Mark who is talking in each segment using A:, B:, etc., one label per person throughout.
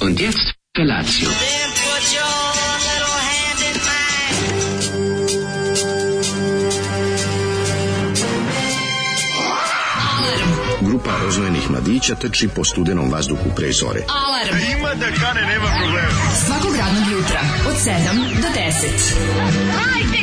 A: Und jetzt Felatio.
B: Then put your little hand in mine.
C: Grupa rozvojenih mladića teči po studenom vazduhu pre zore.
D: Alarm. Ima da kane, nema problema. Svakog radnog jutra, od 7 do 10.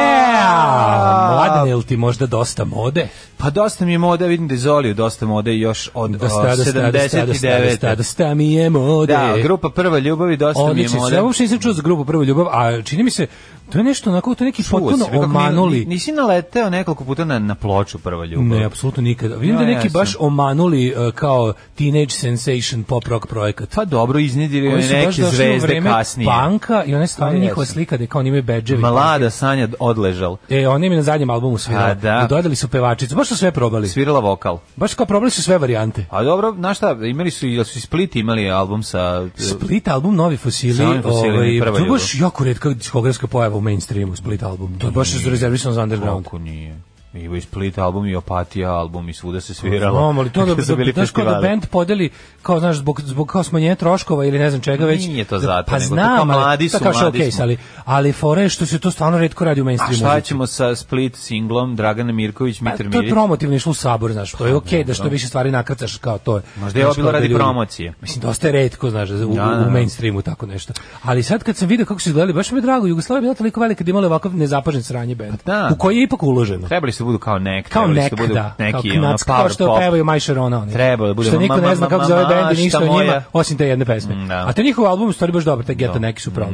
E: Yeah! Mladen, jel ti možda dosta mode?
F: Pa dosta mi je moda, vidim da je Zoliju dosta mode još od
E: Da
F: o,
E: sta, da sta, da sta, da sta, da sta,
F: 79.
E: da sta mi je mode.
F: Da, grupa Prva ljubavi dosta mi je
E: Odlično,
F: mode.
E: sve uopšte nisam čuo za grupu Prvu ljubav, a čini mi se, to je nešto onako, to je neki
F: Čuo
E: potpuno
F: si, kako mi-
E: omanuli.
F: Nisi naleteo nekoliko puta na, na ploču Prva ljubav.
E: Ne, apsolutno nikada. Vidim
F: Ja,
E: da neki
F: ja sam.
E: baš omanuli e, kao teenage sensation pop rock projekat.
F: Pa dobro, iznedili
E: Oni
F: oni
E: su baš
F: neke
E: došli u
F: zvezde
E: vreme
F: kasnije.
E: Panka i one stvarno
F: Pa,
E: njihova
F: jesam.
E: slika da je kao oni imaju bedževi.
F: Mlada Sanja odležal.
E: E, oni mi na zadnjem albumu svirao.
F: A, da.
E: I dodali su pevačicu. Baš su sve probali.
F: Svirala vokal.
E: Baš kao probali su sve varijante.
F: A dobro, znaš šta, imali su, jel su i Split imali album sa...
E: Split album Novi fosili,
F: Sa Novim fosilima
E: ovaj,
F: i Prva
E: to je baš
F: ljubav.
E: jako redka diskografska pojava u mainstreamu Split album. To je baš rezervisano za underground.
F: Kako nije. Ima i Split album i Opatija album i svuda se sviralo.
E: Znam, ali to da,
F: Kad su
E: da,
F: bili
E: znaš kao da
F: festivali.
E: bend podeli kao znaš zbog zbog kao smanjenja troškova ili ne znam čega već.
F: Nije to
E: da-
F: zato,
E: pa
F: nego to
E: znam,
F: kao mladi
E: ali, to
F: su,
E: kao
F: mladi
E: showcase,
F: smo.
E: ali ali fore je što se to stvarno retko radi u
F: A
E: mainstreamu.
F: šta ćemo sa Split singlom Dragana Mirković,
E: Pa,
F: Mitar
E: to je
F: Milić? Pa,
E: promotivno išlo u sabor, znaš, to je okej da što više stvari nakrcaš kao to. je.
F: Možda je
E: Znaš,
F: ovo bilo
E: kao da
F: radi
E: ljudi-
F: promocije.
E: Mislim, dosta je redko, znaš, u,
F: Da, da,
E: u
F: da.
E: mainstreamu tako nešto. Ali sad kad sam vidio kako su izgledali, baš mi je drago, Jugoslavia je bila toliko velika da imala ovakav nezapažen sranje bend,
F: Pa da.
E: u koji je ipak uloženo.
F: Trebali su da budu kao nek,
E: Kao
F: trebali su
E: nek,
F: da budu
E: da, kao
F: neki ono,
E: knac, kao
F: power
E: što
F: pop.
E: pevaju Maj Šarona oni.
F: Trebalo je da bude
E: Što
F: ma,
E: niko
F: ma,
E: ne zna
F: ma,
E: kako
F: ma,
E: zove
F: ma,
E: bend i
F: šta
E: ništa o njima,
F: moja.
E: osim te jedne pesme.
F: Mm, da. Mhm.
E: A te njihov album u stvari baš dobar, taj Geta neki su pravi,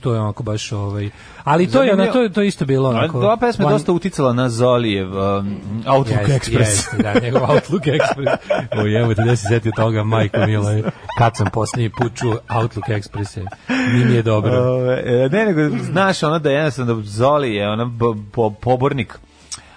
E: to je onako baš ovaj. Ali to je, ono, to, je- to je isto bilo
F: Ali
E: onako.
F: Ova pesma je
E: one-
F: dosta uticala na Zolijev um, Outlook
E: Jeste,
F: Express.
E: jeste, da, njegov Outlook Express. O jebote, da se setio toga, majko mila, e, kad sam posljednji put čuo Outlook Express, e, nije mi je dobro.
F: Ove, e, ne, nego, znaš, ono da jednostavno Zoli je ono b- po- pobornik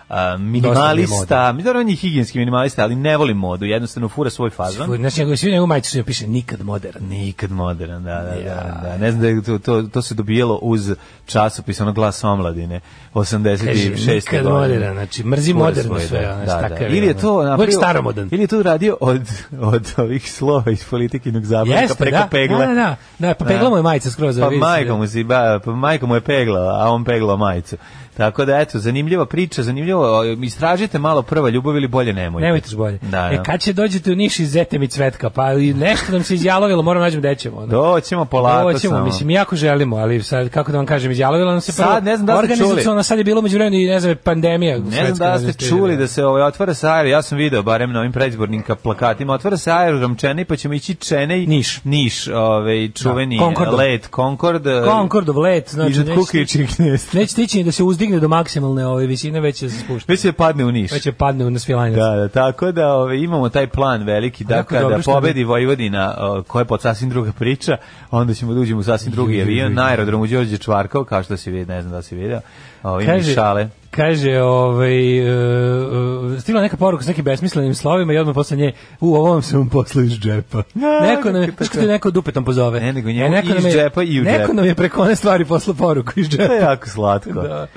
F: a, minimalista, mi dobro on je higijenski minimalista, ali ne voli modu, jednostavno fura svoj fazon.
E: Znači, njegov, svi njegov majicu piše nikad modern.
F: Nikad modern, da, da, da, da. Ne znam da je to, to, to se dobijelo uz časopis, ono glas omladine,
E: Kaže,
F: 86.
E: nikad
F: godine.
E: modern, znači, mrzi
F: Fura
E: moderno
F: svoje,
E: sve,
F: da,
E: ono,
F: da, da.
E: stakav je,
F: Ili je
E: ono.
F: to
E: Uvijek
F: napravio,
E: staromodan.
F: ili je to radio od, od ovih slova iz politikinog zabavnika
E: Jeste,
F: preko
E: da,
F: pegle.
E: da, da, da, da, pa pegla mu je majica skroz.
F: Pa
E: vidi se,
F: majka
E: da.
F: mu, si, ba, pa majka mu je pegla, a on peglao majicu. Tako da, eto, zanimljiva priča, zanimljivo. e, Istražite malo prva ljubav ili bolje nemojte.
E: Nemojte još bolje.
F: Da, da.
E: E, kad će dođete u Niš iz Zete mi cvetka, pa i nešto nam se izjalovilo, moram nađem gde ćemo. ono.
F: Doćemo polako
E: Hoćemo,
F: samo.
E: mislim, jako želimo, ali sad, kako da vam kažem, izjalovilo nam se
F: Sad, ne znam da li ste
E: organizaciona, sad je bilo među vremenu i ne znam, pandemija.
F: Ne znam da li ste čuli da se ovaj otvara sa aer, ja sam video barem na ovim predizbornim ka- plakatima, otvara se aerodrom Čenej, pa ćemo ići Čenej,
E: Niš.
F: Niš ovaj, čuveni
E: Da, Concordom.
F: let, Concord, e,
E: Konkordov let, znači,
F: iznad
E: neće stići-
F: Kukićih gnezda.
E: Neće stići ni da se uzdigne do maksimalne ove visine, već će se spušta.
F: Već je padne u Niš.
E: Već će padne u nasvilanjac.
F: Da, da, tako da ove, imamo taj plan veliki da
E: Jako
F: kada
E: dobro što
F: pobedi Vojvodina, o, koja je pod sasvim druga priča, onda ćemo da uđemo u sasvim drugi avion, na aerodromu Đorđe Čvarkov, kao što se vidi, ne znam da si video, o, ima i šale.
E: Kaže, ovaj, e, e, stigla neka poruka s nekim besmislenim slovima i odmah posle nje, u, ovo vam se vam posla iz džepa. neko nam, je-
F: kako
E: znaš kad
F: to?
E: te neko dupetom pozove. E,
F: Ne, nego njemu
E: neko
F: iz
E: nam je-
F: džepa i u
E: Neko
F: džep.
E: nam je preko one stvari posla poruku iz
F: To je
E: džepa.
F: jako slatko.
E: Da.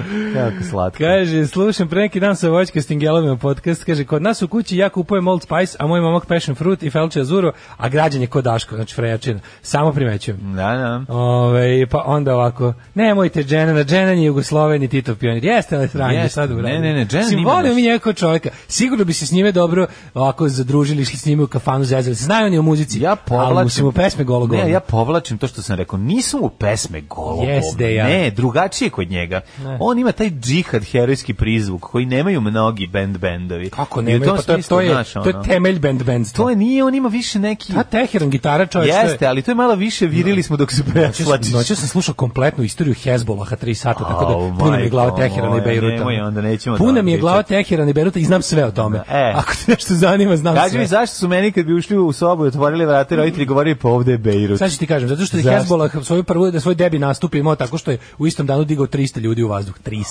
F: Jako slatko.
E: Kaže, slušam pre neki dan sa Vojčka Stingelovima podcast, kaže, kod nas u kući ja kupujem Old Spice, a moj momak Passion Fruit i Felče Azuro, a građan je kod Daško, znači frejačina. Samo primećujem.
F: Da, da.
E: Ove, pa onda ovako, nemojte Dženana, Dženan je Jugosloven i Titov pionir. Jeste, ali sranje
F: Jeste.
E: sad uradio.
F: Ne, ne, ne, Dženan
E: Mislim,
F: ima
E: volio
F: nešto.
E: mi njegov čovjeka. Sigurno bi se s njime dobro ovako zadružili, išli s njime u kafanu, zezali. se. Znaju oni o muzici,
F: Znači, Ja povlačim.
E: ali mu se mu pesme golo golo.
F: Ne, ja povlačim to što sam rekao. Nisu mu pesme golo
E: Yes, they are.
F: Ne, drugačije je kod njega. On ima taj džihad herojski prizvuk koji nemaju mnogi band bendovi.
E: Kako
F: I u
E: nema,
F: tom
E: pa to, je-
F: smislu,
E: to, je,
F: znaš,
E: to je
F: ono,
E: temelj band bandstva.
F: To je nije, on ima više neki...
E: Ta Teheran gitara čovjek. što je-
F: Jeste, ali to je malo više, virili smo dok se preslačiš.
E: Noćas sam slušao kompletnu istoriju Hezbolaha 3 sata, tako
F: Au,
E: da puna mi je glava
F: majko
E: Teherana i
F: moja,
E: Beiruta.
F: nemoj, onda nećemo da
E: Puna
F: vam
E: mi je glava
F: pričam.
E: Teherana i Beiruta i znam sve o tome.
F: E.
E: Ako te nešto zanima, znam
F: Kaži
E: sve.
F: mi zašto su meni kad bi ušli u sobu i otvorili vrate roditelji govorili pa ovde je Bejrut.
E: Sad ću ti kažem, zato što je
F: Zašto?
E: Hezbollah svoju prvu, da svoj debi nastup imao tako što je u istom danu digao 300 ljudi u vazduh. 300.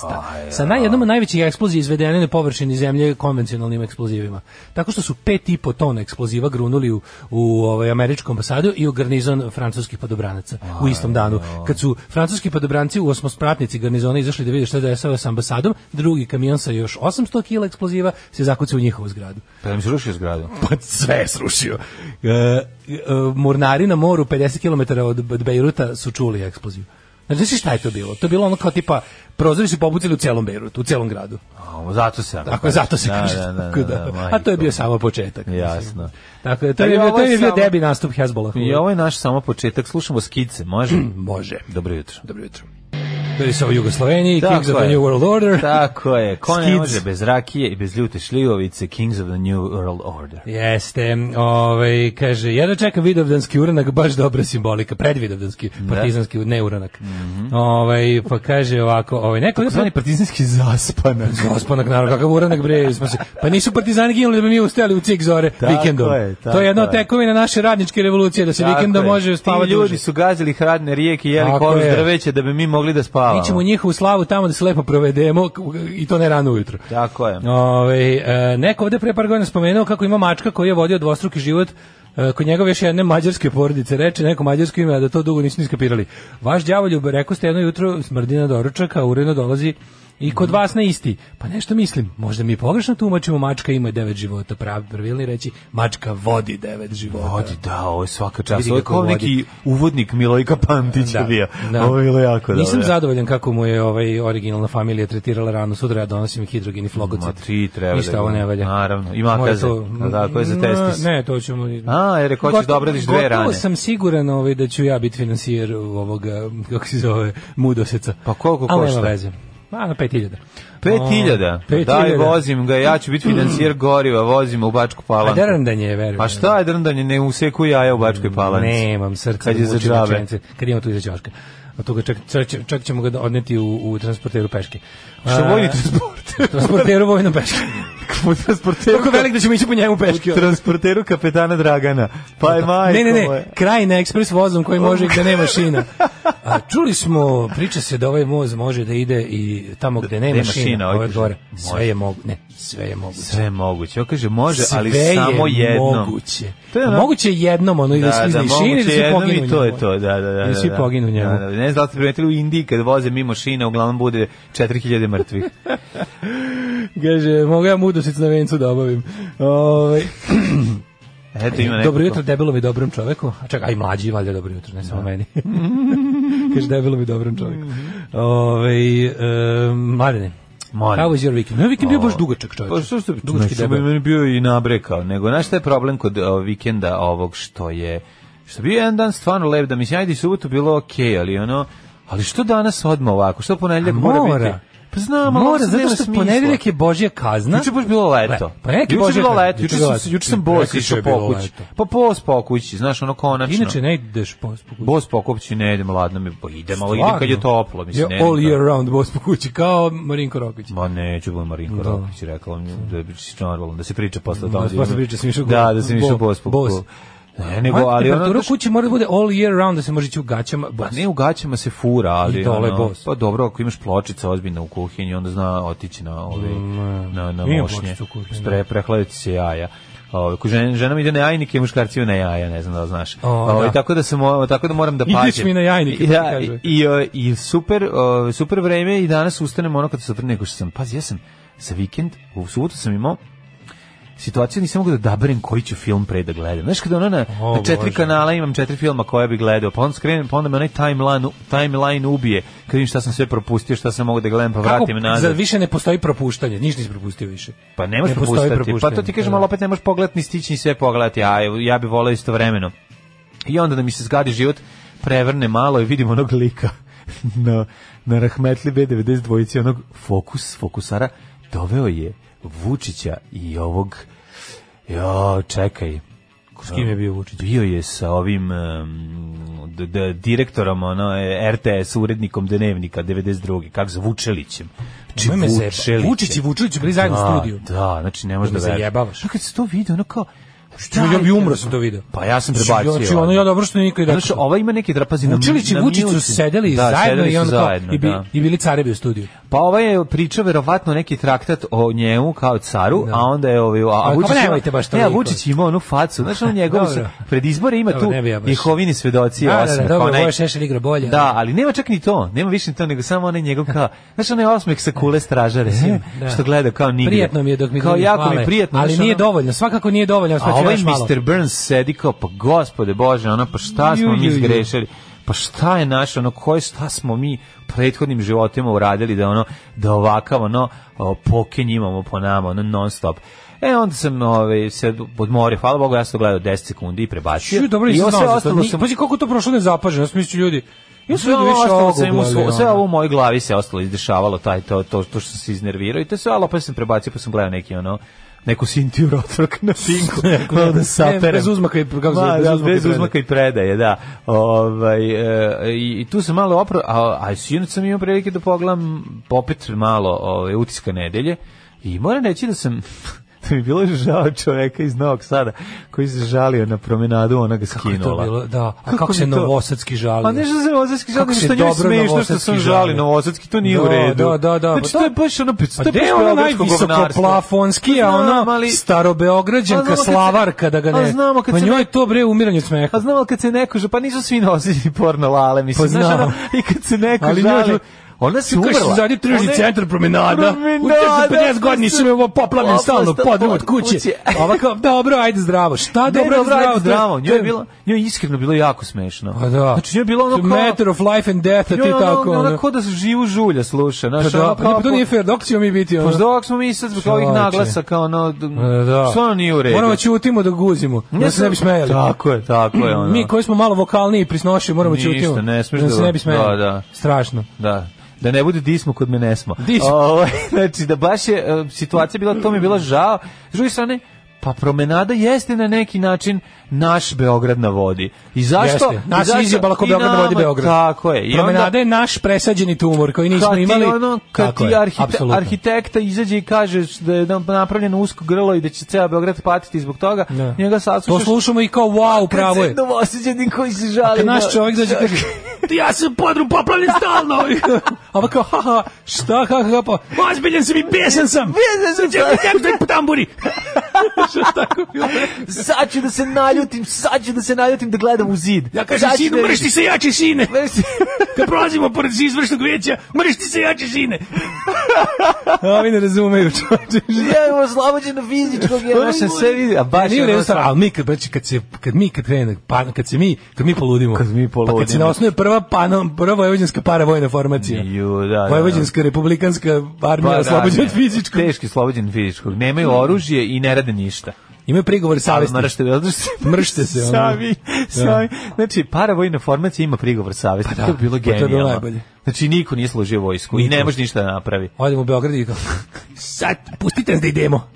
E: Sa najjednom od najvećih eksplozija izvedene na površini zemlje konvencionalnim eksplozivima. Tako što su pet i po tona eksploziva grunuli u, u ovaj, američkom ambasadu i u garnizon francuskih padobranaca u istom danu. Kad su francuski padobranci u osmospratnici garnizona izašli da vide šta se dešava sa ambasadom, drugi kamion sa još 800 kila eksploziva se zakucao u njihovu zgradu.
F: Pa mi se rušio zgradu.
E: Pa sve je srušio. E, e, mornari na moru 50 km od, od Bejruta su čuli eksploziju. Znači, znaš šta je to bilo? To je bilo ono kao tipa, prozori su pobucili u celom Bejrutu, u celom gradu.
F: A, zato se.
E: Tako je, zato se kaže.
F: Da, da,
E: tako
F: da, da,
E: A to je bio samo početak. mislim.
F: Jasno.
E: Tako je, to
F: A Pa i
E: je, bio,
F: ovo
E: to
F: je
E: je bio
F: samo-
E: debi nastup Hezbollah.
F: I ovo je naš samo početak. Slušamo skice, može?
E: Može.
F: Dobro jutro.
E: Dobro jutro. Bili su u Jugosloveniji, Kings of the
F: je.
E: New World Order.
F: Tako je. Ko ne
E: Skids.
F: može bez rakije i bez ljute šljivovice, Kings of the New World Order.
E: Jeste, ovaj, kaže, jedno čekam vidovdanski uranak, baš dobra simbolika, predvidovdanski, partizanski, ne uranak. ovaj, pa kaže ovako, ovaj, neko...
F: Zvani Mhm. partizanski zaspanak.
E: Gospodak, naravno, kakav uranak bre, smo se, pa nisu partizani ginuli da bi mi ustajali u cik zore
F: Tako
E: vikendom.
F: je, tako
E: to je jedna od
F: je.
E: tekovina naše radničke revolucije, da se
F: Tako
E: vikendom
F: je.
E: može spavati
F: Ti ljudi
E: duže.
F: su gazili hradne rijeke i jeli
E: Tako
F: koru
E: je.
F: s drveća da bi mi mogli da spavamo.
E: Mi ćemo njihovu slavu tamo da se lepo provedemo k- i to ne rano ujutro.
F: Tako je.
E: Ove, e, neko ovde pre par godina spomenuo kako ima mačka koji je vodio dvostruki život e, kod njegove još jedne mađarske porodice. Reče neko mađarsko ime, a da to dugo nisu niskapirali. Vaš djavoljub, rekao ste jedno jutro, smrdi na doručak, a uredno dolazi i kod vas na isti. Pa nešto mislim, možda mi pogrešno tumačimo, mačka ima devet života. Pravi pravilni reći, mačka vodi devet života.
F: Vodi, da, ovo je svaka čast.
E: Vidi
F: Ovo je
E: kako
F: kao
E: vodi.
F: neki uvodnik Milojka Pantića bio.
E: da.
F: Ovo je bilo jako dobro.
E: Nisam zadovoljan kako mu je ovaj originalna familija tretirala ranu. Sutra ja donosim hidrogen i flogocit.
F: Ma ti treba
E: Ništa
F: da
E: ovo
F: ga-
E: ne valja.
F: Naravno, i makaze. A da, koje za
E: Ne,
F: testis?
E: Ne, to ćemo...
F: A, jer je ko ćeš da obradiš dve
E: Gotovo
F: rane.
E: sam siguran ovaj, da ću ja biti financijer ovoga, kako se zove, mudoseca.
F: Pa koliko
E: Ali
F: košta?
E: nema veze. Ma, na 5000.
F: Pet
E: O,
F: hiljada.
E: pet
F: Daj,
E: hiljada. Mm.
F: vozim ga, ja ću biti financijer goriva, vozim u Bačku
E: A
F: palanku.
E: derndanje je, verujem.
F: Pa šta je drndanje, ne useku jaja u Bačkoj palanci.
E: Nemam srca.
F: Kad
E: da
F: je za
E: vučem
F: džabe.
E: učenice. Kad imamo tu iza ćoška. A tu ga čak, čak, će- čak ćemo ga odneti u, u transporteru peške.
F: Što
E: A,
F: vojni transport?
E: Transporteru vojnom peške.
F: transporteru,
E: Toliko velik da ćemo ići po njemu peške. ono.
F: transporteru kapetana Dragana. Pa je majko
E: Ne, ne, ne,
F: moje.
E: kraj na ekspres vozom koji može gde nema šina. A čuli smo, priča se da ovaj voz može da ide i tamo gde nema,
F: nema
E: šina,
F: šina, ovaj
E: ovaj
F: kaže,
E: gore.
F: može.
E: Sve je moguće, ne, sve je moguće.
F: Sve je moguće. On kaže može, ali
E: Sve
F: samo
E: je
F: jednom.
E: moguće.
F: To je
E: A
F: ono-
E: moguće je jednom, ono, i da,
F: Da,
E: se
F: da,
E: izdi šine,
F: moguće
E: i da se
F: jednom
E: poginu
F: i to je
E: njemu.
F: to, da, da, da.
E: I svi
F: da.
E: poginu njemu.
F: Da, da. Ne znam da li ste primetili u Indiji kad voze mimo šine, uglavnom bude 4000 mrtvih.
E: Kaže, mogu ja mudosic na vencu da obavim. Ovaj,
F: Eto ima neko.
E: dobro jutro debilom i dobrom čoveku. A čekaj, aj mlađi valjda dobro jutro, ne samo meni. Kaže debilom i dobrom čoveku.
F: Mhm.
E: Ovaj e, mladene.
F: Molim.
E: How was your weekend? Moj weekend bio baš dugačak, čoveče.
F: Pa što što bi
E: dugački
F: što bi
E: debel.
F: meni bio i nabrekao, nego znaš šta je problem kod o, vikenda ovog što je što je bio jedan dan stvarno lep da mislim ajde i subotu bilo okej, ali ono ali što danas odmah ovako? Što ponedeljak
E: A
F: mora,
E: mora.
F: biti? Pa znam, ali
E: Mora,
F: sad
E: zato
F: nema
E: što
F: smisla.
E: ponedeljak je Božja kazna.
F: Juče je baš bilo leto.
E: Le- ponedeljak je
F: juče je
E: Božja
F: bilo
E: kazna.
F: leto. Juče
E: Juče je
F: sam
E: leto.
F: juče sam bos
E: Prekjuče
F: išao
E: je bilo
F: po kući.
E: leto.
F: Pa bos po kući, znaš, ono konačno.
E: Inače ne ideš po po kući.
F: Bos po kući ne idem, ladno mi, pa idem, ali idem kad je toplo, mislim, ne
E: je
F: idem
E: all
F: kad-
E: year round boss po kući, kao Marinko Rokić.
F: Ma neću bude Marinko
E: Da.
F: Rakić, rekao mi da bi se normalno, da se priča posle
E: Da,
F: toga.
E: da se posle priča, sam išao
F: Da,
E: go- pa
F: da sam
E: bo-
F: išao bos po
E: bos.
F: bos. Ne, nego, ali ono,
E: Temperatura
F: znaš,
E: kući mora da bude all year round da se može ići u gaćama. Boss.
F: ne u gaćama se fura, ali
E: I dole
F: ono,
E: bos.
F: pa dobro, ako imaš pločica ozbiljna u kuhinji, onda zna otići na ovaj
E: Mm,
F: na na
E: Ima
F: mošnje.
E: pločica u kuhinji,
F: Pre prehladiti se jaja. Ovaj ko žena, žena mi ide na jajnike, muškarci idu na jaja, ne znam da li znaš.
E: O,
F: Ovaj,
E: da.
F: tako da se mo- tako da moram da
E: Ideš
F: pazim.
E: mi na jajnike,
F: I,
E: kako
F: da,
E: kaže.
F: i, o, i super, o, super vreme i danas ustanem ono kad se otvrne, nego što sam, pazi, ja sam za vikend, u subotu sam imao situaciju nisam mogao da odaberem koji ću film pre da gledam. Znaš kada ono na,
E: O,
F: na četiri
E: Bože.
F: kanala imam četiri filma koje bi gledao, pa onda skrenem, pa onda me onaj timeline, u- timeline ubije, kad vidim šta sam sve propustio, šta sam mogao da gledam, pa vratim
E: Kako,
F: nazad.
E: Zar više ne postoji propuštanje? Niš nisi propustio više.
F: Pa ne možeš
E: Ne postoji
F: propustiti. Pa to ti
E: propuštanje,
F: kažem,
E: da.
F: ali opet ne možeš pogledati ni stići ni sve pogledati, a evo, ja bih voleo istovremeno. I onda da mi se zgadi život, prevrne malo i vidim onog lika na, na Rahmetli B92 dvojici, onog fokus, fokusara, doveo je Vučića i ovog, jo, čekaj,
E: S kim je bio Vučić?
F: bio je sa ovim um, d- d- direktorom ono, e, RTS urednikom Dnevnika 92. kako se Vučelićem. Znači,
E: Nemoj me zajebati.
F: Vučelić.
E: Vučić i Vučelić su bili zajedno u studiju.
F: Da, znači ne možeš
E: Da
F: da
E: me
F: veruješ.
E: zajebavaš.
F: A kad se to vidi, ono kao... Šta
E: Ču, ja bi
F: je-
E: umro sam to video.
F: Pa ja sam prebacio.
E: Znači, ono ja dobro što niko je rekao.
F: Zato što ova ima neki drapazi na
E: Vučilić i
F: na
E: Vučić su
F: mute.
E: sedeli
F: da,
E: zajedno
F: sedeli
E: i
F: su
E: ono kao,
F: zajedno,
E: i, bi,
F: da.
E: i bili carevi u studiju.
F: Pa ovaj je pričao verovatno neki traktat o njemu kao caru,
E: Da.
F: a onda je ovaj a,
E: Pa,
F: Vučić
E: pa
F: ima-
E: nemojte baš
F: Ne, a
E: toliko.
F: Vučić ima onu facu, znači on njegov
E: Dobro.
F: pred izbore ima
E: Dobro,
F: tu
E: ne bi ja baš.
F: Jehovini svedoci
E: Da, da, da,
F: osmeh.
E: dobro,
F: onaj-
E: ovo je Šešelj igrao bolje,
F: Da,
E: ali-
F: ali nema čak ni to, nema više ni to nego samo onaj njegov kao, znači onaj osmeh sa kule stražare,
E: E, Da.
F: što gleda kao nigde.
E: Prijetno mi je dok mi
F: kao
E: drugi
F: jako mi
E: hvale,
F: je prijetno,
E: Ali
F: znaš,
E: nije
F: ono-
E: dovoljno, svakako nije dovoljno.
F: A
E: Sad ću
F: ovaj
E: još malo.
F: Mr. Burns sedi kao, pa gospode bože, ono, pa šta smo
E: Ju, ju,
F: mi
E: ju.
F: zgrešili? Pa šta je naše, ono, koje šta smo mi prethodnim životima uradili da ono, da ovakav, ono, o, pokenj imamo po nama, ono, non stop. E, onda sam ove, se odmorio, hvala Bogu, ja sam to gledao 10 sekundi i prebacio.
E: Ču, dobro,
F: I
E: nisam
F: ovo sve
E: znao za to.
F: ostalo
E: Ni-
F: sam...
E: Pazi kako to prošlo nezapaženo, ja sam mislio ljudi. Ja sam
F: Sve
E: vidio
F: ovo,
E: više
F: ostalo sam
E: ovoga,
F: imao svo-
E: ali
F: sve
E: ono.
F: ovo u mojoj glavi se ostalo izdešavalo, taj, to, to, to što sam se iznervirao i to sve, ali opet sam prebacio, pa sam gledao neki, ono, neku Sintiju Rotork na Pinku, malo da
E: Ne,
F: saperem.
E: bez uzmaka i- kako se
F: Ma,
E: zove, bez
F: da,
E: uzmaka i
F: bez
E: predaje.
F: uzmaka i predaje, da. Ovaj, e, i, i tu sam malo opro, a, a sinoć sam imao prilike da pogledam opet malo ovaj, utiska nedelje i moram reći da sam da mi je bilo žao čoveka iz Novog Sada koji se žalio na promenadu onoga
E: Kako je to
F: skinula.
E: bilo? Da, a kako, se
F: mi to-
E: novosadski žalio?
F: Pa ne što se novosadski žali,
E: Kako se
F: što njoj
E: dobro
F: smešno što
E: novosadski
F: sam
E: žali.
F: žali novosadski, to nije u
E: Da,
F: redu.
E: da, da, da,
F: Znači,
E: pa
F: to je
E: da.
F: baš ono, to
E: Pa
F: je
E: gde je
F: baš
E: ono
F: beogradsko govnarstvo. Pa
E: najvisokoplafonski, a
F: Znam,
E: ono
F: ali- A
E: starobeograđanka
F: znamo kad se-
E: slavarka da ga ne...
F: A znamo kad
E: pa
F: se-
E: njoj je to bre umiranje od smeha.
F: Pa znam, ali kad se neko žali, pa nisu svi nosili porno lale, mislim.
E: Pa
F: znaš,
E: znam.
F: ono, I kad se neko
E: Ali njoj-
F: žali, ona se Pa umrla.
E: Kaže se zadnji tržni
F: Ona je-
E: centar promenada.
F: Promenada,
E: U pa 50
F: to
E: godina
F: se-
E: sam ovo poplavljen
F: Oplasta
E: stalno podrum od
F: pod
E: kuće.
F: kuće.
E: Ova kao, dobro, ajde zdravo. Šta
F: Ne,
E: dobro, ajde zdravo?
F: ajde, zdravo.
E: To-
F: Njoj je
E: to
F: bilo, njoj je iskreno bilo jako smešno.
E: Pa da.
F: Znači, njoj je bilo ono
E: To je
F: kao...
E: Matter of life and death, a ti
F: Njoj je ono-
E: tako.
F: Ona
E: ono.
F: kao da se živu žulja sluša.
E: Pa
F: Znaš,
E: da,
F: ono
E: pa ne,
F: kao... Pa
E: pa to nije fair, dok ćemo mi biti ono.
F: Možda ovak smo mi sad zbog ovih
E: Čovječe.
F: naglasaka, ono, d-
E: E, Da.
F: stvarno nije u redu.
E: Moramo ćutimo dok guzimo. Da se ne bi smejali.
F: Tako je, tako je. Ono.
E: Mi koji smo malo vokalniji i prisnoši moramo
F: Ništa,
E: ćutimo.
F: ne smeš
E: da
F: da-
E: se ne bi smejali.
F: da, da.
E: Strašno.
F: Da. Da ne bude dismo kod mene smo.
E: Dismo.
F: Ovaj, znači da baš je e, situacija bila to mi je bilo žao. S druge strane Pa promenada jeste na neki način naš Beograd na vodi. I zašto?
E: Jeste. Nas
F: i zašto-
E: je izjebala ko
F: i
E: Beograd na vodi
F: nama,
E: Beograd.
F: Tako je. I
E: Promenada je naš presađeni tumor koji nismo
F: kad ti
E: imali.
F: ono, kad
E: Tako
F: ti
E: je,
F: arhite-
E: apsolutno.
F: arhitekta izađe i kaže da je nam napravljeno usko grlo i da će ceo Beograd patiti zbog toga,
E: Da.
F: njega saslušaš.
E: To slušamo i kao wow, pravo je.
F: Novoseđeni koji se žali.
E: Kad
F: da-
E: naš čovjek dođe i kaže ja sam podrum poplavljen stalno. A on kao, haha, šta, ha, ha, pa, ozbiljan sam i besan sam.
F: Besan sam,
E: Sad će mi neko da tamburi. Šta tako bilo?
F: sad ću da se naljutim, sad ću da se naljutim da gledam u zid.
E: Ja kažem,
F: Sad ću
E: sinu,
F: da
E: mršti se jače sine.
F: vidim. Mrš ti.
E: Kad prolazimo pored izvršnog veća, mršti se jače sine. A ovi ne razumeju čovječe.
F: ja imam oslobođeno fizičkog, ja
E: Ono
F: sam sve vidio, a baš
E: nije
F: je
E: u redu
F: ono
E: stvar,
F: stvar.
E: ali mi kad znači kad se kad mi kad krene pa kad se mi kad mi poludimo.
F: Kad mi
E: Pa kad se
F: poludimo.
E: na osnovu prva panom prva vojvođanska paravojna formacija.
F: Ju, da, da,
E: Vojvođanska republikanska
F: Pa,
E: armija
F: da,
E: oslobođena
F: ne.
E: od fizičkog.
F: Teški oslobođen fizičkog. Nemaju oružje i ne rade ništa.
E: Imaju prigovor savesti.
F: Mršte, zato što
E: Mršte se, ono.
F: Sami, sami. Znači, paravojna formacija ima prigovor savesti.
E: da,
F: to je bilo
E: pa to je bilo
F: genijalno.
E: najbolje.
F: Znači, niko nije složio vojsku i ne
E: Niko.
F: može ništa da napravi.
E: Odemo u Beograd i kao, sad, pustite nas da idemo.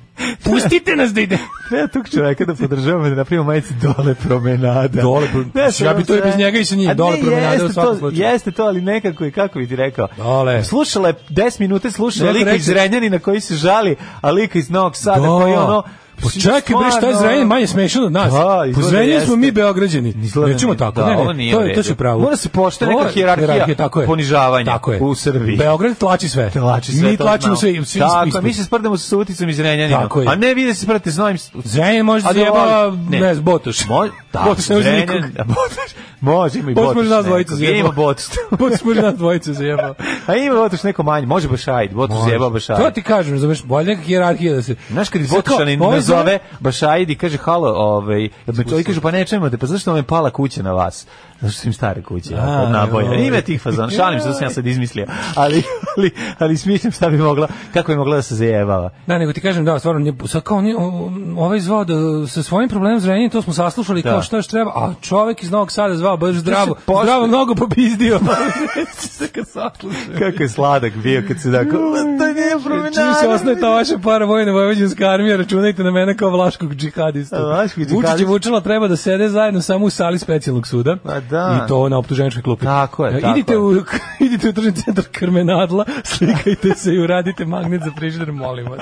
E: Pustite nas da idemo.
F: Treba Pa tog čoveka da podržavamo da napravimo majice dole promenada.
E: Dole pro-
F: Ne,
E: Znači, ja bi to i bez njega i sa njim.
F: A ne,
E: Dole promenada
F: jeste
E: u svakom
F: to-
E: slučaju.
F: Jeste to, ali nekako je, kako bi ti rekao.
E: Dole.
F: Slušala je 10 minuta, slušala
E: Neko
F: lika
E: reče-
F: iz Renjanina koji se žali, a lika iz Novog Sada
E: Da.
F: koji ono...
E: Pa čekaj bre, šta je
F: stvarno- ono-
E: Zrenjanin manje smešan od nas?
F: Da,
E: po
F: izgleda
E: Zrenjaninu smo
F: jeste.
E: mi Beograđani.
F: Izgleda
E: Nećemo
F: nije.
E: tako,
F: Da,
E: ne,
F: ovo
E: ne,
F: nije
E: to,
F: u
E: je, to
F: redu.
E: si u pravu.
F: Mora se poštuje neka
E: Ovo je
F: hijerarhija
E: tako je.
F: ponižavanja
E: tako je.
F: u Srbiji.
E: Beograd tlači sve.
F: Tlači sve,
E: mi
F: to
E: tlačimo
F: znamo.
E: sve. i Svi,
F: Tako,
E: ispred.
F: mi se sprdamo sa uticom iz Renjanina.
E: Tako je.
F: A ne vi da se sprdate s novim...
E: Zrenjanin može
F: A
E: da
F: da
E: zjeba,
F: ovaj-
E: ne,
F: ne.
E: ne znam, Botoš.
F: Može, da,
E: Botoš ne može nikog.
F: Zrenjanin- da, Botoš, može, ima i
E: Botoš
F: Botoš.
E: može nas
F: neko.
E: dvojica zjebao.
F: Ima Botoš.
E: Botoš može nas dvojicu zjeba.
F: A ima Botoš neko manje, može Bašajid, Botoš zjebao
E: To
F: Bašajid.
E: ti kažem, znaš, bolje neka hijerarhija da se...
F: Znaš kad
E: Sad kao,
F: izbotošani
E: ovo je
F: nazove Bašajid i kaže halo, ovaj, me to i kaže pa ne čujemo te, pa zašto vam je pala kuća na vas? Zato što su im stare kuće,
E: A,
F: od naboja.
E: joj.
F: Ima tih fazona, šalim se, to sam ja sad izmislio. Ali, ali, ali smišljam šta bi mogla, kako bi mogla da se zajebava.
E: Da, nego ti kažem, da, stvarno, nije- sad kao on, je- o- ovaj zvao da sa svojim problemom zrenja, to smo saslušali,
F: Da.
E: kao što još treba. A čovjek iz Novog Sada zvao baš zdravo.
F: pošte-
E: Zdravo mnogo popizdio. Sad kad saslušam.
F: Kako je sladak bio kad se tako... To nije promenada.
E: Čim se osnoje ta vaša para vojne vojvođanska armija, računajte na mene kao vlaškog džihadista.
F: A, vlaški
E: Vučić i
F: džihadist.
E: Vučela treba da sede zajedno samo u sali specijalnog suda.
F: A, da.
E: I to na optuženičkoj klupi.
F: Tako je,
E: E,
F: tako
E: idite
F: je.
E: U, idite u tržni centar Krmenadla, slikajte se i uradite magnet za frižider, molim vas.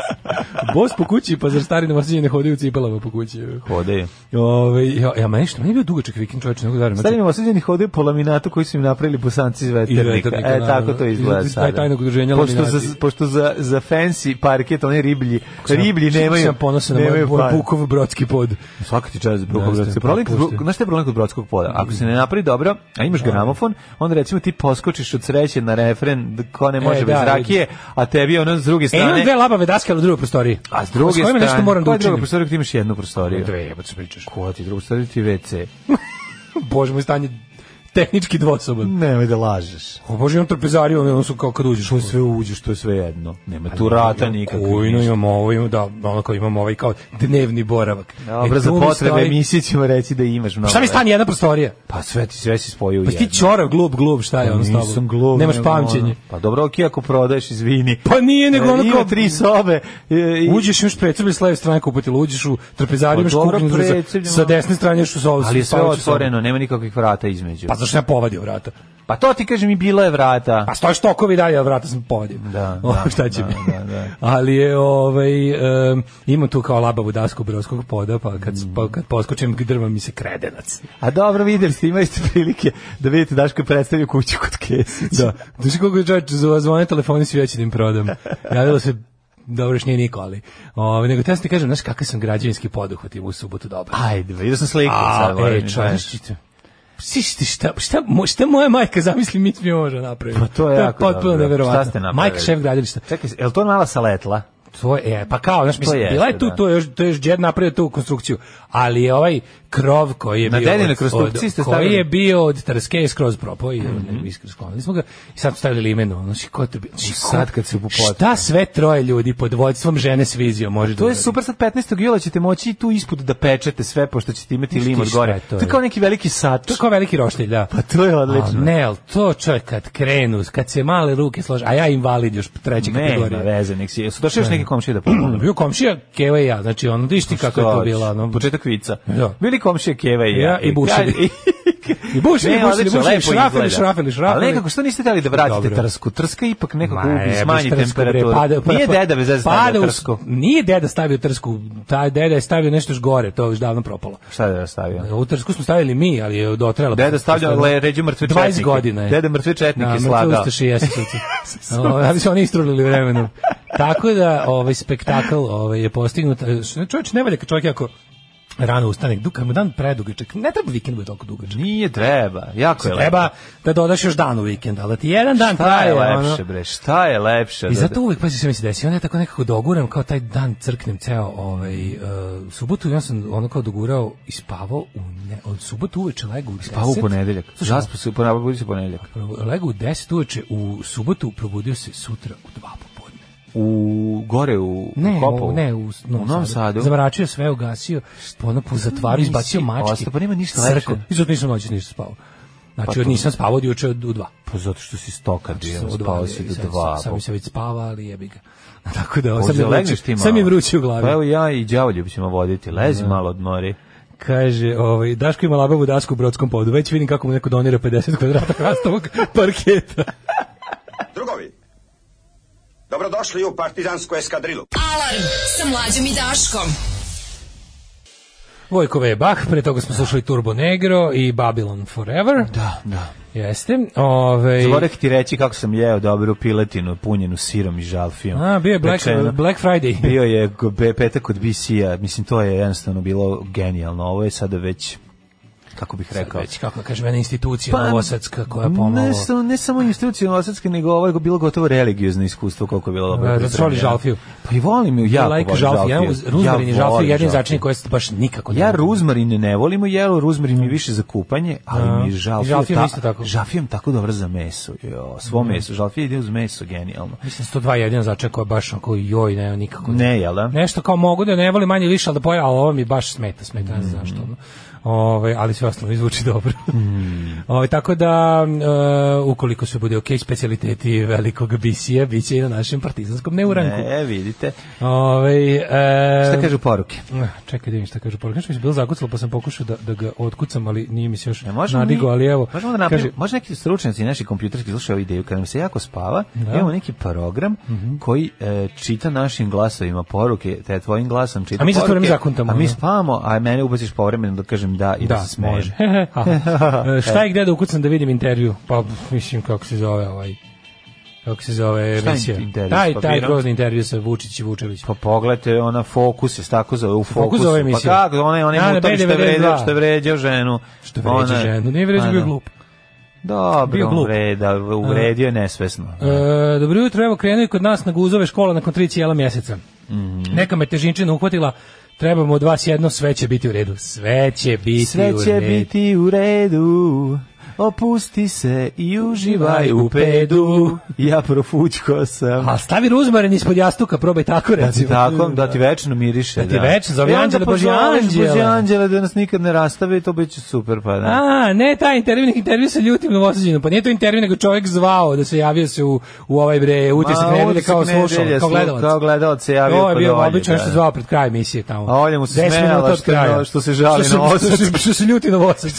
E: Bos po kući, pa zar stari novosadnje ne hodaju u cipelama po kući?
F: Hodaju.
E: Ove, ja, ja, meni što, meni je bio dugačak vikend čoveče, nego znači, darim.
F: Starim osuđeni hodaju po laminatu koji su im napravili bosanci iz
E: Iz
F: veternika.
E: veternika,
F: E,
E: da,
F: tako
E: da.
F: to
E: Iz-
F: izgleda
E: iz
F: sada.
E: tajnog udruženja
F: pošto
E: laminati.
F: za, pošto za, za fancy parket, oni riblji,
E: Sam-
F: riblji
E: sam-
F: nemaju,
E: Sam ponosan na moj,
F: nemaju
E: moj
F: para.
E: Bukov brodski pod.
F: Svaka ti čast Brokov
E: Jeste,
F: brodski. Problem, kod-
E: pusti.
F: znaš šta je problem kod brodskog poda? Ako se ne napravi dobro, a imaš gramofon, onda recimo ti poskočiš od sreće na refren d- ko ne može
E: E,
F: bez
E: da,
F: rakije, a tebi ono s druge
E: E, imam
F: strane...
E: dve labave daske, ali u drugoj prostoriji.
F: a s druge
E: S kojima
F: strane...
E: nešto moram da
F: koja je druga
E: učinim.
F: prostorija, ti imaš jednu prostoriju.
E: Dve, jebote se pričaš.
F: Koja ti druga prostorija, ti WC.
E: Bože moj stanje tehnički dvosoban.
F: Nemoj da lažeš.
E: O Bože, imam trpezariju, ono su kao kad uđeš.
F: To je sve uđeš, to je sve jedno. Nema tu rata nikakve.
E: Ujno imamo ovo, imamo, da, ono kao imamo ovaj kao dnevni boravak.
F: Dobro,
E: E,
F: za
E: tu mi
F: potrebe
E: stoji-
F: emisije ovaj. ćemo reći da imaš mnogo.
E: Šta mi stani jedna prostorija?
F: Pa sve ti sve si spojio u
E: Pa si ti
F: jedno.
E: ćorav, glup, glup, šta je ono s tobom?
F: Pa Nisam glup.
E: Nemaš
F: nego ono.
E: pamćenje.
F: Pa dobro, ok, ako prodaješ, izvini. E,
E: Pa nije, nego ono
F: Ima
E: kao-
F: tri sobe. e, i-
E: Uđeš imaš predsebe s leve strane kupatila, uđeš u trpezariju,
F: Pa
E: imaš
F: dobro,
E: kuhinju, sa,
F: predsoblje,
E: sa desne strane još u zovu.
F: Ali je sve otvoreno, nema nikakvih vrata između.
E: Pa zašto ja povadio vrata?
F: Pa to ti kažem i bila je vrata.
E: A Pa stoje štokovi dalje, a vrata sam povadio.
F: Da,
E: O,
F: da,
E: šta će
F: da,
E: mi?
F: da, da.
E: Ali je, ovaj, em, ima tu kao labavu dasku brovskog poda, pa kad, pa
F: Mm.
E: kad poskočim drva mi se kredenac.
F: A dobro, videli ste, imali ste prilike da vidite Daško je predstavio kuću kod Kesića.
E: Da. Duši koliko je čovječ, zvo- zvone telefoni svi hoće da im prodam. Javilo se Dobro, još nije niko, ali... Ove, nego te sam ti kažem, znaš kakav sam građevinski poduhvat imao u subotu dobro.
F: Ajde, vidio sam sliku. sad,
E: A,
F: moram
E: e,
F: da kažem.
E: čovječe. Siš ti šta, šta, mo- šta moja majka zamisli mi mi može napraviti.
F: Pa to je jako
E: potpuno
F: dobro.
E: neverovatno.
F: Šta ste napravili?
E: Majka šef gradilišta.
F: Čekaj, je li to mala saletla?
E: To je, pa kao, znaš, mislim,
F: jeste,
E: bila je tu,
F: da.
E: to je još, to je još Jed napravio tu konstrukciju, ali je ovaj krov koji je
F: Na
E: bio,
F: dedinoj
E: od-
F: konstrukciji
E: od-
F: ste
E: koji
F: stavili- Mhm.
E: je bio od Trske skroz propao i mm -hmm. sklonili smo ga i sad stavili imeno, znači, ko to bi, znači,
F: sad kad se upopotne.
E: Šta sve troje ljudi pod vođstvom žene s vizijom može da
F: Pa To je
E: uradi?
F: super, sad 15. jula ćete moći i tu ispod da pečete sve, pošto ćete imati
E: Znaš ti
F: lim od
E: šta
F: gore.
E: je to,
F: To je kao neki veliki sač.
E: To je kao veliki roštilj, da.
F: Pa to je
E: A
F: odlično.
E: ne, ali to čovjek kad krenu, kad se male ruke slože, a ja invalid još treće
F: Nema
E: kategorije.
F: veze, nek si. Su došli još neki komšije da pomognu?
E: Bio komšija, Keva i ja, znači ono, diš ti kako je to
F: Šta,
E: bila. Ono,
F: Početak vica.
E: Da.
F: Bili komšije Keva i ja.
E: Ja i bušili.
F: I-
E: I bušili,
F: Ne,
E: bušili,
F: odlično,
E: bušili,
F: lepo
E: šrafili,
F: izgleda.
E: šrafili, šrafili.
F: Ali nekako, što niste dali da vratite
E: Dobro.
F: trsku? Trska ipak nekako
E: Ma,
F: ubi,
E: jebote,
F: smanji
E: trsku, Pa bre,
F: temperaturu.
E: pada- pa-
F: Nije
E: pa-
F: deda bez veze stavio
E: pada u-
F: trsku.
E: Nije deda stavio trsku, taj deda je stavio nešto još gore, to je još davno propalo.
F: Šta je da stavio?
E: U trsku smo stavili mi, ali je dotrela.
F: Deda stavlja le, ređu mrtve
E: 20
F: četnike.
E: ono godina je.
F: Deda mrtve četnike
E: Da,
F: slagao.
E: mrtve ustaše i jesusice. O, Ali su oni istrulili vremenom. Tako da ovaj spektakl ovaj, je postignut. E, što- Čovječ, ne valja kad čovjek jako rano ustane, dug, kad mu dan predugačak, ne treba vikend bude toliko dugačak.
F: Nije treba, jako je
E: Treba da dodaš još dan u vikend, ali da ti jedan dan
F: Šta
E: traje.
F: je
E: ono.
F: lepše, bre? Šta je lepše?
E: I
F: Da-
E: zato uvek, pazi se mi se desi, onda ja tako nekako doguram, kao taj dan crknem ceo ovaj, uh, subotu, ja sam ono kao dogurao i spavao u ne, od subotu uveče legu u 10.
F: Pa u ponedeljak.
E: Slušaj,
F: Zaspo se, ponabudi se ponedeljak.
E: legu u 10 uveče, u subotu probudio se sutra u 2 popodne.
F: U gore u,
E: Ne,
F: u Kopovu.
E: u, ne, u,
F: u Novom Sadu.
E: Zamračio sve, ugasio, ono po zatvaru,
F: nisi
E: izbacio mačke.
F: ostao? Pa nema ništa
E: Crko.
F: lepše.
E: I zato nisam noćas ništa spavao. Znači,
F: Pa
E: od
F: to-
E: nisam spavao od juče od, u 2.
F: Pa zato što si stoka bio,
E: Od
F: spao
E: dva,
F: si do
E: Znači, sad-
F: dva.
E: Sad mi se već spava, ali jebi ga. Tako da,
F: Hoćeš
E: sad mi
F: da
E: je
F: legneš
E: vruće,
F: ti malo?
E: sad mi je vruće u glavi.
F: Pa evo ja i Đavoljub ćemo voditi, lezi malo odmori.
E: Kaže, ovaj, Daško ima labavu dasku u brodskom podu. Već vidim kako mu neko donira 50 kvadrata hrastovog parketa.
A: Drugovi, dobrodošli u partizansku eskadrilu.
D: Alarm sa mlađom i Daškom.
E: Vojkove je Bach, pre toga smo slušali Turbo Negro i Babylon Forever.
F: Da, da.
E: Jeste. Ovaj,
F: Zvorek ti reći kako sam jeo dobru piletinu punjenu sirom i žalfijom.
E: a, bio je Black,
F: Pečeno.
E: Black Friday.
F: Bio je go- be- petak od BC-a, mislim to je jednostavno bilo genijalno, ovo je sada već kako bih rekao. Pa,
E: Već, kako da kažem, jedna institucija novosadska koja pomalo...
F: Ne, samo- ne samo institucija novosadske, nego ovo je bilo gotovo religiozno iskustvo koliko je bilo dobro.
E: Da, zato što voliš
F: pripremljeno.
E: Žalfiju.
F: Pa i volim ju,
E: Ja
F: jako
E: like
F: volim
E: žalfi, ja,
F: Žalfiju.
E: ruzmarin i
F: Ja
E: žalfi,
F: volim
E: jedin
F: Žalfiju.
E: začin koje se baš nikako ne
F: Ja
E: volim.
F: ruzmarin ne volim u jelu, ruzmarin mi je više za kupanje, ali
E: Da.
F: mi žalfija,
E: I žalfija mi isto tako.
F: žalfija mi tako dobra za meso. Jo, svo meso, žalfija ide uz meso, genijalno.
E: Mislim, 102 jedina začin koja baš onako, joj, ne, nikako
F: Ne, jel da?
E: nešto kao mogu da ne volim manje više, ali da pojavim, ali ovo mi baš smeta, smeta, ne znam zašto.
F: Mm.
E: ono. Ove, ali sve ostalo mi zvuči dobro.
F: Mm.
E: Ove, tako da, e, ukoliko se bude ok, specialiteti velikog bisija, bit će i na našem partizanskom neuranku.
F: E, vidite.
E: Ove, e,
F: Šta kažu poruke?
E: Eh, Čekaj da vidim šta kaže poruka. Nešto mi se bilo zakucalo, pa sam pokušao da, da ga otkucam, ali nije mi se još
F: Ne, E, možemo
E: nadigo,
F: mi-
E: ali evo.
F: Možemo da napravimo, može neki stručnjaci naši kompjuterski slušaju ovu ideju, kad nam se jako spava, imamo neki program
E: Mhm.
F: koji e, čita našim glasovima poruke, te tvojim glasom čita
E: A mi za to
F: poruke,
E: vreme zakuntamo,
F: A mi
E: ono.
F: spavamo, a mene ubaciš povremeno da kažem da i da,
E: da,
F: se smejem.
E: može. Aha. E, šta je gde da ukucam da vidim intervju? Pa, mislim, kako se zove ovaj kako se zove
F: Šta je
E: emisija.
F: intervju s
E: Taj, taj
F: papirom?
E: grozni intervju sa Vučić i Vučević.
F: Pa pogledajte, ona fokus je tako zove u fokusu.
E: zove emisija?
F: Pa kako, ona je, ona
E: Da,
F: je
E: na
F: mutor što je
E: B92.
F: vređao, što je vređao ženu.
E: Što vređa
F: Ona-
E: ženu. Nije vređa,
F: Pa,
E: bio
F: da.
E: glup.
F: Dobro,
E: Bio
F: bio
E: glup.
F: glup. Vreda, uvredio je nesvesno.
E: E, dobro jutro, evo krenuo je kod nas na guzove škola nakon tri cijela mjeseca.
F: Mhm.
E: Neka me težinčina uhvatila, trebamo od vas jedno, sve će biti u redu. Sve će biti
F: Sve
E: u
F: će
E: redu.
F: biti u redu. Opusti se i uživaj u pedu. Ja profućko sam.
E: A stavi ruzmarin ispod jastuka, probaj tako
F: Da ti
E: recimo.
F: tako, da ti večno miriše.
E: Da ti večno, zove
F: I onda
E: Anđele, Božje
F: pozoveš
E: Anđele.
F: Božje Anđele da nas nikad ne rastave i to bit će super, pa da.
E: A, ne taj intervju, nek intervju sa ljutim novosađenom. Pa nije to intervju, nego čovjek zvao da se javio se u, u ovaj bre, utisak
F: Ma,
E: nedelje
F: utisak
E: kao slušao,
F: nedelje,
E: kao
F: slu-
E: gledalac.
F: Kao gledalac se javio
E: To je
F: kod
E: bio
F: Olje,
E: obično
F: da.
E: što zvao pred kraj emisije tamo.
F: A Olja mu se
E: Deset
F: smejala
E: minuta od
F: što-
E: kraja.
F: što se žali
E: Što se-
F: na Novosađe.
E: što se- Što se ljuti novosađe.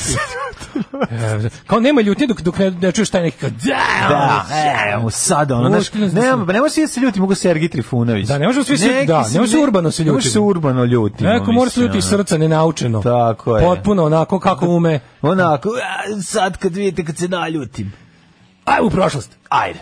E: E, Kao nema ljutnje dok, dok ne, ne čuješ taj neki kao, da,
F: Da, evo sad ono, znaš,
E: Muškine su-
F: nema, ne može svi da se ljuti, mogu Sergij Trifunović.
E: Da, ne možemo svi se-
F: Neki
E: da, ne može se urbano se
F: ne može
E: ljutimo.
F: se urbano ljutimo.
E: Neko mora se
F: mislim,
E: ljuti iz
F: ono.
E: srca, nenaučeno.
F: Tako je.
E: Potpuno onako kako mu me,
F: Onako, a, sad kad vidite kad se naljutim.
E: ajmo u prošlost.
F: Ajde.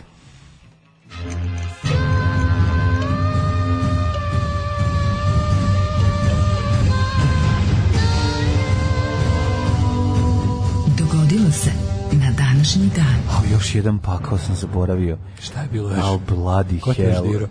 D: Dogodilo se na današnji dan.
F: A još jedan pakao sam zaboravio.
E: Šta je bilo
F: Al
E: Ko
F: bloody
E: ti još
F: hell.
E: dirao?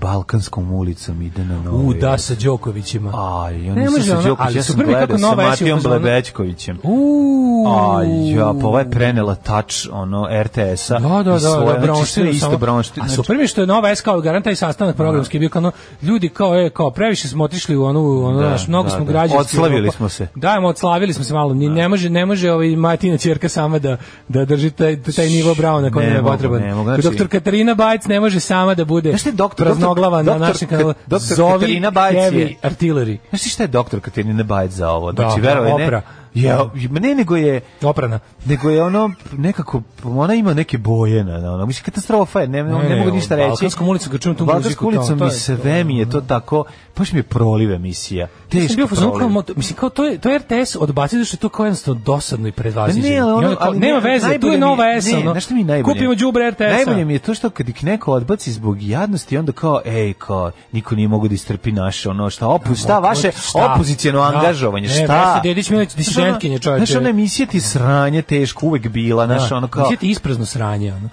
F: Balkanskom ulicom ide na novi.
E: U, da, sa Đokovićima.
F: Aj, ja
E: Ne
F: nisam
E: može
F: sa
E: ona,
F: Đoković,
E: ali
F: ja sam
E: super mi je
F: gledao
E: kako
F: sa
E: Nova S je ono- u
F: Matijom
E: fazonu-
F: Blebećkovićem.
E: Uuu.
F: Aj, ja, pa ova je prenela tač, ono, RTS-a.
E: Da, da, da,
F: i
E: da,
F: svoje, znači,
E: Bronštinu
F: sve isto znači,
E: samo.
F: Bronština.
E: A super mi je što je Nova S kao garanta i sastanak programski bio kao ono, ljudi kao je kao previše smo otišli u onu ono
F: Da,
E: naš mnogo
F: da,
E: smo
F: da.
E: građanski.
F: Odslavili smo se.
E: Da, mo odslavili smo se malo. Ni, ne može ne može ovaj Matina ćerka sama da da drži taj taj nivo bravo na kojem
F: Ne
E: je
F: mogu,
E: potreban.
F: ne mogu, znači-
E: Doktor Katarina Bajc ne može sama da bude.
F: Znaš šta je doktor-
E: praznoglava na
F: doktor-
E: našem kanalu.
F: doktor- doktor
E: Zovi
F: Katarina Bajc je-
E: heavy artillery.
F: Znaš ti šta je doktor Katarina Bajt za ovo?
E: Da,
F: Znači,
E: da,
F: verovatno
E: opra.
F: ne. Ja, ma ne, nego je,
E: Oprana.
F: nego je ono nekako, ona ima neke boje na, na ono. Mislim, katastrofa je, ne, ne, ne, mogu ništa reći.
E: Balkanskom ulicom kad čujem tu muziku.
F: Balkanskom
E: kao,
F: ulicom
E: to
F: mi
E: je-
F: se vemi je to tako, baš mi je proliv emisija.
E: Ja sam
F: Teško
E: bio u fazonu kao,
F: proliv.
E: mo- mislim, kao to je, to je RTS odbacio zato što je to kao jednostavno dosadno i predvaziđeno.
F: Ne, ali
E: I
F: ono,
E: onda kao,
F: ali
E: nema
F: ne,
E: veze, tu
F: najbolje
E: je
F: mi
E: nova S,
F: ne,
E: ono,
F: znaš šta mi je najbolje?
E: kupimo đubre RTS-a.
F: Najbolje mi je to što kad ih neko odbaci zbog jadnosti, onda kao, ej, kao, niko nije mogu da istrpi naše, ono, šta, opu, šta, vaše
E: šta?
F: opozicijeno
E: Da.
F: angažovanje,
E: Ne,
F: šta?
E: Vesna Dedić Miletić,
F: Znaš,
E: disidentkinje,
F: ono,
E: čoveče.
F: Znaš, ona emisija ti sranje teško uvek bila, znaš, ono kao,
E: Mislim, ti isprazno sranje, ono.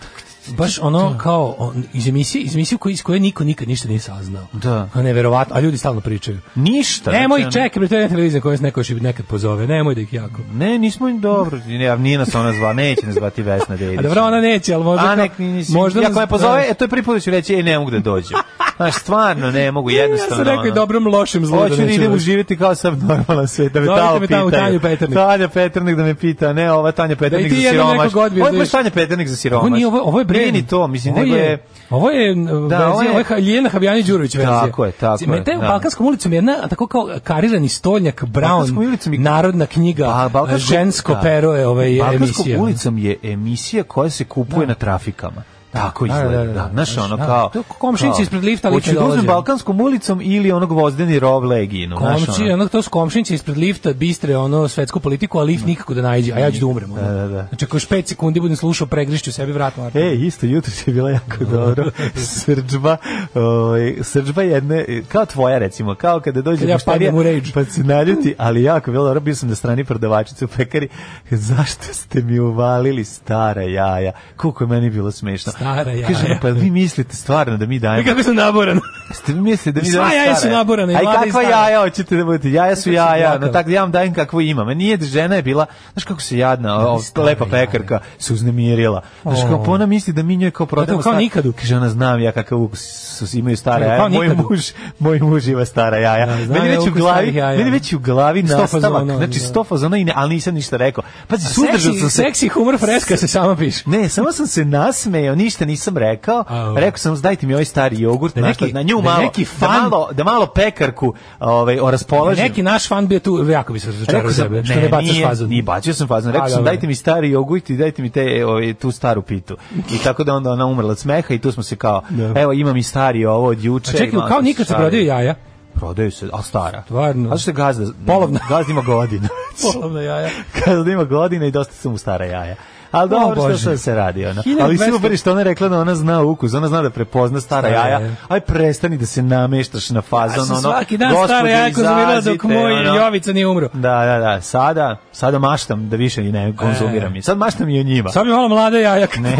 E: Baš ono kao on, iz emisije, iz emisije koje, iz koje niko nikad ništa nije saznao.
F: Da.
E: A neverovatno, a ljudi stalno pričaju.
F: ništa.
E: Nemoj ih
F: znači, ono,
E: čekaj, bre, to je jedna televizija koja se neko još i nekad pozove. Nemoj da ih jako.
F: Ne, nismo im dobro, ne, nije nas ona zva, neće nas zvati Vesna Dedić.
E: A dobro, ona neće, ali možda...
F: A
E: kao-
F: nek ni nisi.
E: možda
F: Možda
E: nas-
F: ako me pozove,
E: da.
F: e, to je prvi put da ću reći, ej, ne mogu da dođem. Znaš, stvarno ne mogu, jednostavno.
E: Ja sam rekao i
F: ono.
E: dobrom, lošem, zlu.
F: Hoću da
E: neću
F: idem
E: doći.
F: uživjeti kao sam normalan svijet, da me
E: Zovite
F: tamo
E: me tamo,
F: pitaju.
E: Tanju Peternik.
F: Tanja Peternik da me pita, ne, ova Tanja Peternik
E: ti
F: za
E: jednom
F: siromaš.
E: nekog odbiješ,
F: Ovo je baš
E: vidiš.
F: Tanja Peternik za siromaš.
E: Ovo nije ovo, ovo je brend.
F: Nije ni to, mislim,
E: ovo
F: nego je...
E: Ovo je da, verzija, ovo
F: ovo
E: je,
F: je-
E: Ljena Habjanić Đurović verzija.
F: Tako je, tako
E: Me
F: je,
E: te
F: da.
E: Balkanskom ulicom je jedna tako kao karirani stolnjak Brown,
F: Balkanskom ulicom je-
E: narodna knjiga, eh,
F: Ba- Balkansko-
E: žensko pero je ovaj
F: Balkanskom
E: emisija.
F: ulicom je emisija koja se kupuje na trafikama. Tako izgleda, da. Znaš, ono kao...
E: to komšinici
F: kao,
E: ispred lifta, lifta
F: Hoću da uzmem
E: dolaze.
F: Balkanskom ulicom ili onog vozdeni rov leginu. znaš,
E: Komšin,
F: ono.
E: ono, to su komšinici ispred lifta, bistre, ono, svetsku politiku, a lift nikako da najđe, a ja ću da umrem. Ono.
F: Mm. Da, da, da.
E: Znači, ako još 5 sekundi budem slušao, pregrišću sebi vrat. Marko.
F: E, isto jutro je bila jako dobro. Srđba, ovaj srđba jedne kao tvoja recimo, kao kada dođe
E: Kad ja
F: mušterija,
E: padnem u rage.
F: pa se naljuti, ali jako bilo dobro, bio sam na strani prodavačice u pekari. Zašto ste mi uvalili stara jaja? Koliko je meni bilo smešno.
E: Stara jaja.
F: Kaže, pa vi mislite stvarno da mi
E: I
F: dajemo
E: kako sam naboran.
F: Ste mi mislili da mi
E: Sva
F: dajemo
E: jaja su
F: stara
E: naborana, i
F: Aj
E: mlada i
F: kakva
E: stara.
F: jaja hoćete da budete? Jaja
E: Kako
F: su
E: sam
F: jaja,
E: plakao.
F: no tako da ja vam dajem kakvo imam. A Nije da žena je bila, znaš kako se jadna, o,
E: stara
F: lepa
E: jaja.
F: pekarka se uznemirila. Znaš kako pa ona misli da mi njoj kao prodamo
E: Zato kao
F: stara-
E: nikadu.
F: Kaže ona znam ja kakav ukus su- imaju stara
E: Kao
F: jaja. Moj
E: nikadu.
F: muž, moj muž ima stara jaja.
E: Da, znam
F: meni
E: ja
F: već u
E: ukus
F: glavi,
E: starih jaja.
F: meni već u glavi
E: Sto
F: nastavak.
E: fazona,
F: Znači
E: da.
F: sto fazona i ne, ali nisam ništa rekao. Pazi, suzdržao sam
E: Seksi,
F: se.
E: seksi humor freska se sama piše.
F: Ne, samo sam se nasmejao, ništa nisam rekao.
E: Au.
F: Rekao sam dajte mi ovaj stari jogurt,
E: Da
F: da
E: neki-
F: na nju
E: da
F: malo,
E: neki
F: da
E: fan-
F: malo, da malo pekarku, ovaj o raspolažem.
E: Neki naš fan bi je tu, jako bi se razočarao
F: Rekao sam,
E: sebe, što ne, bacaš
F: nije,
E: fazon.
F: Nije bacio sam fazon.
E: A,
F: Rekao sam
E: dobro.
F: dajte mi stari jogurt i dajte mi te ovaj tu staru pitu. I tako da onda ona umrla od smeha i tu smo se kao evo imam i stari ovo od juče.
E: A čekaj,
F: imam
E: kao nikad se
F: stari.
E: prodaju jaja.
F: Prodaju se, a stara.
E: Stvarno.
F: A što je gazda?
E: Polovna.
F: Gazda ima godina.
E: Polovna jaja.
F: Gazda ima godina i dosta su mu stara jaja. Ali
E: O,
F: dobro što
E: Bože.
F: sad se radi ona.
E: 1200
F: Ali super je što ona rekla da ona zna ukus, ona zna da prepozna stara
E: Stara
F: jaja.
E: jaja.
F: Aj prestani da se nameštaš na fazon.
E: Ja sam
F: ono,
E: svaki dan stara
F: "Gospodo,
E: jaja konzumirala dok
F: izazite",
E: moj
F: ono.
E: Jovica nije umro.
F: Da, da, da. Sada, sada maštam da više i ne konzumiram. I sad maštam i o njima.
E: E. Sad bi malo mlade jaja.
F: Ne.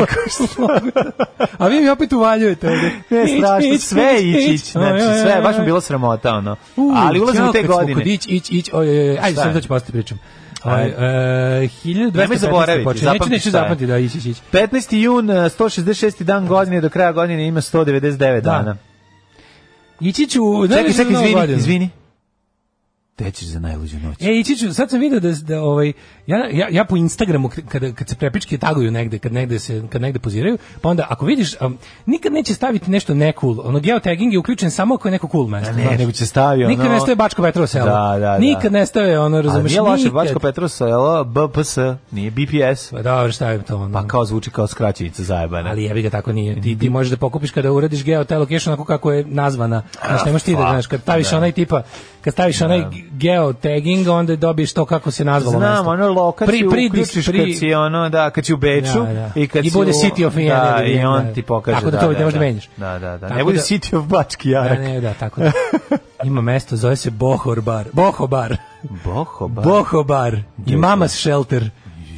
E: A vi mi opet uvaljujete ovde.
F: Ne,
E: Ić,
F: strašno,
E: ić,
F: sve
E: ić,
F: ići,
E: ić.
F: ići, znači
E: Oj, oj,
F: sve,
E: oj,
F: baš mi
E: oj.
F: bilo sramota, ono.
E: U,
F: Ali ulazim u te
E: opet smo
F: godine.
E: kod Ić, ić, ić, oj, oj, oj, ajde,
F: Šta
E: sam
F: je?
E: to ću postaviti pričam. Ovaj,
F: Ajde.
E: e, 1215.
F: zaboraviti,
E: počinje. Neću,
F: zapamti
E: neću
F: šta je.
E: zapamati, da, ić, ić, ić.
F: 15. jun, eh, 166. dan godine, do kraja godine ima 199
E: Da.
F: dana.
E: Ići ću... znaš
F: Čekaj,
E: li za
F: čekaj,
E: Novu
F: izvini,
E: godinu?
F: izvini. Te ćeš za najluđu noć.
E: E, ići ću, sad sam vidio da, da ovaj, ja, ja, ja po Instagramu, k- kada, kad se prepičke taguju negde, kad negde, se, kad negde poziraju, pa onda, ako vidiš, um, nikad neće staviti nešto ne cool. Ono, geotagging je uključen samo ako je neko cool mesto.
F: ne,
E: znaš.
F: nego će stavio,
E: Nikad
F: ono-
E: ne staje Bačko Petrovo selo.
F: Da, da, da.
E: Nikad ne staje, ono,
F: A
E: razumeš,
F: nije loše,
E: nikad.
F: Bačko Petro selo, BPS, nije BPS.
E: Pa dobro, stavim to, ono.
F: Pa kao zvuči kao skraćenica zajebana.
E: ali jebi ga tako nije. Ti, ti možeš da pokupiš kada uradiš geotelocation onako kako je nazvana. Znaš, ne možeš ti da
F: fuck,
E: znaš, kad staviš
F: Pa, da.
E: onaj tipa, kad staviš onaj geotagging, onda dobiješ to kako se nazvalo
F: Znam,
E: mesto.
F: ono
E: Pri-
F: lokaciju
E: pri-
F: uključiš
E: pri-
F: kad si ono, da, kad si u Beču
E: Da, da.
F: i kad
E: I
F: si
E: bude
F: u-
E: City of Jara,
F: da,
E: da,
F: i
E: da,
F: on
E: da.
F: ti pokaže.
E: Tako da to ne možeš da menjaš.
F: Da, da, da. Ne
E: Tako
F: bude
E: da-
F: City of Bački
E: Da,
F: Jarak.
E: ne, da, tako da. Ima mesto, zove se Bohorbar. Bohobar.
F: Bohoba.
E: Bohobar. I Mamas Shelter.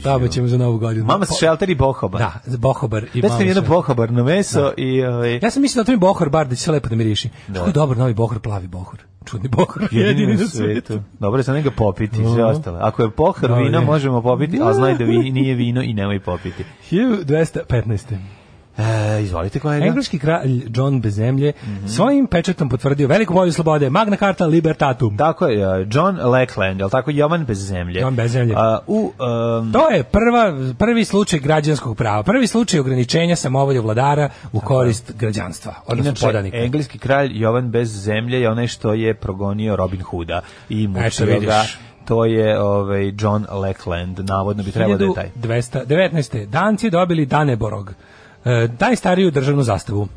E: Tamo ćemo za novu godinu.
F: Mama se šelter i Bohoba.
E: Da, Bohobar i
F: Da
E: Mamas
F: ste mi jedno
E: Shelter.
F: bohobarno meso i... Ovaj,
E: Ja sam mislio da to mi Bohor bar da će se lepo da miriši. Da. Kako je dobar novi Bohor, plavi Bohor. Čudni Bohor, jedini na svetu.
F: Dobro je samo ga popiti, sve ostalo. Ako je pohar
E: Da,
F: vino,
E: je.
F: možemo popiti, a znaj da vi, nije vino i nemoj popiti.
E: 1215.
F: E, izvolite koja je jedna?
E: Engleski kralj John Bezemlje svojim pečatom potvrdio veliku volju slobode, magna carta libertatum.
F: Tako je, uh, John Lackland, je li tako, Jovan bez zemlje.
E: Jovan bez zemlje.
F: A, u, um,
E: To je prva, prvi slučaj građanskog prava, prvi slučaj ograničenja samovolje vladara u korist građanstva, odnosno
F: Inače, e,
E: podanika.
F: engleski kralj Jovan bez zemlje je onaj što je progonio Robin Hooda i mučio
E: Eto,
F: ga.
E: vidiš.
F: To je ovaj, John Lackland, navodno bi trebalo da je taj.
E: 1219. Danci dobili Daneborog, e, najstariju državnu zastavu.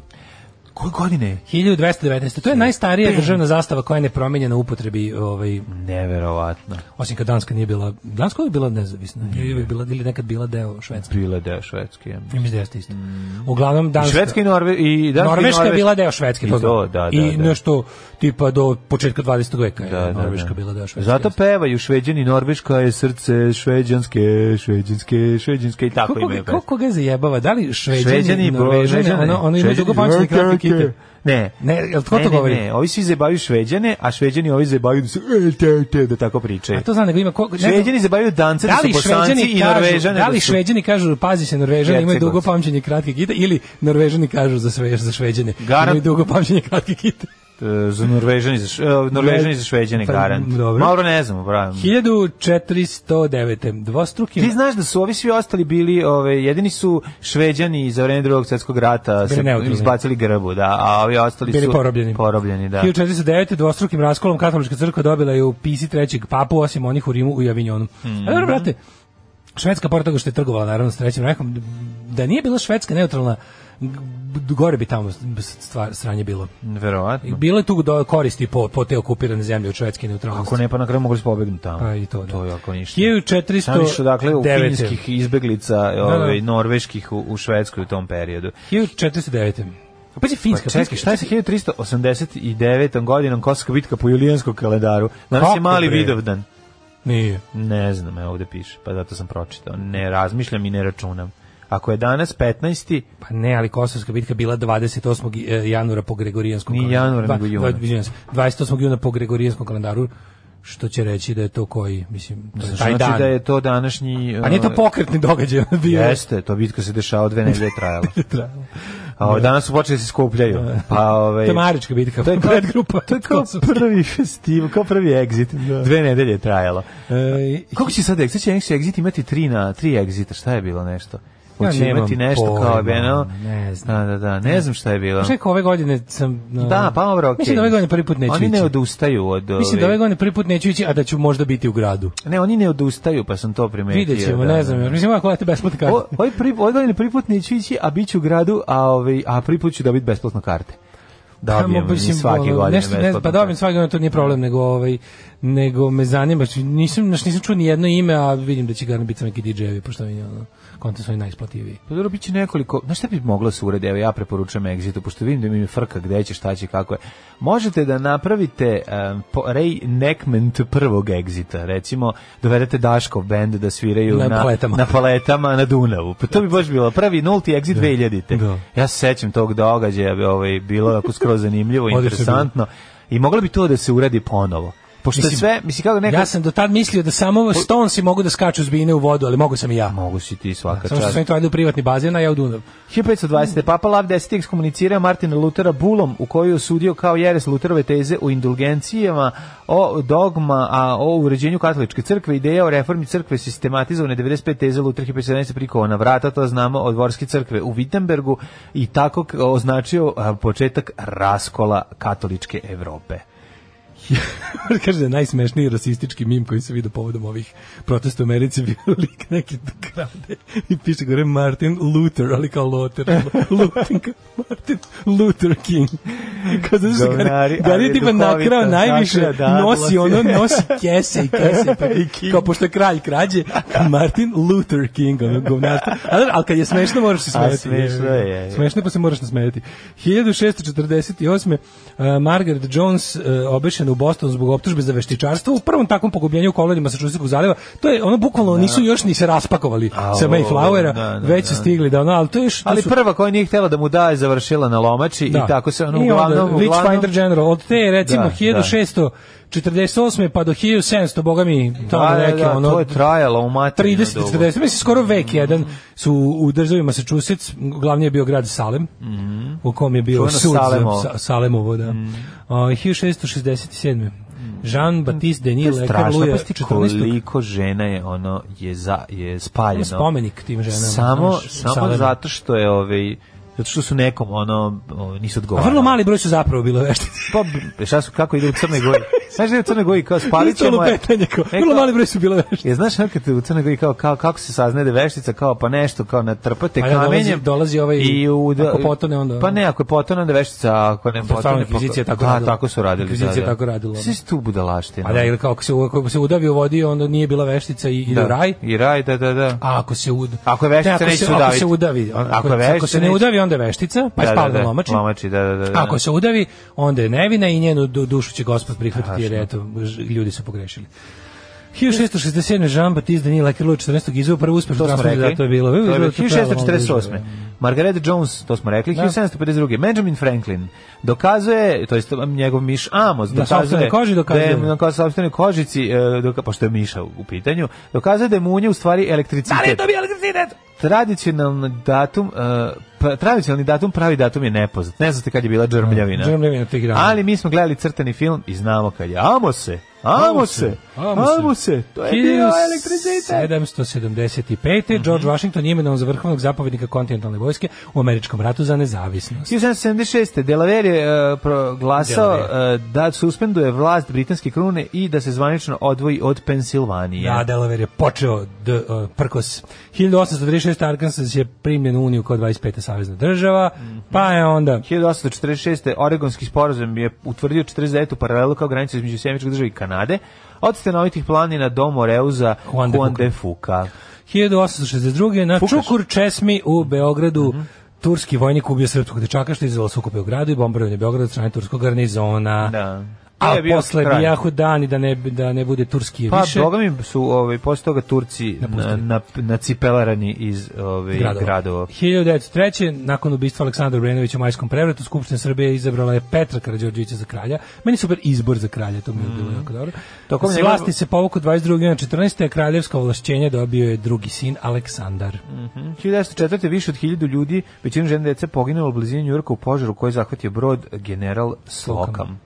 F: Koje godine?
E: 1219. To je najstarija državna zastava koja je nepromenjena u upotrebi, ovaj,
F: Neverovatno.
E: osim kad Danska nije bila, Danska je bila nezavisna, ili je bila, ili nekad bila deo Švedske.
F: Bila je deo Švedske. ja.
E: Ja mislim da jeste isto. Uglavnom
F: I
E: Danska.
F: Mm. Švedska i Norve... I, da, i
E: Norveška je
F: Norveška.
E: bila deo Švedske,
F: I
E: to,
F: to,
E: znam.
F: da, da,
E: I
F: da.
E: nešto tipa do početka 20. veka je
F: Da, da, da.
E: Norveška bila deo Švedske.
F: Zato
E: jeste.
F: pevaju šveđani, Norveška je srce šveđanske, šveđanske, šveđanske i tako
E: Kako,
F: imaju.
E: ga-
F: pesme.
E: kako, koga zajebava? Da li
F: Šveđani,
E: Šveđani,
F: Bo-
E: Norvežani,
F: Šveđani,
E: ono, ono ima
F: Šveđani,
E: dugo pamćenje kratke kite?
F: Ne.
E: Ne, jel tko
F: Ne,
E: to
F: ne,
E: govori?
F: Ne, ovi svi zabavaju Šveđane, a Šveđani ovi zabavaju da se e, te, te, da tako pričaju.
E: A to znam, nego ima ko, ne znam-
F: Šveđani zabavaju dance da
E: Da
F: su
E: li
F: bosanci
E: Šveđani
F: i
E: kažu,
F: Norvežane.
E: da li
F: su-
E: Šveđani kažu pazi se Norvežani imaju dugo
F: Hercegovci.
E: pamćenje kratke kite ili Norvežani kažu za sve za Šveđane
F: Garant-
E: imaju dugo pamćenje kratke kite.
F: E, Za Norvežani, za, Š- e, Norvežani za Šveđane,
E: Pa,
F: garant.
E: dobro.
F: Malo ne znamo, bravo.
E: 1409.
F: Ti
E: Dvostrukim
F: znaš da su ovi svi ostali bili, ove, jedini su Šveđani za vreme drugog svjetskog rata se
E: neutralni.
F: izbacili grbu, da, a ovi ostali
E: bili
F: su
E: porobljeni.
F: porobljeni, da.
E: 1409. dvostrukim raskolom
F: Mhm.
E: katolička crkva dobila je u pisi trećeg papu, osim onih u Rimu i Avignonu. A dobro, brate, Švedska, pored toga što je trgovala, naravno, s trećim rajkom, da nije bila Švedska neutralna, g- gore bi tamo stvar, sranje bilo. I
F: Verovatno.
E: Bilo je tu do koristi po, po te okupirane zemlje od švedske neutralnosti.
F: Ako ne, pa na kraju mogli su pobegnuti tamo.
E: Pa i to, da.
F: To je ako ništa.
E: 1409.
F: Samiš odakle u finskih izbeglica, ovaj, norveških u, u Švedskoj u tom periodu.
E: 1409. A Pa je Finska.
F: Pa čekaj, šta je sa 1389. godinom Kosovska bitka po julijanskom kalendaru? Danas
E: Kako
F: je mali
E: bre?
F: vidovdan.
E: Nije.
F: Ne znam, evo ovde piše, pa zato sam pročitao. Ne razmišljam i ne računam. Ako je danas 15.
E: Pa ne, ali Kosovska bitka bila 28. januara po Gregorijanskom
F: Nije januara,
E: Dva-
F: nego juna.
E: dva- izvinjavam se, 28. juna po Gregorijanskom kalendaru, što će reći da je to koji, mislim, to je taj
F: Znači
E: dan.
F: da je to današnji...
E: Pa nije to
F: e,
E: pokretni događaj. on bio je-
F: Jeste, to bitka se dešava dve nedelje je trajala. A ovo, danas su počeli da se skupljaju. Pa, ovaj,
E: To je Marička bitka.
F: To je kao-
E: predgrupa.
F: To je kao prvi festival, kao prvi exit. Dve nedelje je trajalo.
E: E,
F: Kako će sad exit? Će exit imati tri na tri exita? Šta je bilo nešto?
E: Ja
F: Hoće
E: nemam
F: imati nešto kao
E: pojma,
F: Beno?
E: ne znam.
F: Da, da, da, ne znam šta je bilo.
E: Čekaj, ove godine sam... no,
F: Da, pa dobro, okej.
E: Mislim da ove godine prvi put neću
F: Oni ne
E: ići.
F: odustaju od...
E: Mislim
F: ove-
E: da ove godine prvi put neću ići, a da ću možda biti u gradu.
F: Ne, oni ne odustaju, pa sam to primetio.
E: Vidjet ćemo,
F: da,
E: ne
F: da.
E: znam. jer Mislim, ako date besplatne karte.
F: O- Ovaj prvi, ovaj godine prvi put neću ići, a bit ću u gradu, a, ovaj, a prvi put ću dobiti besplatno karte. Dobijem
E: Tamo, mislim,
F: svake
E: ono,
F: godine
E: nešto, ne,
F: besplatno
E: pa dobijem svake godine, to nije problem, nego, ovaj, nego me zanima, znači, nisam, znači, nisam čuo ni jedno ime, a vidim da će garno biti samo neki DJ-evi, pošto mi je ono, kontent su oni najisplativiji.
F: Pa dobro, bit će nekoliko, znaš šta bi moglo se uredi, evo ja preporučujem Exitu, pošto vidim da mi je frka gde će, šta će, kako je. Možete da napravite um, po, Ray Neckment prvog Exita, recimo, dovedete Daškov band da sviraju
E: Na
F: na,
E: paletama.
F: na paletama na Dunavu. Pa to bi baš bilo prvi nulti Exit 2000-te.
E: Da.
F: Ja se sećam tog događaja, ovaj, bilo je ovako skroz zanimljivo,
E: Odlično
F: interesantno. I moglo bi to da se uradi ponovo. Pošto je
E: Mislim,
F: sve, mislim kako neka...
E: Ja sam do tad mislio da samo Stonesi mogu da skaču s bine u vodu, ali mogu sam i ja.
F: Mogu si ti svaka
E: Samo što
F: čast.
E: sam im to ajde u privatni bazen, a ja u Dunav.
F: 1520. Papa Lav X ekskomunicirao Martina Lutera bulom u kojoj je osudio kao jeres Luterove teze o indulgencijama, o dogma, a o uređenju katoličke crkve, ideja o reformi crkve sistematizovane 95 teze Lutera 1517 prikovana vrata, to znamo od dvorske crkve u Wittenbergu i tako k- označio a, početak raskola katoličke Evrope.
E: Kaže da je najsmešniji rasistički mim koji se vidio povodom ovih protesta u Americi bio lik neki da krade i piše gore Martin Luther, ali kao Luther. Luther, Martin Luther King. Kao zato što
F: Govnari,
E: Gari,
F: ali
E: Gari je tipa
F: duhovita,
E: nakrao najviše,
F: nakrao, da,
E: nosi ono,
F: odlazi.
E: nosi kese i kese. Pa,
F: I King.
E: kao pošto je kralj krađe, Martin Luther King, ono govnarstvo. Ali, ali kad je smešno moraš se
F: A,
E: smeti.
F: smešno je, je.
E: Smešno je, pa se moraš nasmejati. 1648. Uh, Margaret Jones uh, obešena u Boston zbog optužbe za veštičarstvo u prvom takvom pogubljenju u kolonijama sa Čusikog zaljeva. To je ono bukvalno nisu još ni se raspakovali
F: A,
E: sa
F: o,
E: Mayflowera,
F: da, da,
E: već
F: da.
E: su stigli da ono, ali to je još... to
F: Ali
E: su-
F: prva koja nije htjela da mu daje završila na lomači i tako se ono
E: I onda
F: uglavnom...
E: Witchfinder General, od te recimo
F: Da, da.
E: 1648. pa do 1700, boga mi,
F: Da,
E: tamo
F: da,
E: neke,
F: Pa, da,
E: ono,
F: to je trajalo u materinu
E: 30
F: dugo. Mm.
E: 40 mislim skoro vek jedan su u državi Massachusetts glavni je bio grad Salem u kom je bio
F: Mm. Čuveno
E: sud
F: Salemovo. Mm.
E: Salemovo, sa, Salemovo da O, 1667 Jean Baptiste
F: To je
E: Denis lekar
F: strašno,
E: Luja
F: pa sti
E: 14.
F: koliko žena je ono je za je spaljeno.
E: spomenik tim ženama
F: Samo
E: znaš, u
F: samo
E: Salemu.
F: zato što je ovaj zato što su nekom ono o, nisu
E: A
F: odgovarali.
E: Pa vrlo mali broj su zapravo bilo veštice.
F: pa b- šta su kako ide u Crnoj Gori. Znaš da je u Crnoj Gori kao spalit
E: Isto
F: ćemo je.
E: lupetanje kao,
F: E,
E: vrlo
F: kao-
E: mali broj su bile veštice.
F: Je, znaš ono kad u Crnoj Gori kao, kao kako se saznaje da je veštica kao pa nešto kao natrpate
E: Pa da, dolazi-
F: kamenjem
E: dolazi ovaj- ako potone, onda-
F: pa ne ako je potone onda je veštica a ako ne
E: stvarno
F: potone
E: inkvizicija tako
F: da,
E: radila.
F: tako su radili
E: Inkvizicija
F: da, da.
E: tako radila, ono.
F: svi su tu budalaštine ono.
E: A Pa da, ili kao ako se, u- ako se udavi u vodi, onda nije bila veštica i ide u raj.
F: i raj da da da
E: A ako se ud...
F: Ako je veštica,
E: Ne, ako
F: neće
E: se-
F: se
E: Ako
F: udaviti.
E: se udavi,
F: Ako je
E: ako, ako
F: veštica,
E: se ne
F: neće-
E: udavi, onda je veštica, pa je spala na lomači.
F: Lomači, da, da, da. da.
E: Ako se udavi, onda je nevina i njenu du- dušu će gospod prihvatiti jer
F: Strašno.
E: eto, ž- ljudi su pogrešili. 1667. Jean Baptiste Denis Lekerlo 14. izveo prvi uspeh u
F: to smo
E: transferu,
F: rekli.
E: da, to je bilo.
F: To je bilo
E: To je trajalo malo duže,
F: 1648. Margaret Jones, to smo rekli, 1752. Benjamin Franklin dokazuje, to jest njegov miš Amos, dokazuje
E: sopstvenoj koži dokazuje.
F: da je na kao sopstvenoj kožici, e, doka- pošto je miša u pitanju, dokazuje da je munja u stvari elektricitet. Da li je to bio elektricitet? Tradicionalni datum, e, pa, tradicionalni datum, pravi datum je nepoznat. Ne znate kad je bila džrmljavina.
E: Da, džrmljavina tih dana.
F: Ali mi smo gledali crtani film i znamo kad je Amose Amo se,
E: Amo
F: amo se, to je bio elektricitet.
E: 775. George Washington je imenovan za vrhovnog zapovednika kontinentalne vojske u američkom ratu za nezavisnost.
F: 1776. Delaware je uh, proglasao
E: Delaware.
F: uh, da suspenduje vlast britanske krune i da se zvanično odvoji od Pensilvanije.
E: Da, Delaware je počeo d, uh, prkos. 1836. Arkansas je primljen u Uniju kao 25. savezna država, pa je onda...
F: 1846. Oregonski sporazum je utvrdio 49. paralelu kao granicu između Sjemičke države i Kanade, a od stenovitih planina do Moreuza
E: Juan de
F: Juan
E: Fuca.
F: de Fuca.
E: 1862. na
F: Fukaš.
E: Čukur Česmi u Beogradu turski vojnik ubio srpskog dečaka što je izazvalo sukobe u gradu i bombardovanje Beograda od strane turskog garnizona.
F: Da. To
E: A
F: je bio
E: posle
F: kraj.
E: bijahu dani da ne, da ne bude Turski
F: Pa,
E: više.
F: boga mi su ovaj, posle toga Turci na,
E: Napustili.
F: na, nacipelarani iz ovaj, gradova.
E: 1903. nakon ubistva Aleksandra Brenovića u Majskom prevratu, Skupština Srbije izabrala je Petra Karađorđevića za kralja. Meni super izbor za kralja, to mi je bilo jako dobro.
F: Mm. Tokom
E: S
F: njegov-
E: vlasti se povukao 22. na 14. a kraljevsko ovlašćenje dobio je drugi sin Aleksandar.
F: 1904. više od 1000 ljudi, većina žena i dece poginulo u blizini Njurka u požaru koji je zahvatio brod general Slokam.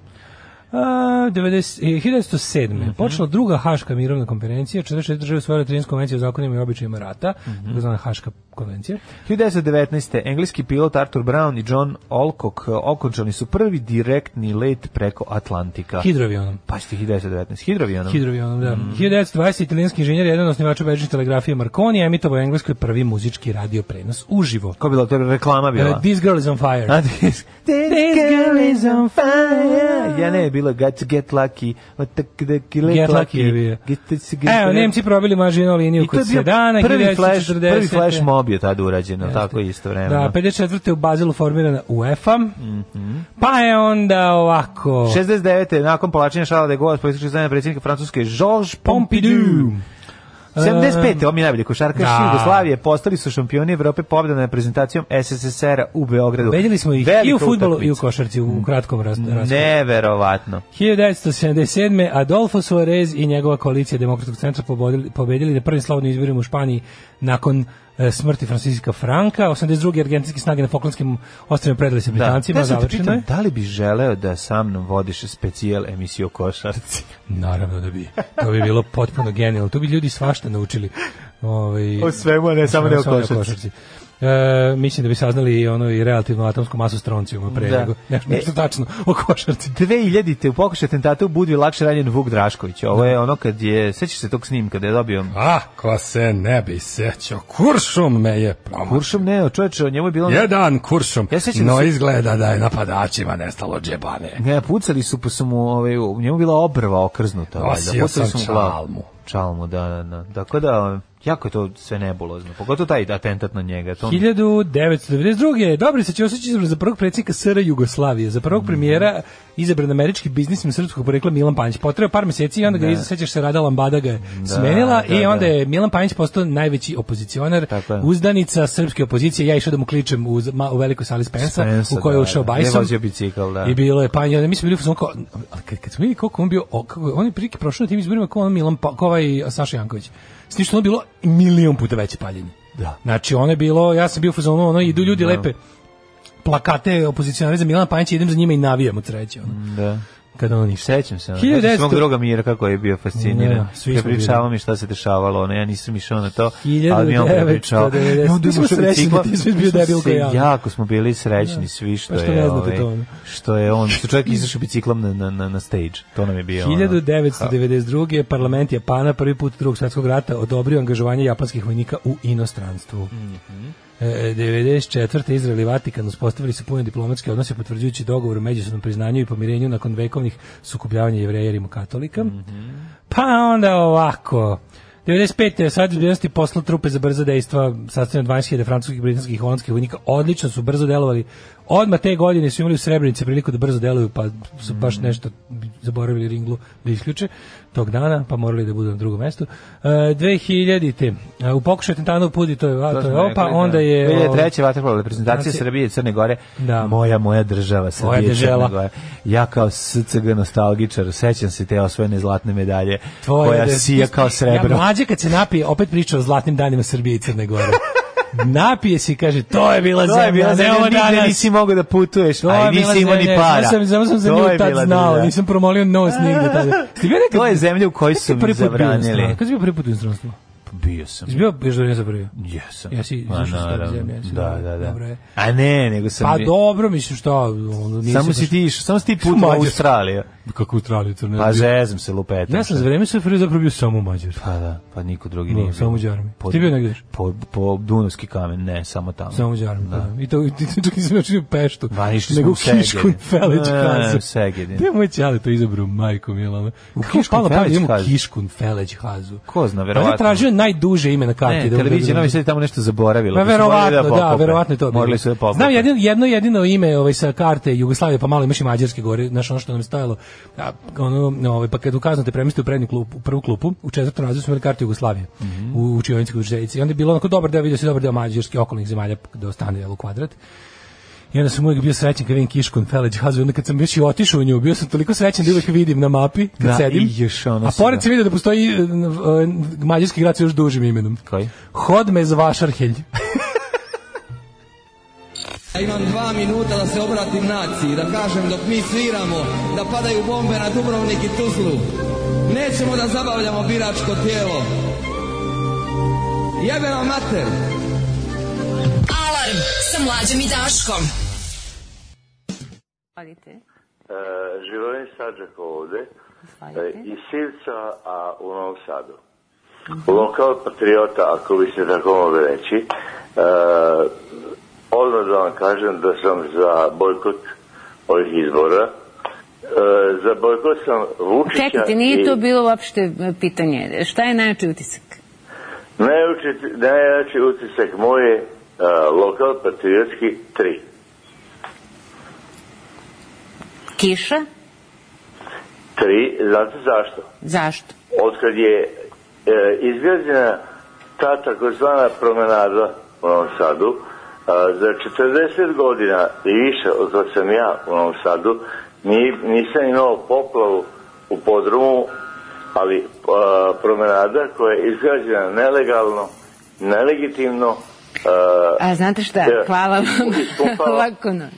E: A, 90, eh, 1907.
F: Mhm.
E: počela druga Haška mirovna konferencija, 46 države usvojile 13 konvencije o zakonima i običajima rata,
F: Mhm.
E: takozvana Haška konvencija.
F: 1919. engleski pilot Arthur Brown i John Alcock eh, okončali su prvi direktni let preko Atlantika.
E: Hidroavionom.
F: Pa ste 1919. Hidrovionom.
E: Hidroavionom, ono, da.
F: Mhm.
E: 1920. italijanski inženjer, jedan od osnivača bežične telegrafije Marconi, emitovo u Engleskoj prvi muzički radio prenos uživo.
F: Ko je bila to je reklama bila?
E: Uh, This girl is on fire.
F: A, E, this- This girl is on fire. Ja ne, je bila Got to get lucky. What the, the, get,
E: Get lucky je bio.
F: lucky. Get, to- get,
E: Evo, Nemci probili mažinu liniju
F: I to je
E: kod
F: bio
E: Sedana,
F: prvi flash,
E: 1940.
F: prvi flash mob je tad urađeno, tako isto vremeno.
E: Da, 54. u Bazilu formirana UEFA.
F: Mhm.
E: Pa je onda ovako...
F: 69. nakon polačenja Šala de Gaulle, politički zajedno predsjednika Francuske, Georges Pompidou.
E: Pompidou.
F: 75. on mi je najbolji košarkaš
E: Da.
F: Jugoslavije postali su šampioni Evrope pobjedom nad prezentacijom SSSR-a u Beogradu.
E: Pobedili smo ih i u
F: Velika
E: futbolu i u
F: utakmica.
E: košarci u kratkom raz- raskoraku.
F: Neverovatno.
E: 1977. Adolfo Suarez i njegova koalicija Demokratskog centra pobedili, pobedili na prvim slobodnim izborima u Španiji nakon e, smrti Francisca Franka. 82. argentinske snage na Falklandskim ostrvima predali se Britancima,
F: Da se te
E: završeno
F: pitam,
E: je.
F: da li bi želeo da sa mnom vodiš specijal emisiju o košarci?
E: Naravno da bi. To bi bilo potpuno genijalno. Tu bi ljudi svašta naučili. Ovaj,
F: O svemu, a ne Znači, samo ne o
E: samo
F: košarci.
E: E, mislim da bi saznali i ono i relativno atomsku masu stroncijuma pre
F: Da.
E: nego nešto, nešto
F: E,
E: tačno o košarci.
F: 2000-te u pokušaju atentata u Budvi lakše ranjen Vuk Drašković. Ovo je ono kad je, sećaš se tog snimka da je dobio
G: Ako se ne bi sećao, kuršum me je promašao.
F: kuršom, ne, čoveče, o njemu je bilo...
G: Jedan kuršum,
F: Ja sećam
G: no
F: se-
G: izgleda da je napadačima nestalo džebane.
F: Ne, pucali su, pa su mu, ovaj, u njemu bila obrva okrznuta. valjda.
G: Nosio
F: Pucali
G: sam
F: su mu glavu.
G: čalmu.
F: Čalmu, da, da, da. Dakle, da, jako je to sve nebulozno. Pogotovo taj atentat na njega. To...
E: 1992. Dobri se Ćosić izabran za prvog predsjednika SR Jugoslavije, za prvog premijera izabran američki biznismen srpskog porekla Milan Panić. Potrebao par mjeseci i onda ga sećaš se Rada Lambada ga je smenila
F: da,
E: i
F: da.
E: onda je Milan Panić postao najveći opozicionar,
F: Tako je.
E: uzdanica srpske opozicije. Ja išao da mu kličem u, ma- u velikoj sali Spensa, u kojoj je ušao
F: Je
E: Bajsom.
F: vozio bicikl, da.
E: I bilo je pa ja mi smo bili u fazonu kao ali kad, kad smo vidjeli koliko on bio o, kako je- on je prilike prošao na tim izborima kao on Milan pa, kao ovaj Saša Janković. S tim što je ono bilo milion puta veće paljenje.
F: Da.
E: Znači ono je bilo ja sam bio u fazonu ono idu ljudi lepe plakate opozicionare za Milan Panića idem za njima i navijam od sreće ono.
F: Da.
E: Kad ono ništa.
F: Sećam se. 1900...
E: 1900
F: Svog druga Mira kako je bio fasciniran.
E: Da, svi smo
F: prepričavao mi šta se dešavalo, ono, ja nisam išao na to, ali mi je on prepričao.
E: 1990.
F: I onda
E: Mi smo
F: ušao
E: srećni
F: bicikla.
E: da ti si bio
F: Mi smo
E: debil
F: se-
E: kao ja.
F: Jako smo bili srećni svi što,
E: Pa što
F: je,
E: ne znate
F: ovaj,
E: to, ono.
F: što je on, što čovjek izašao biciklom na, na, na, na stage. To nam je bio. ono.
E: 1992. parlament Japana prvi put drugog svjetskog rata odobrio angažovanje japanskih vojnika u inostranstvu.
F: Mhm.
E: E, 94. Izrael i Vatikan uspostavili su puno diplomatske odnose potvrđujući dogovor o međusobnom priznanju i pomirenju nakon vekovnih sukobljavanja jevreja i rimokatolika.
F: Mhm.
E: Pa onda ovako. 95. sad je posla trupe za brza dejstva sastavljene od 20.000 francuskih, britanskih i holandskih vojnika. Odlično su brzo delovali. Odmah te godine su imali u Srebrenici priliku da brzo deluju, pa su baš
F: Mm.
E: nešto zaboravili ringlu da isključe tog dana, pa morali da budu na drugom mestu. E, 2000. e, u pokušaju tentana u Pudi, to je,
F: To
E: to
F: smo
E: je opa,
F: rekli, da.
E: onda je...
F: 2003. vaterpolo reprezentacija
E: Francija-
F: Srbije i Crne Gore.
E: Da.
F: Moja, moja država Srbije i Crne
E: dežela.
F: Gore. Ja kao SCG nostalgičar sećam se te osvojene zlatne medalje
E: Tvoje
F: koja
E: da-
F: sija kao
E: Ja
F: srebro.
E: mlađe kad se napije, opet priča o zlatnim danima Srbije i Crne Gore. Napije si, kaže, to je bila
F: To
E: Pa
F: je
E: zemlja,
F: bila
E: ne
F: zemlja,
E: ovo
F: nigde
E: danas.
F: nisi mogao da putuješ,
E: To
F: a
E: je
F: i
E: bila
F: nisi imao ni
E: zemlja,
F: para.
E: Samo sam, samo sam za
F: To
E: nju
F: je
E: tad
F: bila
E: znao,
F: zemlja.
E: nisam promolio nos nigde tada. Ti bio nekad...
F: To je zemlja u kojoj
E: Kad
F: su
E: si prvi
F: mi
E: put bio u inostranstvu?
F: zabranili.
E: Kad si bio prvi put u inostranstvu?
F: Bio sam.
E: Jesi bio još do za prvi?
F: Jesam.
E: Jesi
F: Ma,
E: izašao iz stare
F: naravno.
E: zemlje, jesi,
F: Da,
E: dobro,
F: da, da.
E: dobro je.
F: A ne, nego sam...
E: Pa
F: bi-
E: dobro, mislim šta, ono, nisi
F: Samo si
E: baš-
F: ti išao, samo si ti put u
E: Mađar.
F: Australiju.
E: Kako u Australiju, crne.
F: Pa zezam se lupetam.
E: Ja sam za vreme SFRJ zapravo bio samo u Mađarsku.
F: Pa da, pa niko drugi
E: Da,
F: nije bio.
E: samo u Đarmi.
F: Po-
E: Ti bio negdje?
F: Po, po Dunavski kamen, ne, samo tamo.
E: Samo u Đarmi, da. I to, i to čak nisam načinio peštu.
F: Pa išli
E: nego
F: smo
E: u
F: u
E: Kišku i
F: Segedin.
E: Felić
F: Ne,
E: Hazu.
F: u Segedin.
E: Gde je moj ćale to izabrao, majko Milano? U
F: Kišku i Felić
E: Idemo u
F: Hazu.
E: Kišku i Felić Hazu.
F: Ko zna,
E: Pa ja
F: verovatno.
E: tražio najduže ime na karti.
F: Ne,
E: Pa, da mogu
F: televizija
E: da-
F: Novi Sad je tamo nešto zaboravila.
E: Pa
F: pa su morali
E: verovatno, da,
F: pokupe.
E: verovatno je to. bilo.
F: Morali su da pokupe.
E: Znam
H: E,
E: jedino, jedno jedino ime ovaj sa karte Jugoslavije, pa malo imaš i mađarske gore, znaš ono što nam je stajalo. A, ono, no, ovaj, pa kad ukazno te premjeste u prednju klupu, u prvu klupu, u četvrtom razredu smo imali kartu Jugoslavije
F: Mhm.
E: u učioničkoj učiteljici. I onda je bilo onako dobar deo, vidio se dobar deo mađarske okolnih zemalja da ostane jel, u kvadrat. I onda sam uvijek bio srećan kad vidim Kiškun Feleć Hazu, onda kad sam još i otišao u nju, bio sam toliko srećan da uvijek vidim na mapi kad
F: Da,
E: sedim.
F: i još ono
E: A
F: si,
E: pored
F: da.
E: sam vidio da postoji e, n- e, mađarski grad sa još dužim imenom.
F: Koji?
E: Hodme z Vašarhelj.
I: Ja imam dva minuta da se obratim naciji, da kažem dok mi sviramo, da padaju bombe na Dubrovnik i Tuzlu. Nećemo da zabavljamo biračko tijelo. Jebe vam mater!
D: Alarm sa mlađom i Daškom.
J: Hvalite.
H: E, Živojin Sađak ovde e,
J: Hvalite.
H: iz Sivca, a u Novom Sadu. Lokal patriota, ako bi se tako mogli reći, e, odmah da vam kažem da sam za bojkot ovih izbora. E, za bojkot sam Vučića...
J: Čekajte,
H: i-
J: nije to bilo uopšte e, pitanje. Šta je najjači utisak?
H: Najjači, najjači utisak moj je e, lokal patriotski 3.
J: Kiša?
H: 3, znate zašto?
J: Zašto?
H: otkad je e, izgrađena ta takozvana promenada u Novom Sadu, a, za 40 godina i više od kad sam ja u Novom Sadu, ni, nisam imao poplavu u podrumu, ali a, promenada koja je izgrađena nelegalno, nelegitimno, e, a,
J: A znate šta?
H: Ja.
J: Hvala vam.
H: Ispopala.
J: Lako noć.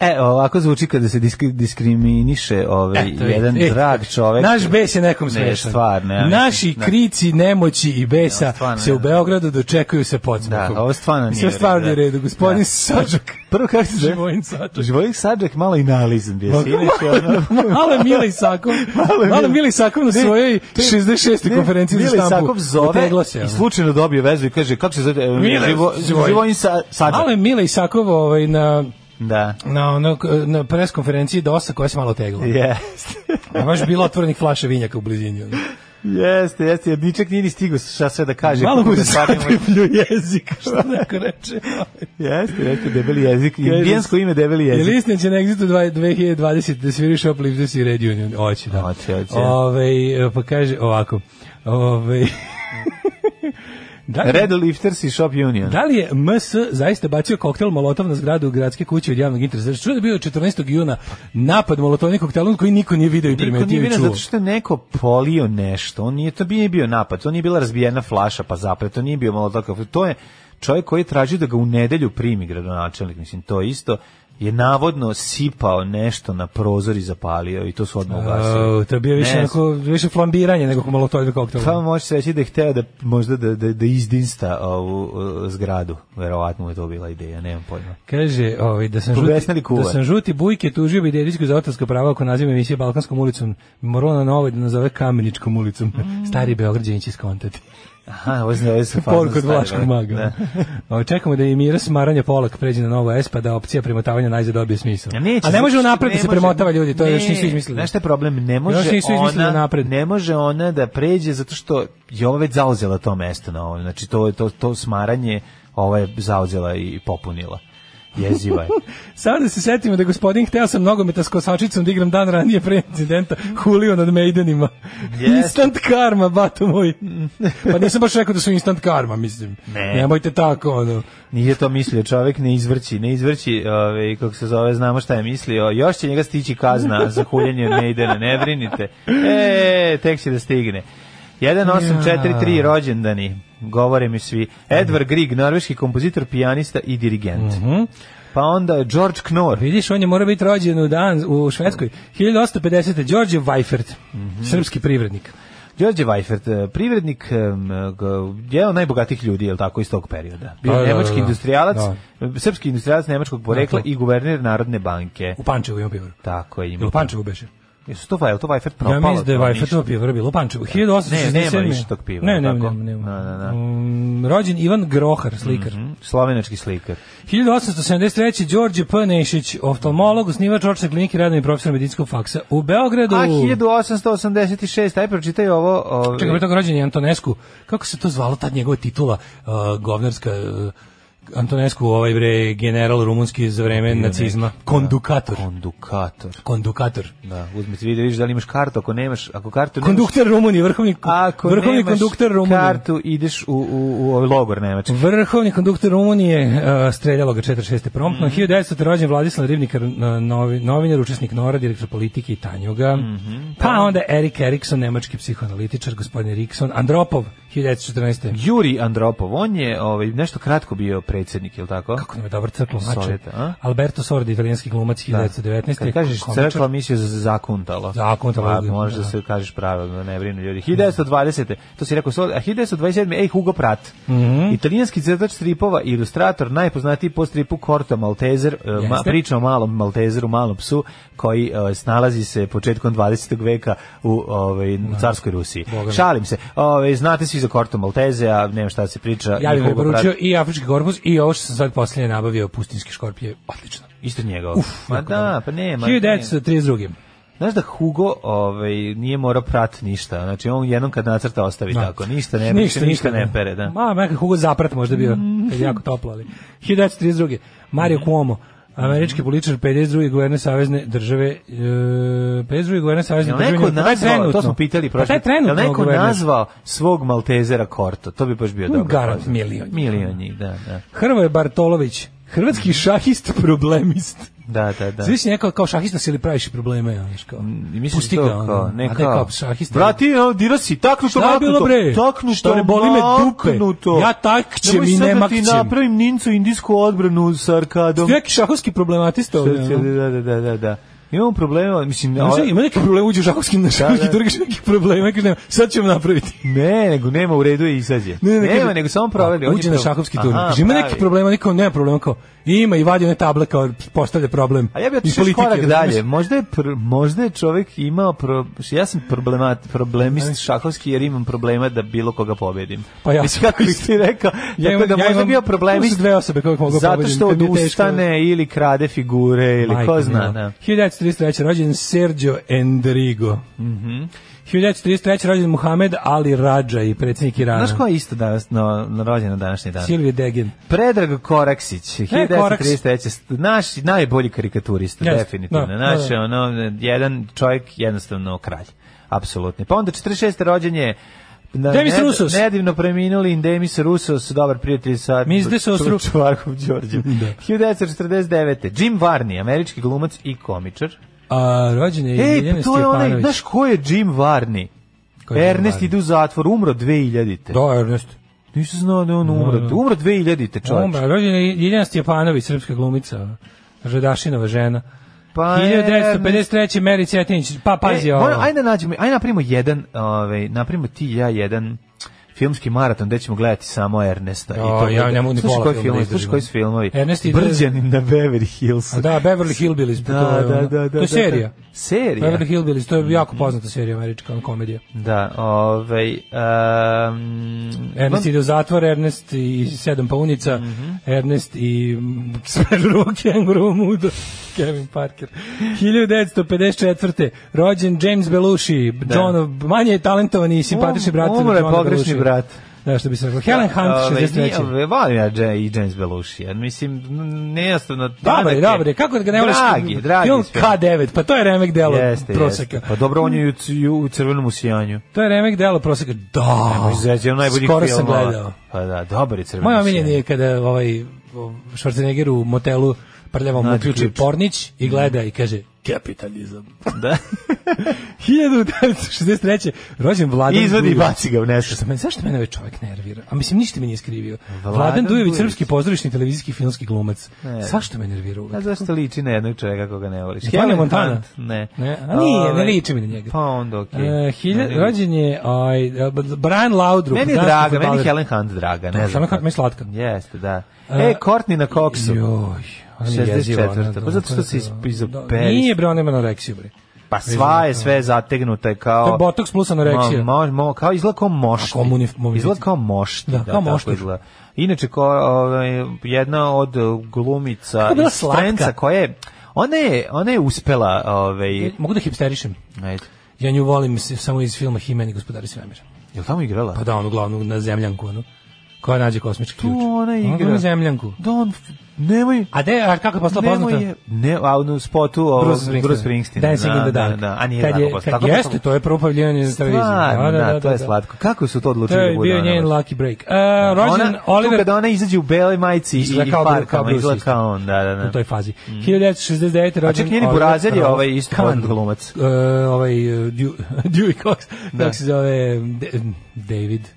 F: E, ovako zvuči kada se diskri- diskriminiše ovaj,
E: Eto,
F: jedan
E: vidite.
F: drag čovek.
E: e, Naš bes je nekom
F: Ne,
E: smešan.
F: stvarno, ja
E: Naši
F: mislim, da.
E: krici, nemoći i besa
F: Ne, stvarno,
E: se u
F: ne.
E: Beogradu dočekuju sa podsmehom.
F: Da, ovo stvarno nije
E: Sve
F: u redu,
E: stvarno nije u
F: da.
E: redu. Gospodin
F: Da.
E: Sačak.
F: Prvo kako se zove?
E: Živojin Sačak.
F: Živojin Sađak malo i nalizan bio. Inače, ono...
E: Malo je Mila Isakov.
F: Malo je
E: Malo je
F: Mila-
E: Mila Isakov na
F: Ne,
E: svojoj
F: ne,
E: 66.
F: ne,
E: konferenciji za
F: Mile
E: štampu.
F: Isakov zove
E: Otegla se,
F: i
E: ono.
F: slučajno dobije vezu i kaže, kako se zove? E,
E: Mile,
F: Živo,
E: Živojin.
F: Živojin Sa- Sađak.
E: Malo je Mila Isakov ovaj, na
F: Da.
E: na ono na pres konferenciji dosta koja se malo tegla.
F: Jeste.
E: A baš je bilo otvorenih flaša vinjaka u blizini. ono.
F: Jeste, jeste. Jer ničak nije ni stigo šta sve da kaže.
E: Malo
F: Kako
E: mu
F: da
E: se
F: shvatimo-
E: satriplju jezik, što neko reče.
F: Jeste, jeste, debeli jezik.
E: Kaže,
F: Indijansko ime debeli
E: Je li
F: jezik.
E: istina će na Exitu dva- 2020 da sviriš Uplift the Sea Radio Union? Oće, da.
F: Hoće, hoće.
E: Ovaj, pa kaže ovako. Ovaj, da, li,
F: Red Lifters i Shop Union.
E: Dakle- da li je MS zaista bacio koktel Molotov na zgradu gradske kuće od javnog interesa? Znači, Čuo da je bio 14. juna napad Molotovnih koktelom koji niko nije video i
F: Niko nije
E: primetio i
F: vidio
E: čuo.
F: zato što je neko polio nešto. On nije, to nije bio napad, to nije bila razbijena flaša pa zapad, to nije bio malo tako. To je čovjek koji je tražio da ga u nedelju primi gradonačelnik, mislim, to je isto je navodno sipao nešto na prozor i zapalio i to su odmah ugasili.
E: Au, E, to je bio više,
F: Ne
E: onako, više flambiranje nego Molotovnih koktela.
F: Pa može se reći da je hteo da možda da, da, da izdinsta ovu uh, zgradu. Verovatno mu je to bila ideja, nemam pojma.
E: Kaže, ovaj, da sam
F: Pobesneli
E: žuti,
F: kuvar.
E: da sam žuti bujke tužio bi dedićku za autorska prava ako naziva emisije Balkanskom ulicom. Morala na novoj da nazove Kameničkom ulicom. Stari Beograđan će skontati.
F: Aha, ovo je, ovo je
E: Porku od Vlaškog maga.
F: Da.
E: Ovaj, čekamo da je mira smaranja polak pređe na novo S, pa da opcija premotavanja najzad dobije smisao.
F: Ja neće,
E: A ne može
F: zato što
E: unapred da
F: ne
E: se
F: može-
E: premotava ljudi, to
F: ne,
E: još nisu izmislili.
F: Znaš šta je problem? Ne može,
E: Još nisu izmislili
F: ona,
E: napred.
F: ne može ona da pređe zato što je ova već zauzela to mesto na ovom. Znači to, to, to smaranje ova je zauzela i popunila. Jeziva je.
E: Sad da se setimo da je gospodin hteo sam nogometa s kosačicom da igram dan ranije pre incidenta Hulio nad Maidenima.
F: Jeste.
E: Instant karma, bato moj. Pa nisam baš rekao da su instant karma, mislim.
F: Ne.
E: Nemojte tako, ono.
F: Nije to mislio čovjek, ne izvrći, ne izvrći, ovaj, kako se zove, znamo šta je mislio. Još će njega stići kazna za huljenje od Maidena, ne brinite. E, tek će da stigne. 1843 rođendani, govore mi svi. Edvard Grieg, norveški kompozitor, pijanista i dirigent.
G: Mhm.
F: Pa onda George Knorr.
E: Vidiš, on je mora biti rođen u dan u Švedskoj. 1850. Đorđe Weifert, srpski privrednik.
F: Đorđe Weifert, eh, privrednik, em, g- jedan od najbogatijih ljudi, je li tako, iz tog perioda. Bio
G: Da,
F: je
G: da,
F: nemački
G: da, da.
F: industrijalac,
G: Da.
F: srpski industrijalac nemačkog porekla
E: Dakle.
F: i guverner Narodne banke.
E: U Pančevu ima pivovar.
F: Tako je
E: Ili
F: ima.
E: u Pančevu beše.
F: Jesu to, je li to Weifert propalo?
E: Ja mislim da je
F: To
E: Weifert
F: ništa.
E: pivovar bilo u Pančevu.
F: Ne,
E: 1867.
F: nema više tog piva,
E: Ne, nema,
F: tako?
E: nema, nema.
F: Da, da, da.
E: Mm, rođen Ivan Grohar, slikar.
F: Mhm, Slovenački slikar.
E: 1873. Đorđe P. Nešić, oftalmolog, osnivač očne klinike, radni profesor medicinskog faksa u Beogradu.
F: A 1886, aj pročitaj ovo. ovaj, Ove,
E: Čekaj, pre toga rođen je Antonesku. Kako se to zvalo tad njegova titula uh, govnarska uh, Antonesku, ovaj bre general rumunski za vreme nacizma, kondukator.
F: Kondukator.
E: Kondukator.
F: Da, uzmi ti vidi, vidiš da li imaš kartu, ako nemaš, ako kartu nemaš...
E: Kondukter Rumunije, vrhovni
F: Ako
E: vrhovni
F: nemaš
E: kondukter Rumunije. Mhm.
F: kartu, ideš u, u, u ovaj logor nemački.
E: Vrhovni konduktor Rumunije uh, streljalo ga 46. promptno.
F: Mhm.
E: 1900. rođen Vladislav Rivnikar, uh, novi, novinar, učesnik Nora, direktor politike i Tanjuga.
F: Mhm.
E: Pa onda Erik Erikson, nemački psihoanalitičar, gospodin Erikson. Andropov, 1914.
F: Juri Andropov, on je ovaj, nešto kratko bio predsjednik, ili tako?
E: Kako nam je dobar crklo mače.
F: Sovjeta, a?
E: Alberto Sordi, italijanski glumac, 1919.
F: Kad kažeš
E: Komičar.
F: crkva, misliš za- zakuntalo.
E: Zakuntalo,
F: Pa, možeš da
E: da.
F: se kažeš pravilno, ne brinu ljudi. 1920. To si rekao, Sol- a 1927. Ej, Hugo Pratt.
E: Mhm.
F: Italijanski crtač stripova i ilustrator, najpoznatiji po stripu Corto Maltezer, e, ma,
E: Jeste.
F: priča o malom Maltezeru, malom psu, koji e, snalazi se početkom 20. veka u ovaj, carskoj Rusiji.
E: Boga mi.
F: Šalim se. Ovaj, znate svi za Corto Malteze, a nema šta da se priča.
E: Ja
F: i
E: bih
F: Hugo Pratt.
E: preporučio i afrički korpus i ovo što sam sad posljednje nabavio, pustinjski škorpije, odlično.
F: Isto njega.
E: Uf,
F: ma
E: jako
F: da,
E: dobro.
F: pa nema. nema.
E: 1932.
F: Znaš da Hugo ovaj, nije morao prat ništa, znači on jednom kad nacrta ostavi tako, ništa ne ništa, ništa, ne pere, da.
E: Ma, nekak Hugo Zaprat možda bio, kad je jako toplo, ali. 1932. Mario Cuomo, američki političar, 52. guverner Savezne države, e, 52. guverner Savezne
F: Jel
E: države.
F: neko
E: Njemačke. Pa taj
F: nazvao, to
E: trenutno.
F: smo pitali prošli,
E: Pa taj trenutno
F: jel neko
E: guverner.
F: nazvao svog Maltezera Korto, to bi baš bio dobro.
E: Mm, garant
F: fazon.
E: milion njih.
F: Milion njih, da, da.
E: Hrvoje Bartolović, hrvatski šahist problemist.
F: Da, da, Mm. da. Mm,
E: Da. Svi si nekao kao šahista si ili praviš probleme, ja, znaš kao.
F: I misliš
E: Pusti
F: to
E: ga, ono,
F: kao, ne
E: a
F: kao,
E: da je kao šahista.
F: Brati, evo, dira si, taknuto,
E: Šta je bilo
F: maknuto,
E: bre?
F: taknuto,
E: Šta ne boli me dupe?
F: maknuto.
E: Ja takćem
F: Nemoj
E: i
F: sad
E: ne
F: da ti
E: makćem.
F: napravim nincu indijsku odbranu sa arkadom.
E: Neki šahovski problematista ovdje. ono.
F: Da, da, da, da, da. Imamo problema, mislim...
E: Ima,
F: ovaj-
E: ima neki problem, uđe u šahovski na šahovski trgaš neki problem, neki nema, sad ću vam napraviti.
F: Ne, nego nema u redu i izađe.
E: Ne, ne,
F: nema,
E: kaže-
F: nego samo proveri. on
E: Uđe
F: je
E: na
F: to-
E: šahovski turnir.
F: Aha,
E: Kaže, ima
F: pravi.
E: neki problema, niko nema problema, kao, ima i vadi one table kao postavlja problem.
F: A ja bih
E: iz
F: otišao
E: politike,
F: korak
E: razumeš?
F: dalje. Možda je, pr- možda je čovjek imao... Pro, ja sam problemat, problemist šahovski jer imam problema da bilo koga pobedim.
E: Pa ja
F: Mislim, kako si ti rekao, ja tako
E: imam-
F: da
E: ja
F: možda
E: imam-
F: bio
E: tu
F: problemist
E: su dve osobe koje mogu
F: zato
E: pobedim,
F: što
E: kad mi je teško.
F: odustane ili krade figure ili
E: Majko
F: ko zna.
E: mila.
F: Da.
E: 1933. rođen Sergio Endrigo. Mm
F: Mhm.
E: 1933. rođen Muhamed Ali Radžaj, predsjednik Irana.
F: Znaš ko je isto danas, no, rođen na današnji dan?
E: Silvije Degen.
F: Predrag Koraksić,
E: E, Koraks.
F: 1933. Naš najbolji karikaturista,
E: Jeste,
F: definitivno.
E: da,
F: Naš,
E: da, da.
F: ono, jedan čovjek, jednostavno kralj. Apsolutni. Pa onda 46. rođenje je Na,
E: Demis Roussos.
F: Nedivno preminuli Demis Rusos, dobar prijatelj sa
E: Mis de Sostru.
F: Ču- Čuvarkom Đorđem. 1949. Jim Varney, američki glumac i komičar.
E: A, rođen je
F: Ej,
E: Jelena
F: pa to je onaj,
E: Stjepanović.
F: znaš ko je Jim Varney?
E: Ko je Jim
F: Ernest
E: Varney?
F: ide u zatvor, umro 2000-te.
E: Da, Ernest.
F: Nisam znao da je on umro. Umro 2000-te, čovječ.
E: Umra, rođena je Ljiljana Stjepanović, srpska glumica, Žadašinova žena.
F: Pa
E: 1953. Meri Cetinić, pa pazi
F: e,
E: ovo.
F: moram- Ajde nađemo, ajde napravimo jedan, ovaj, napravimo ti i ja jedan filmski maraton gde ćemo gledati samo Ernesta.
E: O, ja ne mogu ni
F: Slušaj
E: pola
F: koji
E: filma da
F: film, slušaj
E: izdržim.
F: koji su filmovi.
E: Ernest ide-
F: Brđanin na Beverly Hillsu.
E: A da, Beverly Hillbillies, pa
F: Da,
E: to je
F: da,
E: ono.
F: da, da,
E: To je
F: da,
E: serija.
F: da. Serija.
E: Beverly Hillbillies, to je jako poznata serija američka ono, komedija.
F: Da, ovaj... Um,
E: Ernest ide u zatvor, Ernest i sedam paunica,
F: Mhm.
E: Ernest i mm, Sperruo Kenguru Mudo, Kevin Parker. 1954. Rođen James Belushi, John, manje je talentovani i simpatični
F: Um,
E: brat. od
F: umro je
E: Johna
F: pogrešni
E: Belushija.
F: brat.
E: Da, što bi se rekao. Helen Hunt,
F: ovaj,
E: 63.
F: nije- Volim ja Ja- i James Belushi. ja. Mislim, n- nejastavno...
E: Dobar je,
F: tanak
E: dobar je. Kako da ga ne voliš?
F: Dragi, dragi.
E: Film
F: film.
E: K9, pa to je remek delo
F: Jeste,
E: proseka.
F: jeste. Pa dobro, on je i u c- i u crvenom usijanju.
E: To je remek delo proseka. Da,
F: Izveđe on ono najboljih
E: Oh, skoro sam
F: filmova.
E: gledao.
F: Pa da, dobar je crveni.
E: Moja
F: sjen.
E: omiljen je kada ovaj o, Schwarzenegger u motelu prljavo mu
F: Nađe
E: uključi
F: ključ.
E: pornić i gleda i kaže kapitalizam.
F: Da.
E: 1963. rođen Vladan
F: Izvadi i
E: Dujović.
F: baci ga u nešto.
E: Zašto me, zašto mene ovaj čovjek nervira? A mislim, ništa mi nije skrivio.
F: Vladan
E: Vladan, Dujović,
F: Dujović. E.
E: srpski pozorišni televizijski filmski glumac.
F: Ne.
E: Zašto me nervira
F: A
E: uvek?
F: zašto liči na jednog čovjeka koga ne voliš?
E: Montana
F: Helen
E: Montana?
F: Hunt? Ne.
E: Ne, a nije, ne
F: Ovaj,
E: liči mi na njega.
F: Pa onda okej.
E: E, hilja,
F: Meni-
E: rođen je aj, e, Brian Laudrup.
F: Meni je
E: danski
F: draga, meni
E: fudbaler.
F: je Helen Hunt draga, ne
E: Da,
F: znam.
E: Helen Hunt
F: kako.
E: mi je slatka.
F: Jeste, da.
E: E,
F: E, Courtney na koksu.
E: Joj, ona je jeziva, ona,
F: 64.
E: da,
F: Pa zato što se
E: da, da.
F: izoperi.
E: Nije bre, ona ima anoreksiju bre.
F: Pa sva je sve zategnuta je kao...
E: To je botoks plus anoreksija.
F: Mo, mo, mo, kao izgleda kao mošti.
E: A kao munif- munif-
F: Izgleda kao mošti.
E: Da,
F: Da,
E: kao
F: tako
E: moštir.
F: izgleda. Inače, ko, ovaj, jedna od glumica
E: je bila
F: iz
E: slatka.
F: Friendsa koja je... Ona je, ona je uspela... Ovaj,
E: Mogu da hipsterišem.
F: ajde.
E: Ja nju volim s- samo iz filma Himeni gospodari svemira.
F: Je li tamo igrala?
E: Pa da, onu glavnu na zemljanku, onu. Koja nađe kosmički ključ.
F: ona
E: Ona
F: igra.
E: Na zemljanku.
F: Don, nemoj...
E: A de, a kako je postala
F: nemoj
E: poznata?
F: je- Ne, a u spotu ovog
E: Bruce Springsteen.
F: Bruce Springsteen.
E: Dancing
F: da,
E: in the
F: da,
E: Dark.
F: Da, a nije
E: Kad
F: tako
E: je-
F: postala.
E: kad
F: Tako
E: Jeste,
F: postala-
E: to je prvo pojavljivanje na televiziji.
F: Stvarno, da, to je slatko. Kako su to
E: To
F: odlučili
E: je
F: da bude
E: bio
F: ona?
E: njen lucky break. Uh, rođen
F: ona, Tu
E: Oliver
F: kada ona izađe u beloj majici i,
E: Izgleda
F: i
E: kao Bru- kao
F: parkama,
E: Bruce
F: izgleda
E: isto.
F: kao on, da, da,
E: u
F: da.
E: toj fazi. 1969. rođen.
F: Mhm. A čak njeni
E: Oliver
F: burazer je
E: Cromwell.
F: ovaj isto
E: Kahn.
F: poznat glumac.
E: E, ovaj e, Dew- Dewey Cox,
F: Da.
E: kako se zove De- David.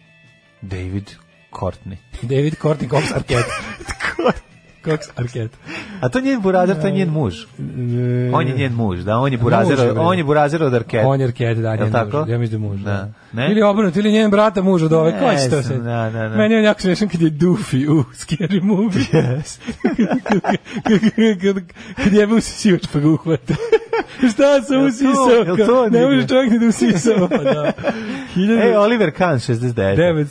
F: David Courtney.
E: David Courtney Cox Arquette. Cox Arquette.
F: A to njen burazer, to je njen muž.
E: E,
F: On je njen muž, da,
E: Muž
F: on je
E: je,
F: burazer,
E: bre.
F: on je burazer od Arket.
E: On je Arquette, da,
F: Jel
E: njen
F: tako?
E: muž. Ja mislim da je muž.
F: Da.
E: Da.
F: Ne?
E: Ili obrnut, ili njen brata muž od ove. Ko će to
F: Ne
E: sve?
F: znam, da, da, da.
E: Meni je on jako smiješan kad je Doofy u Scary Movie. Yes. kad jebe usisivač pa ga uhvata. Šta sam
F: jel to
E: usisao?
F: on E,
E: Ne
F: igra?
E: može čovjek ni da usisao. Pa da.
F: Ej, E, Oliver Kahn, 69.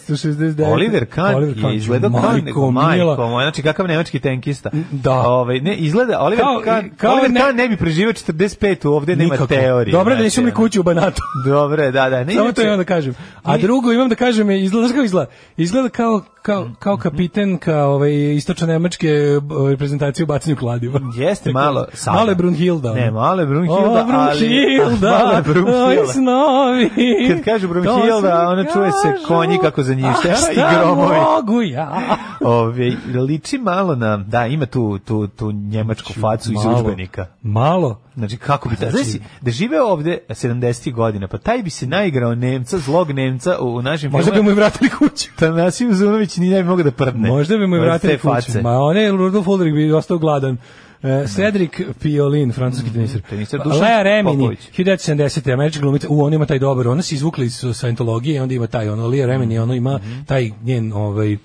E: 1969.
F: Oliver Kahn, je izgledao kao neko majko moja, znači kakav nemački tenkista.
E: Da.
F: Ovaj ne, izgleda, Oliver
E: Kao-
F: Kahn,
E: kao
F: Oliver
E: ne-
F: Kahn ne bi preživio 45 ovde, nema
E: Nikako.
F: teorije.
E: Dobro da nisu
F: znači,
E: mi kuću u Banatu.
F: Dobro, je, da, da. Ne,
E: Samo
F: inače-
E: to imam da kažem. A
F: Ni-
E: drugo imam da kažem, je, izgleda, znaš kako izgleda? Izgleda kao,
F: Mhm.
E: kao, kao kapitenka ovaj, istočno nemačke eh, reprezentacije u bacanju kladiva.
F: Jeste malo. sada.
E: Male Brunhilda. ono.
F: Ne, male Brunhilda,
E: O, Brunhilda,
F: ali... male
E: oj,
F: Brunhilda.
E: snovi.
F: Kad kaže
E: To se mi
F: Brunhilda, ona čuje
E: kažu.
F: se konji kako zanjište.
E: A,
F: a,
E: šta
F: I gromovi.
E: mogu ja?
F: Ove, liči malo na, da, ima tu, tu, tu njemačku facu iz
E: Malo.
F: udžbenika.
E: Malo.
F: Znači, kako bi ta...
E: Znači-
F: Znači, da žive ovde 70. godina, pa taj bi se naigrao Nemca, zlog Nemca u, u našim
E: Možda bi mu i vratili kuću.
F: Tanasiju Zunović ni ne bi mogao da prdne.
E: Možda bi mu i
F: Od
E: vratili
F: te
E: kuću.
F: face.
E: Ma one Rudolf Ulrich bi ostao gladan. E, Cedric Piolin, francuski teniser.
F: Teniser Mhm. Dušan
E: Lea Remini,
F: Popović.
E: 1970. američka glumica. U, on ima taj dobar. Ona se izvukla iz Scientologije i onda ima taj ono. Lea
F: Mhm.
E: Remini, ono ima taj njen, ovaj,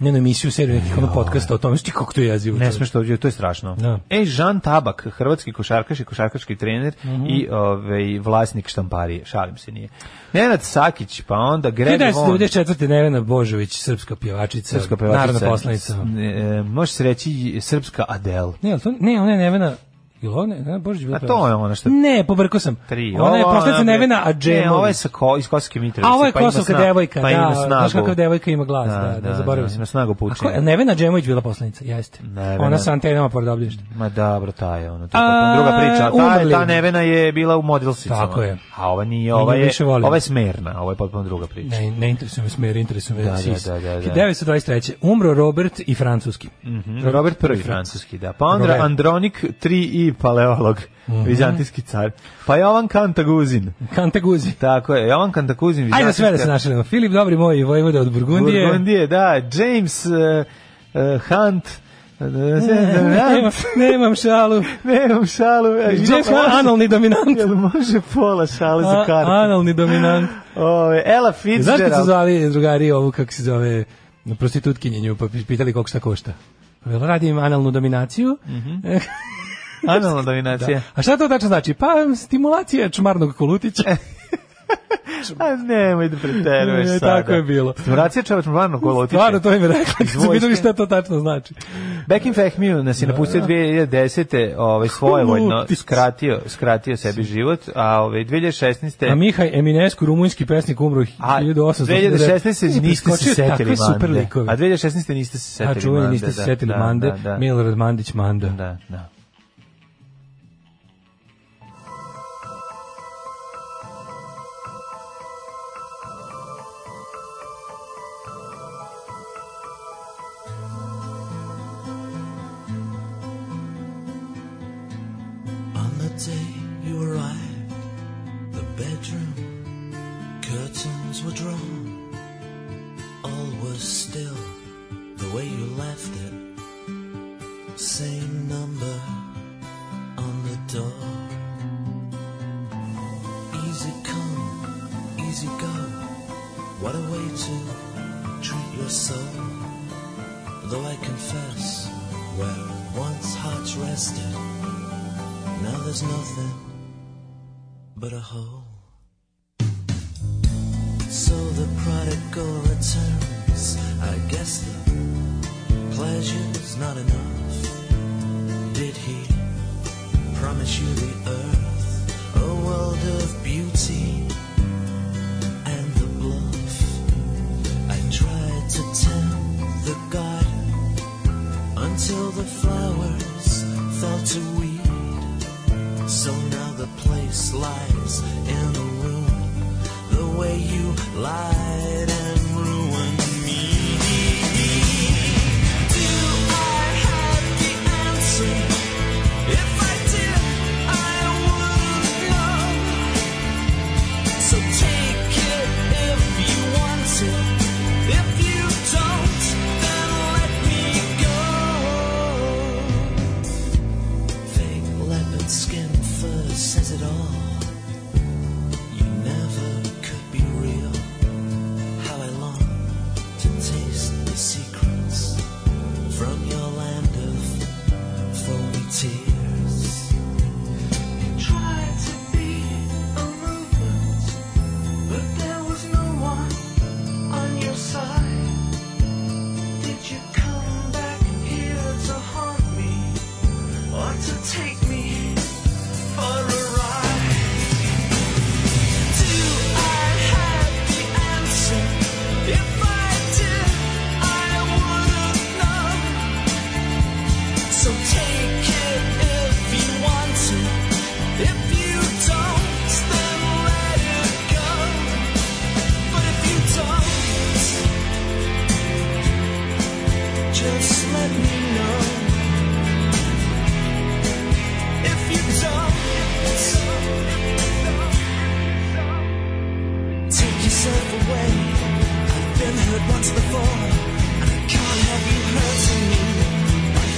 E: njenu emisiju, seriju nekih ono podcasta o tome. Znaš ti kako to je jezivo?
F: Ne
E: čoveče?
F: smeš to ovdje, to je strašno.
E: Da.
F: E, Jean Tabak, hrvatski košarkaš i košarkaški trener i
E: Mhm.
F: ovaj, vlasnik štamparije, šalim se nije. Nenad Sakić, pa onda Greg Von.
E: 1994. Nevena Božović, srpska pjevačica,
F: Srpska pevačica.
E: narodna poslanica.
F: E, može se reći srpska Adele.
E: Ne, ali to, ne, ona je Nevena, ili ona je Nevena Božović bila
F: A to
E: pjevačica?
F: je ona što-
E: Ne, pobrkao sam.
F: Tri.
E: Ona je
F: Ovo,
E: poslanica
F: ona,
E: Nevena Adžemović.
F: Ne, ovo je sa ko, iz Kosovske Mitrovice.
E: A ovo je
F: pa ima
E: kosovka
F: sna-
E: devojka,
F: pa
E: da,
F: ima snagu.
E: znaš kakva devojka ima glas,
F: Da,
E: da, da,
F: da,
E: zaboravio
F: da,
E: sam.
F: ima snagu pučine.
E: A ko- Nevena Džemović bila poslanica, jeste.
F: Nevena.
E: Ona sa antenama pored obdaništa.
F: Ma dobro, ta je ono, to je
E: A,
F: potpuno druga priča. A Ta,
E: umrli.
F: je- ta Nevena je bila u modelsicama.
E: Tako je.
F: A ova nije, ova
E: Nju
F: je,
E: više volim.
F: ova je smerna, ova je potpuno druga priča.
E: Ne, ne interesuje me smer, interesuje me
F: Da, da,
E: sis.
F: da, da, da.
E: 1923. Umro Robert i francuski.
F: Mhm. Robert I francuski, da. Pa onda
E: Robert. Mhm.
F: Andronik 3 i paleolog, vizantijski car. Pa Jovan Kantaguzin.
E: Kante Guzi.
F: Tako je, Jovan Kantaguzin
E: Ajde da
F: vizantijski.
E: sve da se našalimo. Filip, dobri moj, vojvoda od Burgundije.
F: Burgundije, da. James eh, eh, Hunt. eh,
E: Nemam, nemam šalu.
F: Nemam šalu. eh,
E: James
F: imam-
E: Wan, analni dominant.
F: Jel može pola šale za
E: A,
F: kartu?
E: analni dominant.
F: Ove, Ella
E: Znaš kad su
F: Fitzgerald.
E: zvali drugari ovu, kako se zove, prostitutkinjenju, nju, pa pitali koliko šta košta? Pa jel radim analnu dominaciju.
F: Mhm. Analna dominacija.
E: A šta to tačno znači? Pa stimulacija čmarnog kolutića.
F: E, A nemoj da preteruješ
E: E,
F: sada.
E: tako je bilo.
F: Stimulacija čevač mvarno kolo otiče.
E: Stvarno to im je rekla, kad su
F: Vojske.
E: videli šta to tačno znači.
F: Back in fact Mew nas je napustio 2010. Ovaj, svojevoljno
E: Lutic.
F: skratio, skratio sebi život, a ovaj, 2016.
E: A Mihaj Eminescu, rumunjski pesnik, umro
F: A
E: 1889.
F: 2016. niste se
E: Preskočio
F: setili
E: takve super
F: Mande.
E: likove.
F: A 2016. niste se setili
E: A
F: Mande.
E: čuveni niste se
F: da,
E: setili
F: da,
E: Mande,
F: da, da.
E: Milorad Mandić Manda.
F: Da, da.
K: On the day you arrived, curtains were drawn, all was still the way you left it. Same number on the door. Easy come, easy go. What a way to treat your soul. Though I confess, where once hearts rested, now there's nothing but a hole. So the prodigal returns. I guess the pleasure's not enough. Did he promise you the earth, a world of beauty and the bluff? I tried to tend the garden until the flowers fell to weed. So now the place lies in a room the way you lied and ruined me. Do I have the answer? If I did, I wouldn't know. So take it if you want it. If you don't, then let me go. Fake leopard skin fur says it all. You never could be real. How I long to taste the secrets from your land of foamy tears. You tried to be a movement, but there was no one on your side. Did you come back here to haunt me or to take me for a ride? Do I have the answer? If I did, I wouldn't know. So take it if you want to. If you don't, then let it go. But if you don't, just let me know. If you don't. Take yourself away. I've been hurt once before. I can't have you hurting me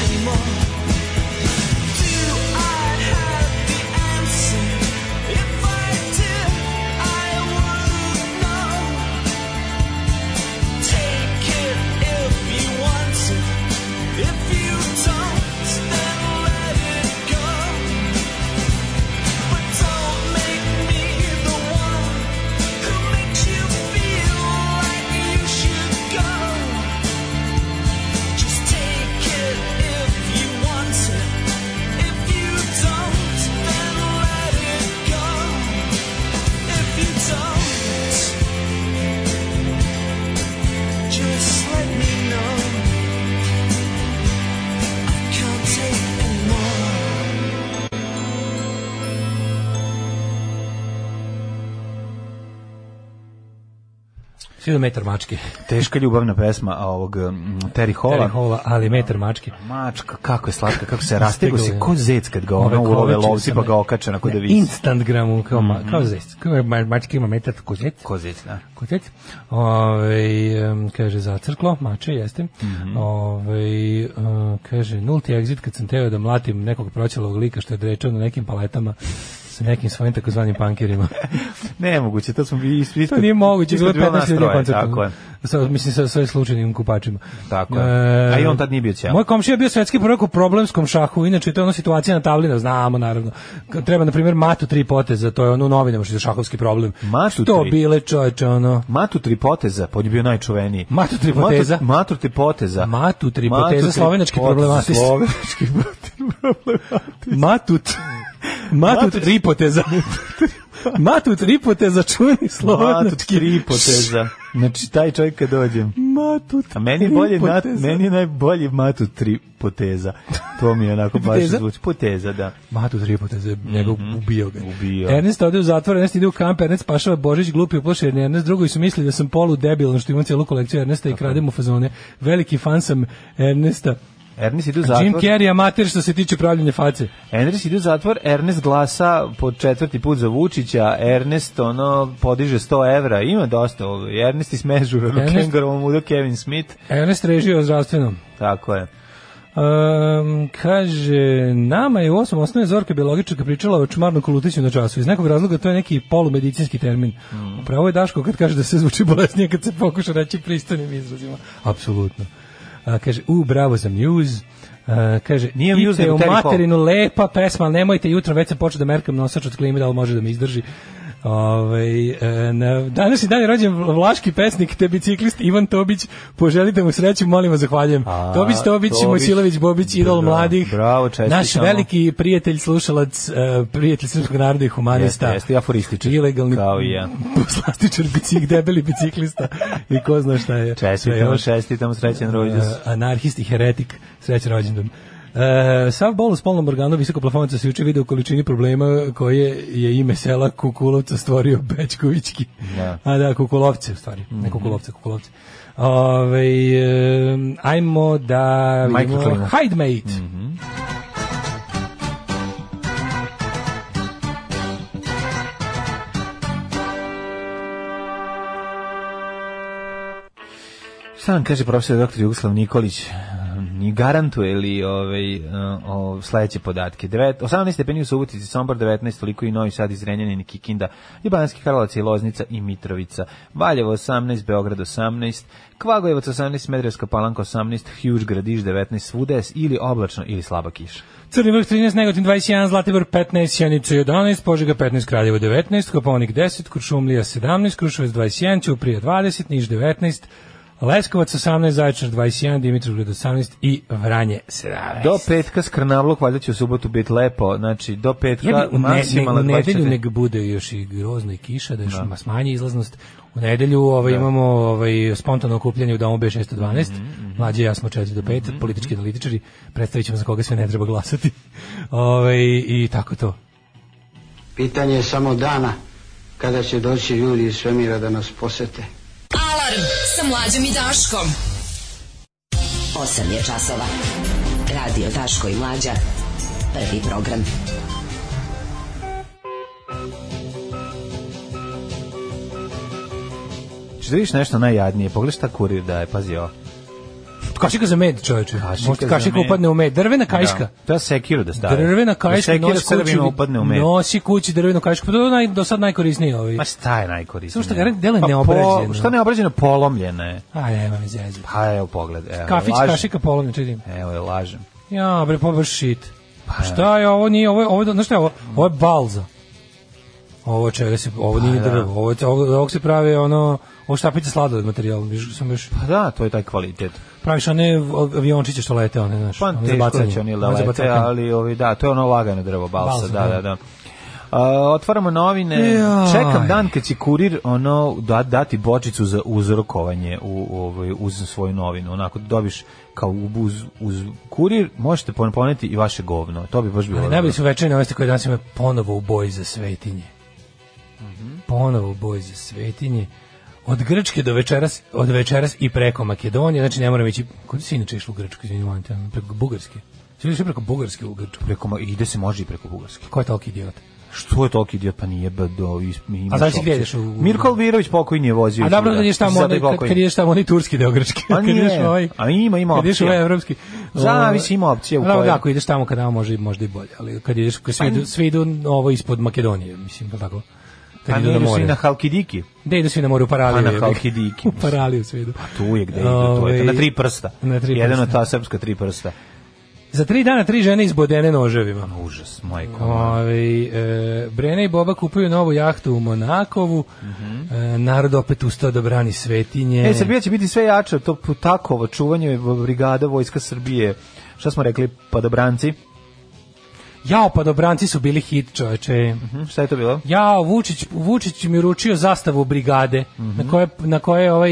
K: anymore. Do I have the answer? If I did, I wouldn't know. Take it if you want to. If you don't, then let it go. But don't make me the one who makes you feel like you should go. Just take it if you want it. If you don't, then let it go. If you don't, just let me know. I can't take anymore.
E: Svi do metar mačke.
F: Teška ljubavna pesma a ovog mm, Terry Hola.
E: Terry Holla, ali metar mačke.
F: Mačka, kako je slatka, kako se rastego se,
E: Stiglo je.
F: ko zec kad ga ono
E: Ovekovečio
F: ulove lovci
E: sam,
F: pa
E: ne.
F: ga okače onako da Mhm.
E: Ne,
F: visi.
E: Instant gramu, kao, ma, kao zec. Kao je ma- mačka ima metar kozec.
F: Ko zec, da.
E: Kotec. Ove, um, kaže, zacrklo, mače, jeste.
F: Mhm.
E: Ove, um, kaže, nulti exit kad sam teo da mlatim nekog proćelovog lika što je drečao na nekim paletama sa nekim svojim takozvanim pankirima.
F: Nemoguće, to smo vi isto.
E: to nije moguće,
F: isto
E: bilo je
F: bilo
E: 15 ljudi na
F: nastroje,
E: koncertu.
F: Tako je.
E: Sa, mislim, sa svojim slučajnim kupačima. E,
F: Tako je. A i on tad nije bio ćao.
E: Moj komšija je bio svetski prvak u problemskom šahu, inače to je ona situacija na tavlina, znamo naravno. K- Treba, na primjer, matu tri poteza, to je ono u novinama što je šahovski problem.
F: Matu
E: što
F: tri?
E: bile čoveče, ono...
F: Matu tri poteza, pa on je bio najčuveniji.
E: Matu tri poteza?
F: Matu, matu tri poteza.
E: Matu tri poteza,
F: tri
E: slovenački
F: poteza,
E: problematist.
F: Slovenački problematist.
E: Matut. Matut ripoteza. Matut ripoteza, čuveni
F: Matu
E: slovenački.
F: tri poteza. Znači, taj čovjek kad dođem.
E: Matut
F: A meni je bolje nat,
E: ripoteza.
F: meni je najbolji matu tri poteza. To mi je onako baš
E: Poteza?
F: zvuči poteza, da.
E: Matu tri poteze, njega ubio ga.
F: Mhm. Ubio.
E: Ernest ode u zatvor, Ernest ide u kamp, Ernest pašava Božić glupi uplaši jer Ernest. Drugovi su mislili da sam polu debilan što imam cijelu kolekciju Ernesta i kradem mu fazone. Veliki fan sam Ernesta.
F: Ernest ide u zatvor.
E: Jim Carrey amater što se tiče pravljenja face.
F: Ernest ide u zatvor, Ernest glasa po četvrti put za Vučića, Ernest ono podiže 100 evra, ima dosta, ovaj, Ernest ismežu ono
E: Ernest-
F: kengarovom udo Kevin Smith,
E: Ernest režio o zdravstvenom.
F: tako je.
E: Um, kaže, nama je u osmom osnovne Zorka biologička pričala o čmarnu kolutiću na času. Iz nekog razloga to je neki polumedicinski termin.
F: Mm.
E: Upravo je Daško kad kaže da se zvuči bolesnije kad se pokuša reći pristojnim izrazima. Apsolutno. A, kaže, u, bravo za Muse. A, kaže,
F: Nije
E: nije
F: Muse,
E: Muse,
F: nego
E: u
F: Terry Hall.
E: materinu lepa pesma, ali nemojte jutro, već sam počeo da merkam nosač od klime, da li može da me izdrži. Ove, e, na današnji dan je rođen vlaški pesnik te biciklist Ivan Tobić poželite mu sreću, molim vas, zahvaljujem
F: A,
E: Tobić, Tobić,
F: Tobić.
E: Mojsilović, Bobić, idol
F: Da,
E: mladih.
F: bravo, čestitamo.
E: Naš veliki prijatelj, slušalac, e, prijatelj srpskog naroda i humanista.
F: Jeste, jeste, i aforističar.
E: Ilegalni
F: Kao i ja.
E: poslastičar, bicik, debeli biciklista i ko zna šta je. sve
F: Čestitamo,
E: još.
F: čestitamo, srećen rođus.
E: E, anarhist i heretik, srećan rođendan. E, sav bol u spolnom organu visoko plafonica se juče vide u količini problema koje je ime sela Kukulovca stvorio Bečkovićki.
F: Da. Mhm.
E: A da, Kukulovce u stvari, ne Kukulovce, Kukulovce. Ove, e, ajmo da
F: Michael
E: vidimo
F: Klima. Mhm.
E: Hydemate.
F: Šta nam kaže profesor dr. Jugoslav Nikolić? Ni garantuje li ovaj, eh, o, sledeće podatke? Devet, 18 stepeni u Subotici, Sombor 19, toliko i Novi Sad, Izrenjanin i Kikinda, i Banski Karlovac i Loznica i Mitrovica, Valjevo 18, Beograd 18, Kvagojevac 18, Medrevska Palanka 18, Huge Gradiš 19, svuda je ili oblačno ili slaba kiša.
E: Crni vrh 13, Negotin 21, Zlatibor 15, Sjenica 11, Požega 15, Kraljevo 19, Koponik 10, Kuršumlija 17, Kruševac 21, Ćuprije 20, Niš 19, Leskovac 18, Zaječar 21, Dimitrovgrad 18 i Vranje 17.
F: Do petka skrnavlog, valjda će u subotu biti lepo, znači do petka
E: Ja bi u, ne, ne,
F: maksimalno
E: u nedelju
F: 24.
E: nek bude još i grozna i kiša, da još da. smanje izlaznost. U nedelju ovaj, imamo ovaj, spontano okupljanje u domu B612, mlađe i ja smo 4 do 5, politički analitičari, predstavit ćemo za koga sve ne treba glasati. Ovaj, I tako to.
L: Pitanje je samo dana kada će doći ljudi iz svemira da nas posete.
D: Alarm sa mlađom i Daškom.
M: 8 je časova. Radio Daško i Mlađa. Prvi program.
F: Što vidiš nešto najjadnije, pogledaj šta kurir daje, pazi ovo.
E: Kašika za med, čoveče.
F: Kašika
E: Možda
F: za
E: kašika
F: med.
E: upadne u med. Drvena kajška.
F: Da, to je sekiru da stavi.
E: Drvena kajška
F: da
E: nosi
F: nosi
E: kući.
F: upadne u med.
E: Nosi kući drvenu kajšku. Pa to je naj, do sad najkorisniji ovaj.
F: Ma šta je najkorisnije?
E: Samo što ga red- delo je
F: Pa po-
E: neobrađeno.
F: Šta neobrađeno? Polomljeno je.
E: A, nema mi zezu.
F: Pa evo pogled. Evo,
E: Kafić,
F: lažem.
E: kašika, polovne, čudim.
F: Evo je lažem.
E: Ja, bre, pa baš shit. šta je ovo, nije, ovo je, ovo, je- znaš šta je ovo? Ovo je balza. Ovo čega se, ovo nije
F: Pa, da.
E: drvo. Ovo, ovo, ovog se pravi, ono, ovo štapice sladoled materijal. Viš, sam još,
F: Pa da, to je taj kvalitet.
E: praviš one av- aviončiće što lete, one, znaš.
F: Pa
E: one za
F: teško da
E: bacanje,
F: će oni
E: one za
F: lelete,
E: bacakanje.
F: ali ovi, da, to je ono lagano drvo balsa,
E: Balsa,
F: da, da,
E: da.
F: da. A, otvaramo novine.
E: Jaj.
F: Čekam dan kad će kurir ono da, dati bočicu za uzrokovanje u, u ovaj, uz svoju novinu. Onako dobiš kao u- uz, uz kurir, možete pon- poneti i vaše govno. To bi baš bilo.
E: Ali
F: dobro.
E: najbolji su večerne vesti koje danas imaju ponovo u boji za svetinje.
F: Mhm.
E: Ponovo u boji za svetinje. Od Grčke do večeras, od večeras i preko Makedonije, znači ne moram ići, kod si inače išlo u Grčku, izvini, molim te, ono, preko Bugarske. Si išli preko Bugarske u Grčku?
F: preko ma- ide se može i preko bugarske.
E: Ko je toliki idiot?
F: Što je toliki idiot pa nije bdo
E: A znaš gdje ideš u-
F: Mirko Albirović pokojni je vozio.
E: A dobro da
F: je
E: ideš tamo, onaj, kad, kad ideš tamo, onaj turski deo Grčke.
F: Pa
E: Kad
F: nije.
E: ideš ovaj-
F: A ima, ima
E: Kad ideš
F: opcija.
E: ovaj evropski.
F: Zavisi, ima opcija u Pa
E: Dobro,
F: kojoj-
E: Da, ako ideš tamo, kad tamo može, i- možda i bolje. Ali kad ideš, kad svi, idu, svi idu ovo ispod Makedonije, mislim, pa tako. Kad
F: Pa
E: idu
F: ne
E: na
F: ideš i
E: more.
F: na Halkidiki.
E: Gde idu svi na moru? U
F: A
E: Paraliju.
F: na
E: jebi ga.
F: Halkidiki,
E: u Paraliju svi idu.
F: Pa Tu je gde ide, to je
E: Ovaj,
F: na tri prsta.
E: Na tri
F: Jedan
E: prsta.
F: od ta srpska tri prsta. Ono,
E: Za tri dana tri žene izbodene noževima.
F: Užas, majko.
E: Ovaj e, Brene i Boba kupuju novu jahtu u Monakovu. E, narod opet ustao da brani svetinje.
F: Mhm. E, Srbija će biti sve jača, to Putakovo čuvanje brigada Vojska Srbije. Šta smo rekli, Pa padobranci?
E: Jao, pa dobranci su bili hit, čoveče.
F: Hm, Šta je to bilo?
E: Jao, Vučić, Vučić mi uručio zastavu brigade,
F: Mhm.
E: na koje, na koje je ovaj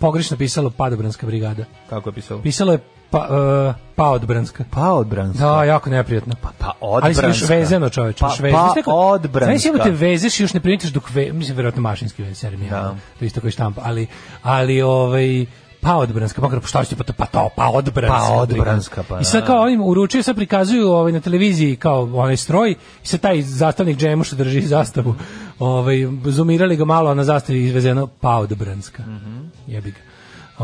E: pogrešno pisalo padobranska brigada.
F: Kako je pisao?
E: Pisalo je pa, e, paodbranska.
F: Pa odbranska.
E: Da, jako neprijatno. Pa,
F: pa odbranska.
E: Ali si još vezano, čoveče.
F: Pa-
E: još vezano.
F: pa
E: Znaš neko-
F: odbranska.
E: Znaš, jebote, vezeš i još ne primetiš dok ve... Mislim, verovatno mašinski veze, jer mi je
F: Da.
E: to isto koji štampa. Ali, ali ovaj, Pa odbranska, pa kao, šta ćete, pa to, pa to, pa odbranska.
F: Pa odbranska, pa
E: I sad
F: da.
E: kao ovim uručio, sad prikazuju ovaj, na televiziji kao onaj stroj, i sad taj zastavnik džemu što drži zastavu, ovaj, zoomirali ga malo, a na zastavi je izvezeno pa odbranska.
F: Mhm.
E: Jebi ga.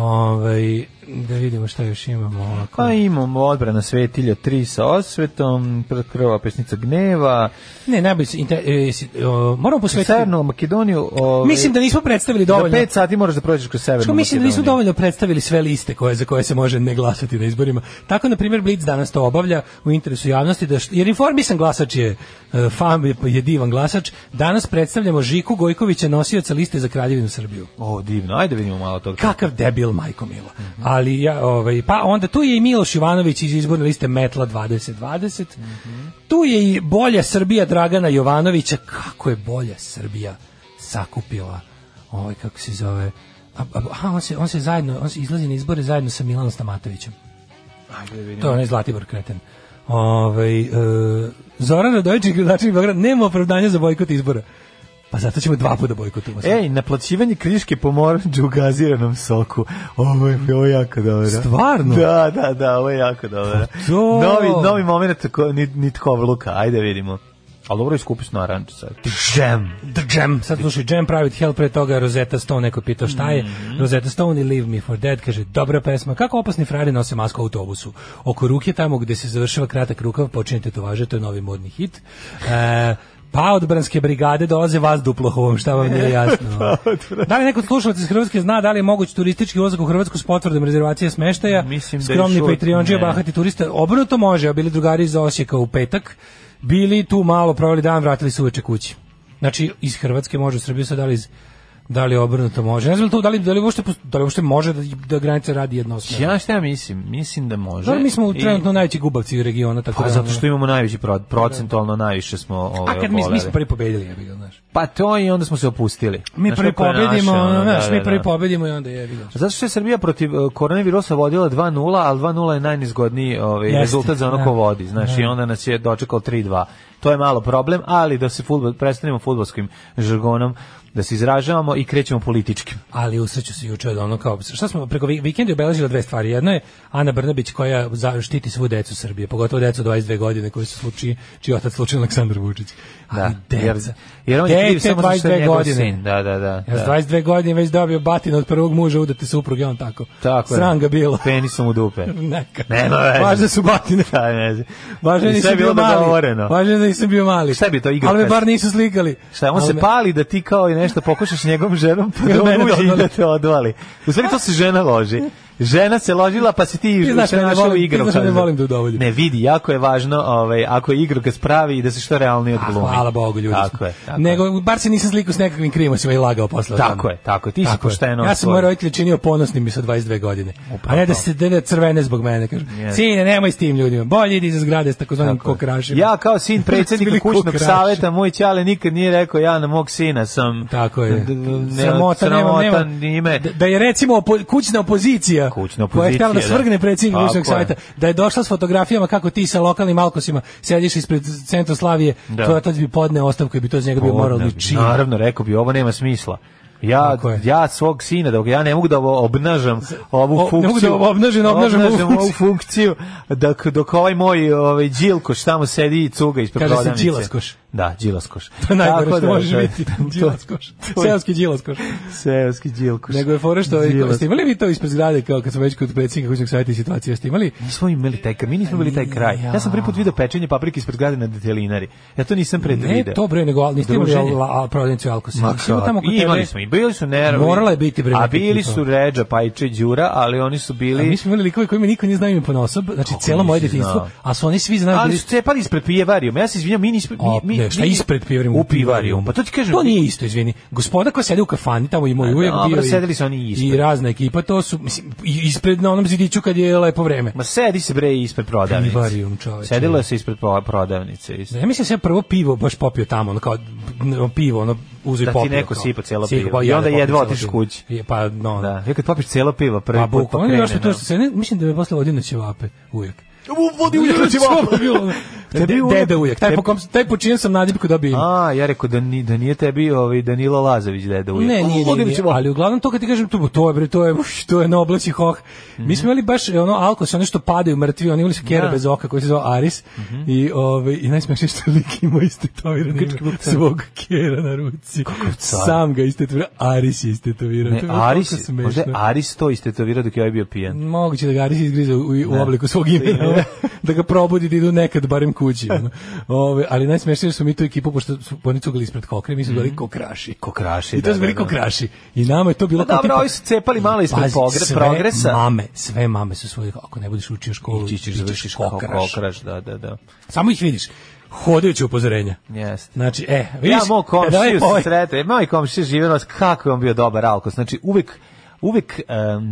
E: Ovaj, da vidimo šta još imamo ovako.
F: Pa imamo odbrana svetilja 3 sa osvetom, prva pesnica gneva.
E: Ne, najbolje se inter- e, si- o, moramo posvetiti-
F: Severnu Makedoniju. Ove,
E: Mislim da nismo predstavili dovoljno.
F: Ovaj, Za 5 sati moraš da prođeš kroz Severnu
E: Što
F: Makedoniju.
E: mislim da nisu dovoljno predstavili sve liste koje za koje se može ne glasati na izborima. Tako na primjer Blitz danas to obavlja u interesu javnosti da št- jer informisan glasač je e, fam je, je divan glasač. Danas predstavljamo Žiku Gojkovića nosioca liste za Kraljevinu Srbiju.
F: O, divno, ajde vidimo malo toga.
E: Kakav debil majko milo. Ali ja ovaj pa onda tu je i Miloš Jovanović iz izborne liste Metla 2020. Tu je i bolja Srbija Dragana Jovanovića. Kako je bolja Srbija sakupila ovaj kako se zove A, a, a, on, se, on se zajedno, on se izlazi na izbore zajedno sa Milanom Stamatovićem.
F: Ajde da vidimo.
E: To je onaj Zlatibor kreten. Ovaj e, Zoran Radojičić, gradonačelnik Beograda, nema opravdanja za bojkot izbora. Pa zato ćemo dva puta bojkotujemo.
F: Ej, naplaćivanje kriške po moranđu u gaziranom soku. Ovo je, ovo je jako dobro.
E: Stvarno?
F: Da, da, da, ovo je jako dobro.
E: Pa to-
F: Novi, novi moment ko, ni, luka, ajde vidimo. Ali dobro je skupiš na aranđu sad. Džem.
E: The Jam. Sad slušaj, Jam Private Hell, pre toga Rosetta Stone, neko je pitao šta je.
F: Mhm.
E: Rosetta Stone i Leave Me For Dead, kaže, dobra pesma. Kako opasni frari nose masku u autobusu? Oko ruke tamo gde se završava kratak rukav, počinje tetovaže, to je novi modni hit. E, pa od Branske brigade dolaze vas duplohovom, šta vam nije
F: Pa
E: jasno. da li neko od slušalaca iz Hrvatske zna da li je moguć turistički ulazak u Hrvatsku s potvrdom rezervacije smeštaja?
F: Mislim da je
E: Skromni
F: šut,
E: Patreonđija
F: ne.
E: bahati turista. Obrnuto može, a bili drugari iz Osijeka u petak, bili tu malo, proveli dan, vratili se uveče kući. Znači, iz Hrvatske može u Srbiju, sad da li, iz, da li obrnuto može. Ne znam to, da li, da li, uopšte, pos- da li uopšte može da, da granica radi jedno
F: Pa Ja šta ja mislim? Mislim da može.
E: Dobro, mi smo
F: I-
E: trenutno najveći gubavci regiona, tako
F: Pa
E: da...
F: zato
E: ono-
F: što imamo najviši pro- procentualno, najviše smo ove,
E: A kad mi, mi
F: oboleli.
E: smo prvi pobedili, ja bih ga, znaš.
F: Pa to i onda smo se opustili.
E: Mi
F: Znaš
E: prvi
F: kako je naše,
E: pobedimo,
F: ono,
E: znaš,
F: da,
E: mi
F: da,
E: prvi
F: da.
E: pobedimo i onda je bilo.
F: Zato što je Srbija protiv e, koronavirusa vodila 2-0, ali 2-0 je najnizgodniji ovaj,
E: Jeste,
F: rezultat za ono
E: da.
F: ko vodi. Znaš,
E: Da.
F: I onda nas je dočekalo 3-2. To je malo problem, ali da se fudbal prestanemo futbolskim žargonom, da se izražavamo i krećemo političkim.
E: ali usreću se juče od ono kao šta smo preko vi- vikenda je obeležila dve stvari. Jedno je Ana Brnabić koja za- štiti svu decu Srbije, pogotovo decu od 22 godine koji su sluči čiji je otac slučajno Aleksandar Vučić.
F: Da,
E: Ali
F: jer,
E: deca.
F: jer on je kriv
E: Dete
F: samo zato što je
E: 22
F: njegov
E: godine.
F: sin. Da, da, da.
E: Ja s
F: da.
E: 22 godine već dobio batinu od prvog muža udate supruge, on tako.
F: Tako je.
E: Sram ga bilo.
F: Penisom u dupe.
E: Neka.
F: Nema veze.
E: Važne su batine.
F: Da, ne znam.
E: Važno je da
F: Sve je
E: nisam
F: bilo
E: bio mali.
F: dogovoreno.
E: Važno je da nisam bio mali.
F: Šta bi to igrao
E: Ali me
F: test?
E: bar nisu slikali.
F: Šta, on
E: Ali
F: se
E: me-
F: pali da ti kao i nešto pokušaš s njegovom ženom pa
E: Ili
F: da
E: Ono- mene
F: on uđe i
E: odvali.
F: da te odvali. U stvari to se žena loži. Žena se ložila pa si
E: Ti
F: ti
E: znaš da
F: se
E: ne
F: našao u
E: volim- ti
F: igru.
E: znaš da ne volim da udovoljim.
F: Ne, vidi, jako je važno ovaj, ako je igru spravi i da se što realnije
E: A,
F: odglumi.
E: Hvala Bogu, ljudi.
F: Tako
E: smo.
F: je, tako je.
E: Nego, bar se nisam slikao s nekakvim krimosima i lagao posle. o
F: Tako
E: tome.
F: je, tako je. Ti si
E: Tako je.
F: pošteno
E: Ja sam
F: tvoj.
E: moje roditelje činio ponosnim i sa 22 godine.
F: Upravo
E: A ne da
F: to.
E: se da ne crvene zbog mene. Kažu,
F: Yes.
E: sine, nemoj s tim ljudima. Bolje idi iz zgrade s takozvanim kokrašima.
F: Ja kao sin
E: Bili
F: predsjednika kućnog
E: kokraši.
F: saveta, moj ćale nikad nije rekao ja na mog sina sam
E: Tako je.
F: d- d- ne-
E: Sramota, nemam, nemam.
F: sramotan ime.
E: Da, da je recimo opo- kućna opozicija,
F: Kućna
E: koja je htjela da
F: opozicija, da.
E: svrgne predsjednik
F: Tako
E: Kućnog
F: je.
E: savjeta, da je došla s fotografijama kako ti sa lokalnim alkosima sediš ispred centra Slavije,
F: Da.
E: tvoj otac bi podneo ostavku i bi to za njega bio moralni
F: Podne-
E: čin.
F: Naravno, rekao bi, ovo nema smisla. Ja,
E: Tako je.
F: ja svog sina, da ga- ja ne mogu da ovo obnažam ovu
E: o, ne
F: funkciju.
E: mogu da ovo obnažem, obnažam ovu
F: ovu funkciju. Dok, dok ovaj moj ovaj, džilkoš tamo sedi i cuga ispred
E: Kaže se
F: prodavnice.
E: džilaskoš.
F: Da, džilaskoš.
E: To je najgore
F: Tako
E: što
F: da,
E: može
F: to je-
E: biti.
F: to-
E: Đilaskoš.
F: to je-
E: Seoski Đilaskoš.
F: Seoski džilkoš.
E: Nego je fora što
F: Đilas-
E: ste imali vi to ispred zgrade kao kad smo već kod predsjednika kućnog savjeta i situacije ste imali?
F: Nismo imali taj kraj, mi nismo bili taj kraj. Ja sam prvi put video pečenje paprike ispred grade na detelinari. Ja to nisam pred
E: Ne,
F: video.
E: to bre, nego al- niste imali
F: Druženje.
E: al- al- prodavnicu alkosa.
F: Ma
E: Nisi imao
F: kako,
E: tamo kod tebe-
F: imali smo i bili su nervi.
E: Morala je biti bre
F: A
E: neka
F: bili
E: ekipa.
F: su Ređa, Pajče, Đura, ali oni su
E: A mi
F: bili
E: smo imali likove koji mi niko nije znao ime ponosob, znači cijelo moje
F: nisi
E: djetinjstvo,
F: znao?
E: a su oni svi znali
F: ali
E: bili
F: su cepali ispred pijevarijuma. Ja se izvinjam, mi nismo...
E: A,
F: Mi, mi,
E: ne, šta
F: mi-
E: ispred pivarijumu?
F: U pivarijumu. Pa to ti kažem.
E: To nije isto, izvini. Gospoda koja sede u kafani, tamo i moj ujak
F: dobro,
E: bio i-
F: sedeli su oni ispred.
E: I razna ekipa, to su, mislim, i- ispred na onom zidiću kad je lepo vreme.
F: Ma sedi se bre ispred prodavnice.
E: Pivarijum, čoveče.
F: Sedilo se ispred pro- prodavnice. isto.
E: Ja mislim da sam ja prvo pivo baš popio tamo, ono kao n- pivo, ono uzeo i
F: Da ti
E: popio.
F: neko
E: kao.
F: sipa cijelo
E: Sipa,
F: pivo.
E: pa
F: I
E: ja
F: onda
E: da popim
F: jedva
E: cijelo
F: otiš
E: pivo.
F: kući.
E: Je, Pa, no,
F: Da. Ja kad popiš cijelo pivo prvi
E: Pa
F: put pa
E: bukvalno
F: krene,
E: još je to
F: no.
E: što se ne, mislim da me posle vodi na ćevape uvijek.
F: U, Vodi u jutro ćevape.
E: Bilo, Tebi
F: Tebi
E: de,
F: uvek-
E: dede ujak. Taj, po, kom, taj po čijem sam nadipku dobio ime.
F: A, ja rekao da, ni, da nije tebi ovaj Danilo Lazović deda ujak.
E: Ne, nije, nije,
F: Ludović
E: nije,
F: je moj.
E: ali uglavnom to kad ti kažem, to, bo- to je, bre, to je, uš, to je na oblači hoh. Mi smo imali baš e, ono alko se ono što padaju mrtvi, oni imali su kjera
F: Mhm. Da. Mhm.
E: bez oka koji se zvao Aris i, ovaj i najsmešnije što je lik imao istetoviran
F: Grčki bog car.
E: svog kjera na ruci.
F: car.
E: Sam ga istetovirao, Aris je istetovirao.
F: Ne,
E: To je bilo toliko
F: Aris,
E: smešno.
F: možda je Aris to istetovirao dok je ovaj bio pijan.
E: Moguće da ga Aris izgrize u, u
F: Ne.
E: obliku svog imena, ono, da ga probudi da idu nekad barem kući. ono. Ove, ali najsmešnije su mi tu ekipu, pošto su oni cugali ispred kokre, mi su
F: Mhm.
E: bili kokraši.
F: Kokraši,
E: I to
F: da,
E: su bili
F: da, da.
E: kokraši. I nama je to bilo
F: Pa dobro, ovi su cepali malo ispred
E: Pazi,
F: pogre-
E: sve
F: progresa.
E: mame, sve mame su svoje, ako ne budeš učio školu,
F: Ići ćeš
E: bit
F: završiš kao
E: kokraš.
F: kokraš, da, da, da.
E: Samo ih vidiš. Hodajući upozorenja.
F: Jeste.
E: Znači, e, vidiš,
F: Ja moj
E: kada ovaj
F: komšiju
E: ovaj-
F: se sretao, moj komšija živio nas, kako je on bio dobar alkos. Znači, uvek uvek e,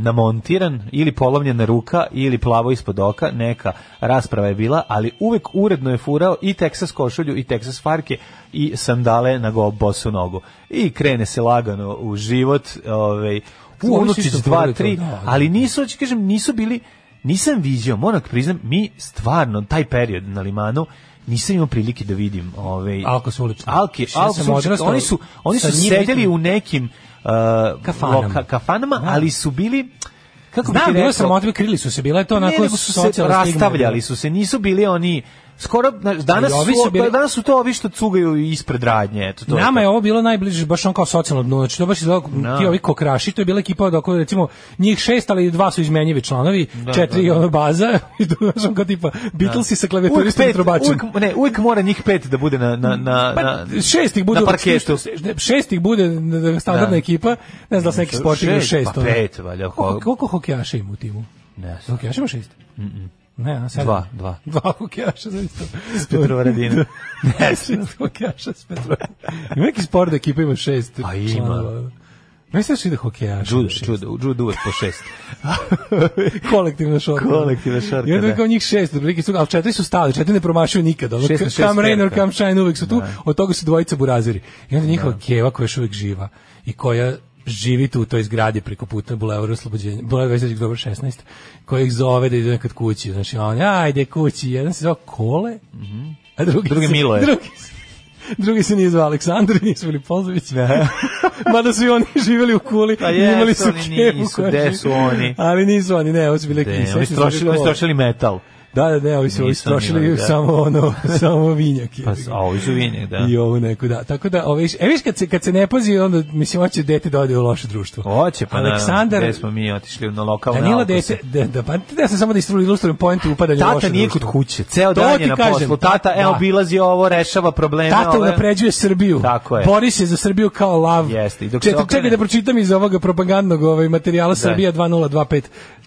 F: namontiran ili polomljena ruka ili plavo ispod oka, neka rasprava je bila, ali uvek uredno je furao i Texas košulju i Texas farke i sandale na go bosu nogu. I krene se lagano u život, ovaj
E: U, oni
F: u
E: su
F: unučić
E: isto
F: 2
E: furali to,
F: 3,
E: da, da.
F: ali nisu, hoću kažem, nisu bili nisam viđao, moram priznam, mi stvarno taj period na limanu nisam imao prilike da vidim ovaj
E: Alko su ulični.
F: Alki,
E: Znači, ja
F: Alki
E: sam
F: su ulični.
E: odrastao
F: oni su oni
E: sa
F: su
E: njima i
F: sedeli
E: tim-
F: u nekim uh,
E: Kafanama.
F: loka- kafanama, ali su bili kako bi ti
E: Znam, bilo
F: rekao,
E: sam otvi, krili su se, bila je to
F: ne,
E: onako
F: nego su se
E: socijalna stigma.
F: rastavljali su se, nisu bili oni skoro znaš, danas
E: Ali ovi
F: su,
E: su bili-
F: danas su to ovi što cugaju ispred radnje, eto to.
E: Nama
F: je
E: je ovo bilo najbliže baš on kao socijalno dno. Znači to baš izgleda
F: Da.
E: ti ovi kokraši, to je bila ekipa od oko recimo njih šest, ali dva su izmenjivi članovi,
F: Da,
E: četiri
F: da, da.
E: ono baza i to znaš on kao tipa Beatlesi sa
F: Uvijek,
E: klavijaturistom i
F: pet,
E: trubačem.
F: uvijek, ne, uvijek mora njih pet da bude na, na, na,
E: Pa,
F: na,
E: šest ih bude
F: na
E: uvek,
F: parketu.
E: Šest ih bude da, standardna
F: Da.
E: ekipa, ne znam da li se neki sport igra
F: Šest,
E: šest.
F: pa
E: ono.
F: pet, valjda, ko-
E: Koliko, koliko hokejaša ima u timu?
F: Ne znam.
E: Hokejaša ima šest? Ne, a sedam.
F: Dva, dva.
E: Dva hokejaša, zaista.
F: S Petrovaradina. Ne znam.
E: Šest hokejaša s Petrovaradina. Ima neki sport da ekipa ima šest
F: Pa ima.
E: članova. Misliš li da hokejaša?
F: Judo,
E: ima šest?
F: judo, judo uvek po šest.
E: Kolektivna šorka.
F: Kolektivna šorka,
E: I onda
F: da.
E: kao njih šest, otprilike su, ali četiri su stali, četiri ne promašuju nikada. Ono,
F: Šest na šest
E: come rain or
F: terka.
E: come shine, uvek su tu, od toga su dvojica buraziri. I onda njihova keva koja je još uvek živa i koja živi tu u toj zgradi preko puta Bulevara Oslobođenja, Bulevara Veseljačkog dobra 16, koja ih zove da idu nekad kući. Znači, on, ajde kući, jedan se zvao Kole, a drugi,
F: Mhm. Drugi
E: se-
F: Miloje.
E: Drugi, se- drugi se nije zvao Aleksandar, nije se bili Pozović. Mada su i oni živjeli u kuli,
F: Pa
E: i imali
F: jesu,
E: su
F: oni
E: kevu.
F: nisu,
E: koja
F: gde
E: živi.
F: su oni?
E: Ali nisu oni, ne, ovo su bile
F: Ne,
E: kise.
F: oni su trošili, oni su trošili metal.
E: Da, da, ne, ovi su ovi su
F: Nisu oni
E: trošili
F: imali, da.
E: samo ono, samo vinjak. je.
F: Pa, a ovi su vinjak, da.
E: I ovu neku, da. Tako da, ove, e, viš, kad se, kad se ne pazi, onda, mislim, hoće dete da ode u loše društvo.
F: Oće, pa
E: Aleksandar,
F: naravno, gde smo mi otišli na lokalne
E: Danilo
F: alkose.
E: dete, da, da, pa ja sam samo da istru- ilustrujem poentu upadanja u
F: Tata
E: loše
F: nije kod
E: društvo.
F: kuće, ceo
E: To
F: dan je
E: ti
F: na
E: kažem,
F: poslu.
E: ta-
F: Tata, evo,
E: da.
F: obilazi ovo, rešava probleme.
E: Tata
F: ove.
E: unapređuje Srbiju.
F: E, Tako je.
E: Bori se za Srbiju kao lav.
F: Jeste, i dok se
E: Čekaj,
F: okrene-
E: čekaj da pročitam iz ovoga propagandnog ovaj, materijala Srbija 2025.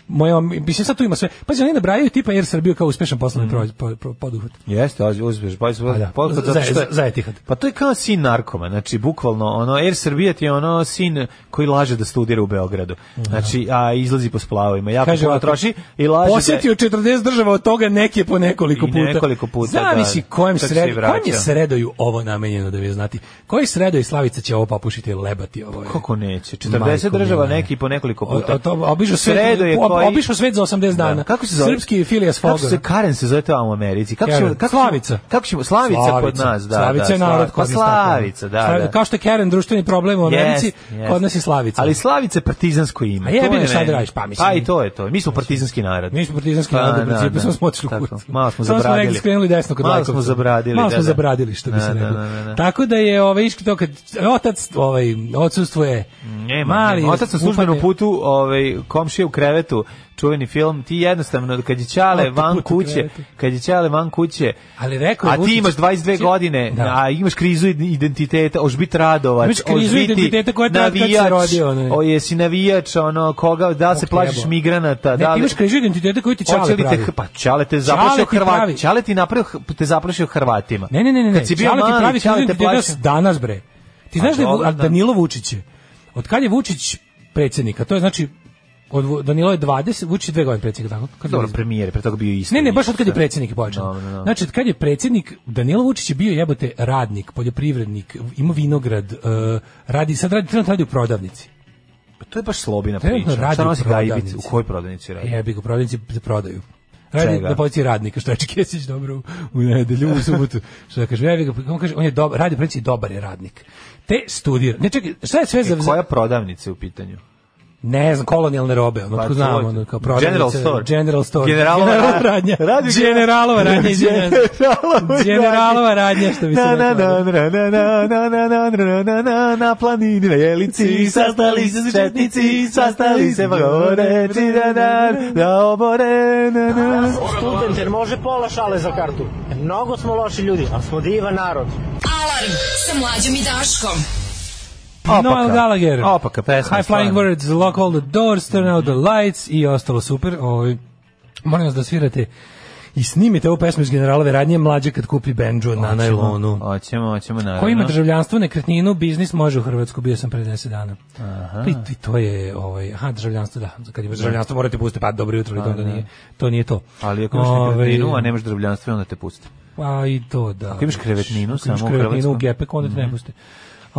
E: Moja, mislim, sad tu ima sve. Pazi, oni nabrajaju tipa jer Srbiju kao uspešan poslovni pro- pro- pro- poduhvat.
F: Jeste, oz- uzmeš, Mm. pa
E: Pa da.
F: uzmeš, pa
E: Za- za- za Etihad.
F: Pa to je kao sin narkoma, znači bukvalno ono Air Srbija ti je ono sin koji laže da studira u Beogradu. Znači, a izlazi po splavovima, jako
E: Mhm. Kaže
F: puno
E: ovako,
F: troši i laže. da-
E: Posjetio 40 država, od toga neke po nekoliko
F: I
E: puta.
F: nekoliko puta,
E: Zavisi
F: da.
E: kojem,
F: Kako se
E: sred,
F: i vraća.
E: kojem je sredoju ovo namenjeno da vi znati. Koji sredoj Slavica će ovo papušiti i lebati ovo? je?
F: Kako neće? 40
E: Majko
F: država
E: mila.
F: neki po nekoliko puta.
E: O- o- to- obišao svet-
F: Sredo je
E: o-
F: koji-
E: obišao svet za 80
F: Da.
E: dana.
F: Kako se zove?
E: Srpski Filias
F: Kako
E: Fogor.
F: se Karen se zove tamo u Americi? Kako
E: Karen.
F: ćemo- kako ćemo-
E: Slavica.
F: Kako ćemo Slavica, kod nas, da.
E: Slavica
F: da,
E: je narod
F: Sla-
E: kod nas.
F: pa Slavica,
E: tako.
F: da,
E: Slavica,
F: da.
E: Kao što je Karen društveni problem u Americi,
F: Jest,
E: kod nas je
F: jest.
E: Slavica.
F: Ali Slavica je partizansko ime.
E: A jebi
F: to je
E: ga, šta da
F: meni.
E: radiš, pa mislim.
F: Pa i to je to. Mi smo partizanski narod.
E: Mi smo partizanski
F: Pa,
E: narod u
F: da,
E: principu,
F: da.
E: samo smo otišli u
F: Tako,
E: kurac.
F: Malo
E: Samo
F: smo
E: smo
F: zabradili.
E: negdje skrenuli desno kod
F: Malo smo
E: Lajkovca.
F: zabradili.
E: Malo
F: da,
E: smo
F: da.
E: zabradili, što bi
F: Da,
E: se
F: da,
E: reklo.
F: da, da, da.
E: Tako da je ovaj iški to kad otac ovaj odsustvo je
F: Nema,
E: mali.
F: nema. Otac na službenom
E: upadne-
F: putu, ovaj, komšija u krevetu, čuveni film, ti jednostavno, kad je Ćale
E: Otac
F: van
E: u
F: kuće,
E: krevetu.
F: kad je Ćale van kuće,
E: Ali rekao je
F: a ti
E: Vučić-
F: imaš 22
E: Či-
F: godine,
E: Da.
F: a imaš krizu identiteta, oš biti radovac,
E: Imaš krizu
F: hoš biti
E: identiteta koja je tad kad se
F: navijač,
E: rodio, onaj.
F: O, jesi navijač, ono, koga, da li se
E: Ok,
F: plašiš
E: jebo.
F: migranata,
E: Ne,
F: da
E: ti
F: li...
E: imaš križu identiteta koji ti
F: Hoće
E: čale
F: li
E: pravi.
F: te, pa Ćale te
E: Ćale
F: zaplašio
E: ti pravi.
F: Hrvati, Ćale ti napravio, te zaplašio Hrvatima.
E: Ne, ne, ne, ne. ne.
F: Kad si bio
E: Čale ti
F: mali,
E: pravi
F: Ćale
E: križu
F: te
E: identiteta
F: plašio.
E: danas bre. Ti
F: Pa
E: znaš da je Vu-
F: dobro,
E: a
F: da.
E: Danilo Vučić je. Od kad je Vučić predsjednik, a to je znači od Vu- Danilo je 20, Vučić je dve godine predsjednik, tako? Kad je
F: Dobro,
E: izabran?
F: premijer, je pre toga bio isto.
E: Znači, Ne, ne, baš od kad je predsjednik počeo.
F: Dobro, dobro.
E: Znači, od kad je predsjednik, Danilo Vučić je bio jebote radnik, poljoprivrednik, ima vinograd, e, radi, sad radi, trenutno radi u prodavnici.
F: Pa to je baš slobina
E: Trenutno
F: priča.
E: radi
F: Šta
E: u
F: nosi gajbic?
E: prodavnici.
F: U kojoj prodavnici radi? E,
E: Jebi ga, u prodavnici za prodaju. Radi
F: Pa Čega?
E: na policiji radnika, što je Čekesić dobro u- u nedelju, u subotu. Što da kažem, ja ga, on kaže, on je dobar, radi u policiji, dobar je radnik. Te studira. Ne, čekaj, šta je sve za...
F: E, koja prodavnica je u pitanju?
E: Ne znam, kolonijalne robe, ono,
F: Pa,
E: tko znam,
F: to-
E: ono, kao prodavnice,
F: General Store.
E: General Store.
F: Generalova
E: Generalova
F: ra-
E: radnja.
F: radi-
E: Generalova radnja, izvinjam se.
F: Generalova
E: Generalova radnja, što bi se
F: Na, na,
E: reklo.
F: na, na, na, na, na, na, na, na, na, na, na planini, na jelici, sastali se četnici, sastali se vagore, na, na, na obore, na, na.
N: Student, jer može pola šale za kartu. Mnogo smo loši ljudi, ali smo divan narod.
D: Alarm sa mlađom i Daškom.
E: Noel Gallagher.
F: Opaka pesma.
E: High Flying
F: stvarno.
E: Words, Lock All the Doors, Turn Out the Lights i ostalo super. Ovaj, molim vas da svirate i snimite ovu pesmu iz Generalove radnje Mlađe kad kupi bendžu na najlonu.
F: Hoćemo, hoćemo, naravno.
E: Ko ima državljanstvo, nekretninu, biznis može u Hrvatsku, bio sam pre 10 dana.
F: Aha.
E: I, I to je, ovaj, aha, državljanstvo, da, kad imaš državljanstvo morate pustiti, pa dobro jutro, ali
F: Pa,
E: to, onda
F: da.
E: nije, to nije to.
F: Ali ako imaš
E: Ovaj,
F: nekretninu, a nemaš državljanstvo, onda te pusti.
E: Pa i to, da.
F: Ako imaš krevetninu
E: Ako imaš
F: samo u
E: krevetninu u
F: Hrvatskoj. Mhm.
E: gepeku, onda te ne puste.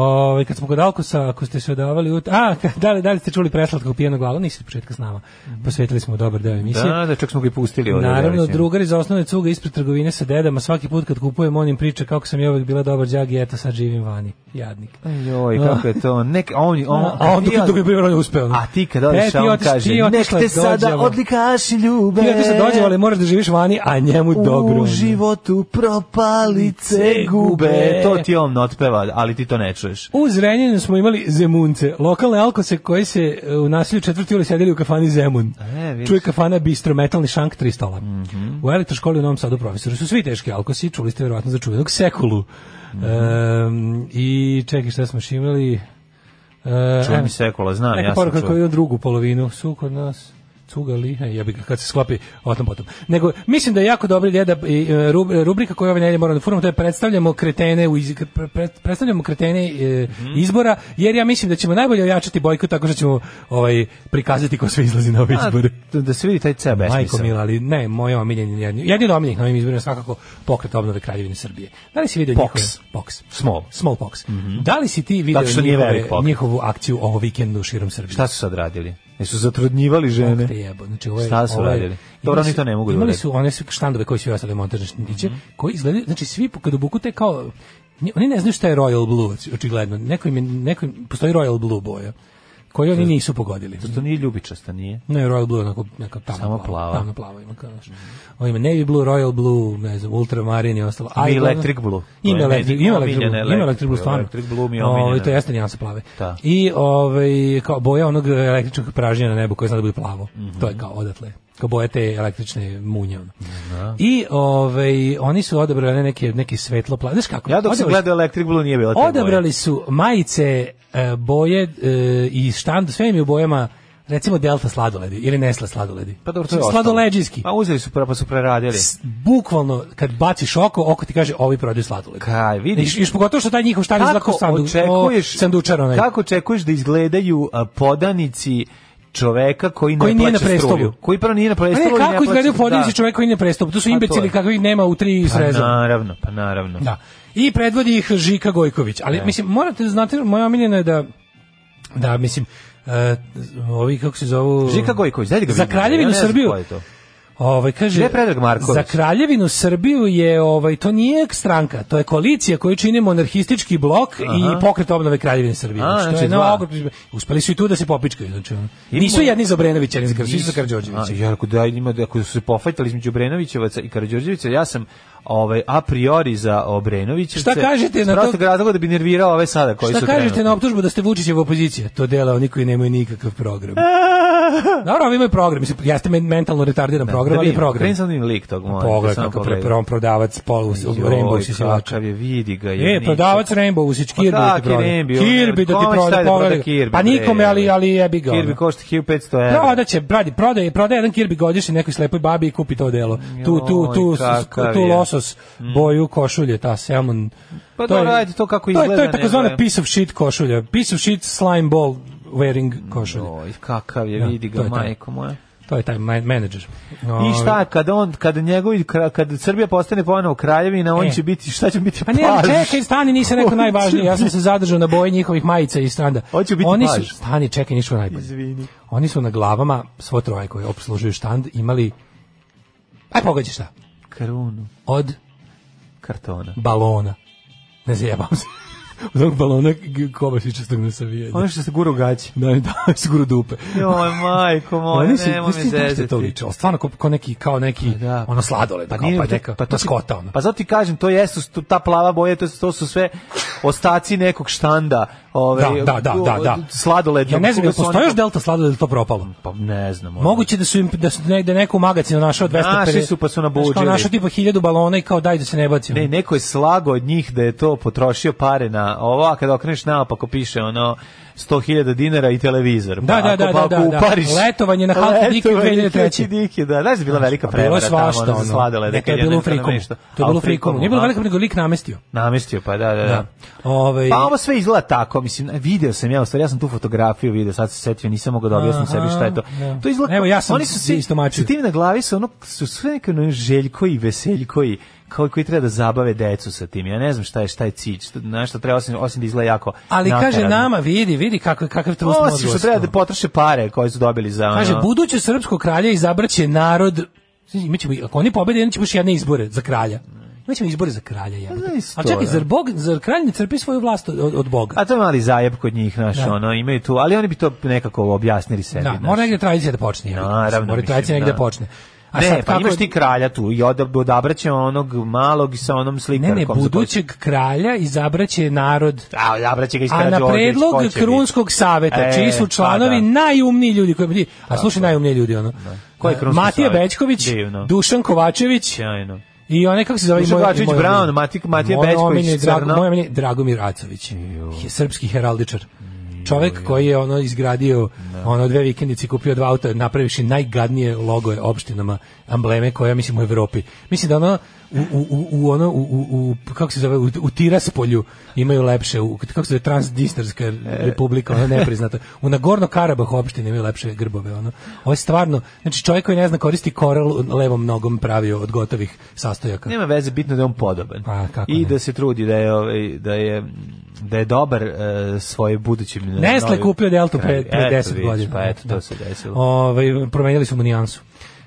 E: Ove, kad smo kod Alkosa, ako ste se odavali... Ut... A, da li, da li ste čuli preslatkog pijenog glavu? Niste od početka s nama. Posvetili smo dobar deo emisije.
F: Mhm. Da, da, čak smo ga i pustili ovdje.
E: Naravno,
F: mislim.
E: drugar iz osnovne cuga ispred trgovine sa dedama, svaki put kad kupujem, on im priča kako sam ja uvek bila dobar đak i eto sad živim vani. Jadnik.
F: Pa Joj, kako je to? Nek, on, on,
E: A, a on dok- dok je bio, on je uspeo.
F: A ti kad odeš,
E: E, ti
F: a on
E: otiš-
F: kaže,
E: ti
F: nek
E: otišla
F: te
E: dođe,
F: sada
E: ovo."
F: odlikaši ljube.
E: Ti se
F: E.
E: dođe, ali moraš da živiš vani, a njemu dobro. ono.
F: U životu propalice gube. E, To ti on otpeva, ali ti to ne čuješ.
E: U Zrenjaninu smo imali Zemunce, lokalne alkose koji se e, u nasilju četvrti uli sedeli u kafani Zemun.
F: E, vidiš. Mhm.
E: Čuje kafana bistro, metalni šank, tri stola. U elektroškoli u Novom Sadu profesori su svi teški alkosi, čuli ste verovatno za čuvenog sekulu.
F: Mhm.
E: Ehm, I čekaj šta smo još imali... E,
F: Čujem
E: evo,
F: i sekula, znam,
E: neka
F: ja sam
E: poruka
F: čuo.
E: koja ide u drugu polovinu, su kod nas cugali, e, ja bih kad se sklopi o tom potom. Nego, mislim da je jako dobra ideja da i, e, rub- rubrika koju ove nedelje moramo da furamo, to je predstavljamo kretene, u iz, pre- pre- predstavljamo kretene e,
F: Mhm.
E: izbora, jer ja mislim da ćemo najbolje ojačati bojku tako što ćemo ovaj, prikazati ko sve izlazi na ove
F: A,
E: izbore.
F: da- da se vidi taj ceo
E: Majko
F: Pa, besmisao.
E: Mila, ali ne, moje omiljenje, jedni, jedni od omiljenih na ovim izborima je svakako pokret obnove Kraljevine Srbije. Da li si vidio
F: Pox.
E: njihove... Pox.
F: Small.
E: Smallpox. Da li si ti video
F: Mhm. Zato što nije
E: njihove-
F: velik pokret.
E: njihovu akciju ovo vikendu širom Srbije?
F: Šta su sad radili? Jesu zatrudnjivali žene?
E: Te jebo. Znači, ovo je,
F: Šta su
E: ovo je-
F: radili?
E: imali
F: Dobro,
E: su-
F: oni to ne mogu da
E: Imali
F: urade. Mhm.
E: su one sve štandove koji su i ostale montažne štandiće, koji izgledaju, znači svi po- kad obuku te kao, nje- oni ne znaju šta je Royal Blue, oč- očigledno. Neko im, je- neko im, postoji Royal Blue boja, koju oni nisu pogodili.
F: To nije ljubičasta, nije?
E: Ne, Royal Blue je onako neka tamno
F: Samo plava.
E: Tamno plava ima kao znaš. Ovo ima Navy Blue, Royal Blue, ne znam, Ultramarin i ostalo. A
F: Ima
E: uglavnom-
F: Electric Blue. To
E: Ima
F: je
E: Electric,
F: meni
E: ima Electric Blue,
F: omiljena
E: ima Electric Blue
F: Electric Blue.
E: stvarno.
F: Electric Blue mi je
E: Ovo,
F: omiljena.
E: To jeste nijansa plave.
F: Da.
E: I ovaj, kao boja onog električnog pražnja na nebu koje zna da bude plavo.
F: Mhm.
E: To je kao odatle. Kao boja te električne munje. ono. I ovaj, oni su odabrali neke, neke svetlo plave. Znaš kako?
F: Ja dok sam
E: Odabrali-
F: gledao Electric Blue nije bila te boje.
E: Odabrali su majice e, boje e, i štand, sve im je u bojama recimo Delta sladoledi ili Nestle sladoledi.
F: Pa dobro, to je ostalo.
E: Sladoleđijski.
F: Pa uzeli su, pra- pa su preradili.
E: S- Bukvalno, kad baciš oko, oko ti kaže ovi prodaju sladoled.
F: Kaj, vidiš?
E: Iš, pogotovo što taj njihov štand izgleda kao
F: Kako
E: sandu,
F: očekuješ,
E: o, sandučar onaj.
F: kako očekuješ da izgledaju a, podanici čoveka koji ne
E: Koji nije na
F: plaća
E: prestolu.
F: struju? Koji prvo nije na
E: Pa ne,
F: prestolu. i
E: kako
F: plaća-
E: izgledaju podnici
F: da.
E: čovjek koji ne prestup? To su
F: Pa to
E: imbecili
F: je.
E: kakvih nema u tri
F: Pa
E: sreza.
F: naravno, pa naravno.
E: Da. I predvodi ih Žika Gojković.
F: E.
E: Ali, mislim, morate da znate, moja omiljena je da, da, mislim, e, ovi, kako se zovu...
F: Žika Gojković, dajte ga
E: Za
F: vidimo.
E: kraljevinu
F: Ja ne znam
E: Srbiju.
F: ko je to.
E: Ovaj kaže
F: Gde je Predrag Marković?
E: Za kraljevinu Srbiju je ovaj to nije stranka, to je koalicija koju čini monarhistički blok
F: Aha.
E: i pokret obnove kraljevine Srbije.
F: A,
E: to
F: znači
E: je
F: dva.
E: na ogromno- uspeli su i tu da se popičkaju, znači. ono.
F: Ima-
E: Nisu jedni za Obrenovića, ni za Krstića, za
F: A,
E: Karađorđevića.
F: ja ako da ima da ako su se pofajtali između Obrenovićevaca i Karađorđevića, ja sam ovaj a priori za Obrenovićevce.
E: Šta kažete na to-
F: Prosto razloga da bi nervirao ove sada koji
E: Šta
F: su
E: kažete
F: Pa trenutno.
E: na optužbu da ste Vučićeva opozicija? To dela oni koji nemaju nikakav program. Naravno, ovi imaju program. Mislim, jeste men- mentalno retardiran program,
F: da
E: ali je
F: vidim,
E: program.
F: krenim sam da vidim lik tog, molim te,
E: Pogledaj
F: samo
E: kako pre,
F: pogledaj.
E: pre- prodavac polu, Rainbow usisivač.
F: kakav je, vidi ga je.
E: E,
F: Ništa.
E: prodavac Rainbow Usić,
F: Pa
E: Kirby da,
F: da,
E: ti prodaje.
F: Kirby, ono,
E: Kirby da ti
F: kome šta
E: prodaje,
F: da proda
E: pogledaj.
F: Kirby,
E: Pa nikome,
F: bre,
E: ali, ali jebi ga.
F: Kirby
E: ono.
F: košta 1500 evra.
E: Prodat će, bradi, prodaje, prodaje jedan kirbi godišnje nekoj slepoj babi i kupi to delo. Tu, tu, tu,
F: Joj, kakav
E: tu
F: je. Mm.
E: losos, boju, košulje, ta salmon.
F: Pa
E: je-
F: dobro, ajde, to kako
E: To je, to
F: izgleda,
E: je takozvana
F: nego je-
E: piece of shit košulja. Piece of shit slime ball
F: Mm,
E: wearing košulja.
F: Oj, kakav je,
E: Da,
F: vidi
E: to
F: ga,
E: je Ovaj. to.
F: majko moja.
E: To je taj man- menadžer.
F: I šta, kada on, kada njegovi, kra- kada Srbija postane ponovo kraljevina, on
E: E.
F: će biti, šta će biti,
E: Pa ne, ali
F: paž.
E: čekaj, stani, nisam rekao najvažnije. Ja sam se zadržao na boji njihovih majica i stranda.
F: Hoće biti
E: Oni su,
F: paž.
E: stani, čekaj, ništa najbolje.
F: Izvini.
E: Oni su na glavama svo troje koji obslužuju štand imali Aj pogađaj šta?
F: Krunu.
E: Od?
F: Kartona.
E: Balona. Ne zajebam se. Od onog balona g- kobašičastog na savijenju.
F: Ono što se gura u gaće.
E: Da, da, se gura u dupe.
F: Joj, majko moja,
E: Oni su-
F: nemoj
E: znaš
F: me
E: ti na šta
F: zezati. Pa
E: to liče? Ali Stvarno kao, kao neki, kao neki, ono sladoled, kao
F: nije,
E: pa neka,
F: to ti-
E: maskota, ono.
F: Pa zato ti kažem, to jesu stu- ta plava boja, to, su- to su sve ostaci nekog štanda. Ovaj,
E: da, da, da, da, da.
F: Sladolednog.
E: Ja ne znam,
F: koga
E: jel
F: su oni-
E: postoji još Delta sladoled ili to propalo?
F: Pa ne znam. ono.
E: Moguće da su im da su negde neko u magazinu našao 250.
F: Našli su, pa su nabuđili.
E: Znaš, Kao našao tipa 1000 balona i kao daj da se ne bacimo.
F: Ne, neko je slago od njih da je to potrošio pare na ovo, a kada okreneš naopako piše ono 100.000 dinara i televizor.
E: Da, da,
F: ako-
E: da,
F: pa
E: da,
F: ako
E: da.
F: upariš-
E: Letovanje na Halki Diki
F: Letovanje
E: 2003.
F: Halki Diki, da. Znaš da je bila velika
E: A bilo je
F: prevara tamo,
E: svašta,
F: ono, za
E: ono.
F: sladolede,
E: Ne, to je
F: kad je
E: bilo u
F: nešto
E: Frikomu.
F: namještao.
E: To je
F: A,
E: bilo
F: u
E: u Frikomu. Nije bilo velika, nego lik namestio.
F: Namestio, pa da, da, da.
E: Da. Ovaj-
F: Pa ovo sve izgleda tako, mislim, video sam ja, u stvari, ja sam tu fotografiju video, sad se setio, nisam mogao da objasnim
E: Aha,
F: sebi šta je to.
E: da.
F: To izgleda,
E: Evo, ja sam
F: oni su svi,
E: istomačio.
F: sa tim na glavi su ono, su sve neke ono željkoji, veseljkoji, kao koji treba da zabave decu sa tim. Ja ne znam šta je, šta je cilj, šta, na šta treba, osim, osim da izgleda jako
E: Ali kaže
F: nakaradno.
E: nama, vidi, vidi kakav kakav trust
F: Osim što treba da potroše pare koje su dobili za ono.
E: Kaže, buduće srpsko kralja izabraće narod... Imaćemo, ako oni pobede, imaćemo još jedne izbore za kralja. Imaćemo izbore za kralja, jebote.
F: isto,
E: Ali čekaj,
F: Pa da. Pa
E: zar, Bog, zar kralj ne crpi svoju vlast od, od Boga?
F: A to je mali zajeb kod njih, znaš,
E: Da.
F: ono, imaju tu, ali oni bi to nekako objasnili sebi.
E: Da,
F: znaš.
E: mora negde tradicija da počne. jebote.
F: Naravno.
E: Mora
F: mislim,
E: tradicija negde
F: da.
E: počne.
F: A ne, pa
E: kako-
F: imaš ti kralja tu i odab- odabraće onog malog i sa onom
E: Ne,
F: slikarkom.
E: ne,
F: za koju-
E: budućeg kralja izabraće narod
F: A, odabraće ga iz
E: A na
F: Karađorđević,
E: predlog
F: ko će
E: Krunskog saveta,
F: E,
E: čiji su
F: pa
E: članovi
F: da.
E: najumniji ljudi koji bi- A slušaj najumniji ljudi ono.
F: Ko je Krunski
E: Matija
F: savjet?
E: Bećković,
F: Divno.
E: Dušan
F: biti?
E: Kovačević
F: Sjajno.
E: i onaj kako se zove
F: Dušan
E: moj-
F: Kovačević
E: moj
F: Brown,
E: omiljeni.
F: Mati- Matija
E: Moj
F: Bećković,
E: omiljeni Drago-
F: Crno.
E: moj omiljeni Dragomir Acović. Je srpski heraldičar. Čovek koji je ono izgradio ono dve vikendice i kupio dva auta napravivši najgadnije logoje opštinama ambleme koja mislim u Evropi. Mislim da ono u, u, u, u ono u, u, u- kako se zove u, u Tiraspolju imaju lepše u kako se zove Transdistarska republika ono nepriznata. U Nagorno Karabah opštini imaju lepše grbove ono. Ovo je stvarno znači čovjek koji ne zna koristi koral levom nogom pravio od gotovih sastojaka.
F: Nema veze, bitno da je on podoban.
E: Pa, kako
F: I
E: ne.
F: da se trudi da je ovaj, da je da je dobar e, svoje budućim e,
E: Nestle
F: novim-
E: kupio Deltu pre,
F: Eto,
E: pre 10
F: vidiš,
E: godina.
F: Pa eto, to
E: Da.
F: se desilo.
E: Ovaj, promenili su mu nijansu.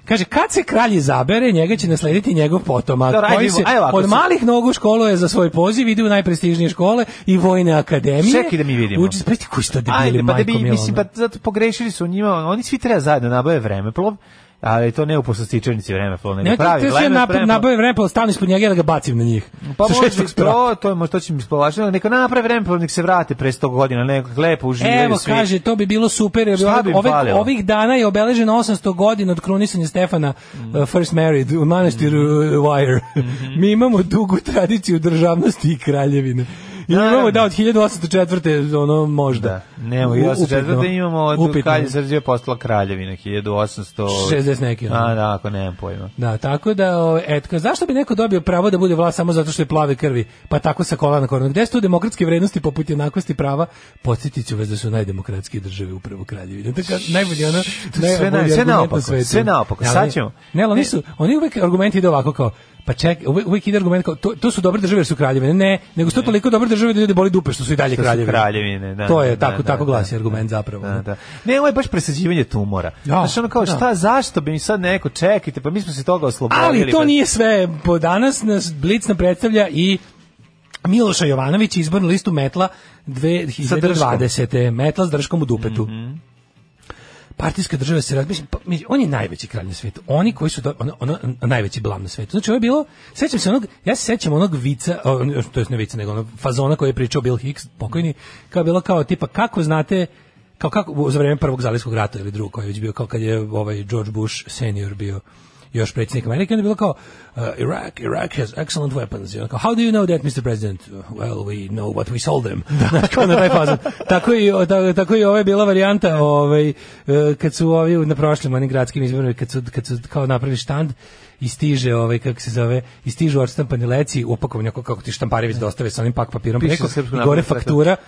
E: Kaže, kad se kralj izabere, njega će naslediti njegov potomak,
F: Dobro, ajde
E: koji
F: vidimo,
E: se
F: ajde ovako,
E: od
F: sad-
E: malih nogu školuje za svoj poziv, ide u najprestižnije škole i vojne akademije.
F: Čekaj da mi vidimo.
E: Uči, pa ti koji su to debili,
F: Ajde, pa da
E: majko
F: bi,
E: mila,
F: mislim,
E: ono.
F: pa zato pogrešili su njima, oni svi treba zajedno nabave vremeplov, ali to ne u poslastičarnici vremeplov, nego
E: Ne,
F: pravi
E: pravi, treba
F: vremeplov.
E: nap, nabave vreme, pa stalno ispod njega ja da ga bacim na njih.
F: Pa
E: Sa
F: može
E: šestog
F: i
E: sprata.
F: to, to je možda to će mi spolažiti, neka naprave vreme, pa nek se vrate pre 100 godina, nek lepo uživaju
E: Evo,
F: svi.
E: kaže, to bi bilo super, jer bi
F: Šta bi im
E: ove-
F: falilo?
E: ovih dana je obeleženo 800 godina od krunisanja Stefana uh, First Married u manastiru uh, Wire.
F: Mhm.
E: Mi imamo dugu tradiciju državnosti i kraljevine. I
F: Da,
E: imamo,
F: da.
E: da, od 1804. ono, možda.
F: Da, nemo,
E: U-
F: ja se četvrte
E: upitno.
F: imamo od
E: Upitno.
F: kad je Srđe postala kraljevina, 1800...
E: 60 neki, ono.
F: A, da, ako nemam pojma.
E: Da, tako da, ovaj, etka, zašto bi neko dobio pravo da bude vlast samo zato što je plave krvi? Pa tako sa kola na koronu. Gde su tu demokratske vrednosti poput jednakosti prava? Podsjetit ću vas da su najdemokratske države upravo kraljevine. Tako, najbolje ono,
F: sve
E: najbolji
F: na- sve
E: argument
F: naopako,
E: svetu.
F: sve naopako.
E: Ali-
F: Sad ćemo.
E: Ne, ali oni su, oni uvek argument ide ovako kao, pa ček, uvek, uvek ide argument kao, to, to su dobre države jer su kraljevine. Ne, nego su to toliko dobre države da ljudi boli dupe što su i dalje
F: Što su
E: kraljevine.
F: kraljevine, da,
E: To je,
F: da,
E: tako,
F: da,
E: tako
F: da,
E: glasi
F: da,
E: argument zapravo.
F: Da, da. Ne, ovo je baš presađivanje tumora.
E: Ja,
F: Znaš, ono kao,
E: da.
F: šta, zašto bi mi sad neko, čekajte, pa mi smo se toga oslobodili.
E: Ali to
F: pa-
E: nije sve. Po danas nas Blic nam predstavlja i Miloša Jovanović izbornu listu Metla
F: Sa drškom.
E: 2020. Metla s drškom u dupetu. Partijska država se razmišlja, pa, mi- on je najveći kralj na svetu. Oni koji su do, ono, ono, najveći blam na svetu. Znači, ovo je bilo, sećam se onog, ja se sećam onog vica, o, to je ne vica, nego onog fazona koji je pričao Bill Hicks, pokojni, kao je bilo kao tipa, kako znate, kao kako, za vreme prvog zalijskog rata ili drugog, koji je već bio, kao kad je ovaj George Bush senior bio još predsjednik Amerike, onda je bilo kao uh, Iraq, Iraq has excellent weapons. I onda kao, how do you know that, Mr. President? Uh, Well, we know what we sold them. Znači, kao na taj fazon. Tako i, o, ta- tako i ovo je bila varijanta ovaj, e, kad su ovi u- na prošlim onim gradskim izborima, kad su, kad su kao napravi štand i stiže, ovaj, kako se zove, i stižu odstampani leci, upakovani ako kako ti štampari već dostave sa onim pak papirom
F: Piše
E: preko,
F: Srpska
E: i gore
F: napredna stranka.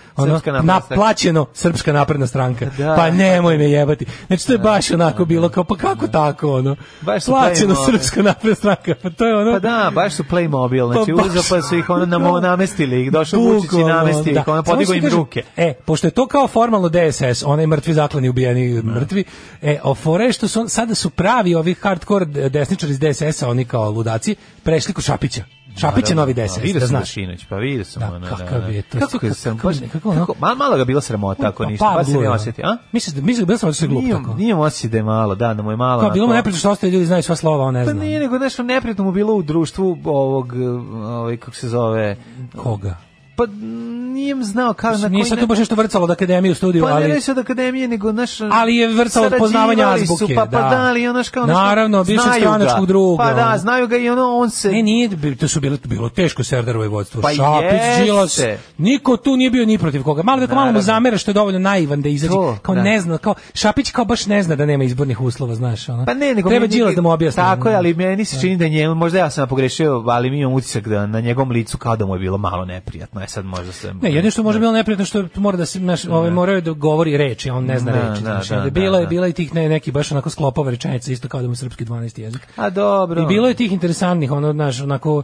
E: faktura, ono,
F: Srpska napredna stranka.
E: naplaćeno Srpska napredna stranka.
F: Da.
E: Pa nemoj me jebati. Znači, to je baš onako bilo kao, pa kako tako, ono?
F: Baš su
E: Plaćeno Plaćeno
F: Playmobil.
E: srpska napredna stranka. Pa to je ono...
F: Pa da, baš su Playmobil, znači
E: baš-
F: uzeo pa su ih ono namo, namestili, ih došao
E: Bukvalno,
F: Vučić i namestio ih, ono
E: Samo
F: podigo
E: što
F: im
E: kažem,
F: ruke.
E: E, pošto je to kao formalno DSS, onaj mrtvi zaklani ubijeni mrtvi, e, o fore je što su, on- sada su pravi ovi hardcore desničari iz DSS-a, oni kao ludaci, prešli kod Šapića. Šapić je novi DSS,
F: Vidio
E: da
F: sam
E: znaš.
F: Dašinović, pa vidio sam. ono, da,
E: kakav
F: da.
E: je to,
F: Kako,
E: kako-
F: sam,
E: kako-
F: baš,
E: kako ono-
F: kako- ma- malo ga bila sramota ako
E: Pa,
F: ništa,
E: pa,
F: pa se ne
E: glupo.
F: osjeti. A?
E: Misliš da mislim da sam se glup
F: Nijem,
E: tako.
F: nijem Pa osjećaj da je malo, da, da mu je malo.
E: Kao
F: na
E: bilo mu
F: to.
E: neprijatno što ostali ljudi znaju sva slova, on ne
F: Pa
E: zna.
F: nije, nego nešto neprijatno mu bilo u društvu ovog, ovaj, kako se zove...
E: Koga?
F: Pa nijem znao kako... na
E: Nije
F: koji
E: sad
F: na-
E: tu baš nešto vrcalo od akademije u studiju,
F: Pa ne
E: ali...
F: reći od akademije, nego naš...
E: Ali je vrcalo od poznavanja
F: sarađivali su,
E: azbuke,
F: Pa, pa
E: da.
F: da, ali ono što... ono što-
E: Naravno, bivšeg
F: znaju ga.
E: stranačkog druga,
F: Pa da,
E: ono.
F: znaju ga i ono, on se...
E: Ne, nije, bi- to su bilo, bilo teško Serdarovo vodstvo.
F: Pa
E: Šapić,
F: jeste.
E: Đilas, niko tu nije bio ni protiv koga. Malo da malo mu
F: Naravno.
E: zamera što je dovoljno naivan da izađe.
F: To,
E: kao
F: da.
E: ne zna, kao Šapić kao baš ne zna da nema izbornih uslova, znaš, ono.
F: Pa ne, nego
E: Treba
F: meni-
E: Đilas da mu objasni. ono.
F: Tako je, ali meni se čini da njemu, možda ja sam pogrešio, ali mi imam utisak da na njegovom licu kao da mu je bilo malo neprijatno. E sad možda sam...
E: Ne, jedino što može bilo neprijatno što mora da se naš ovaj moraju da govori reči, a on ne zna
F: Da,
E: reči.
F: da,
E: znaš,
F: da,
E: onda je
F: da,
E: bila je
F: da.
E: bila i tih ne, neki baš onako sklopova rečenica isto kao da mu je srpski 12 jezik.
F: A dobro.
E: I bilo je tih interesantnih, ono, znaš, onako,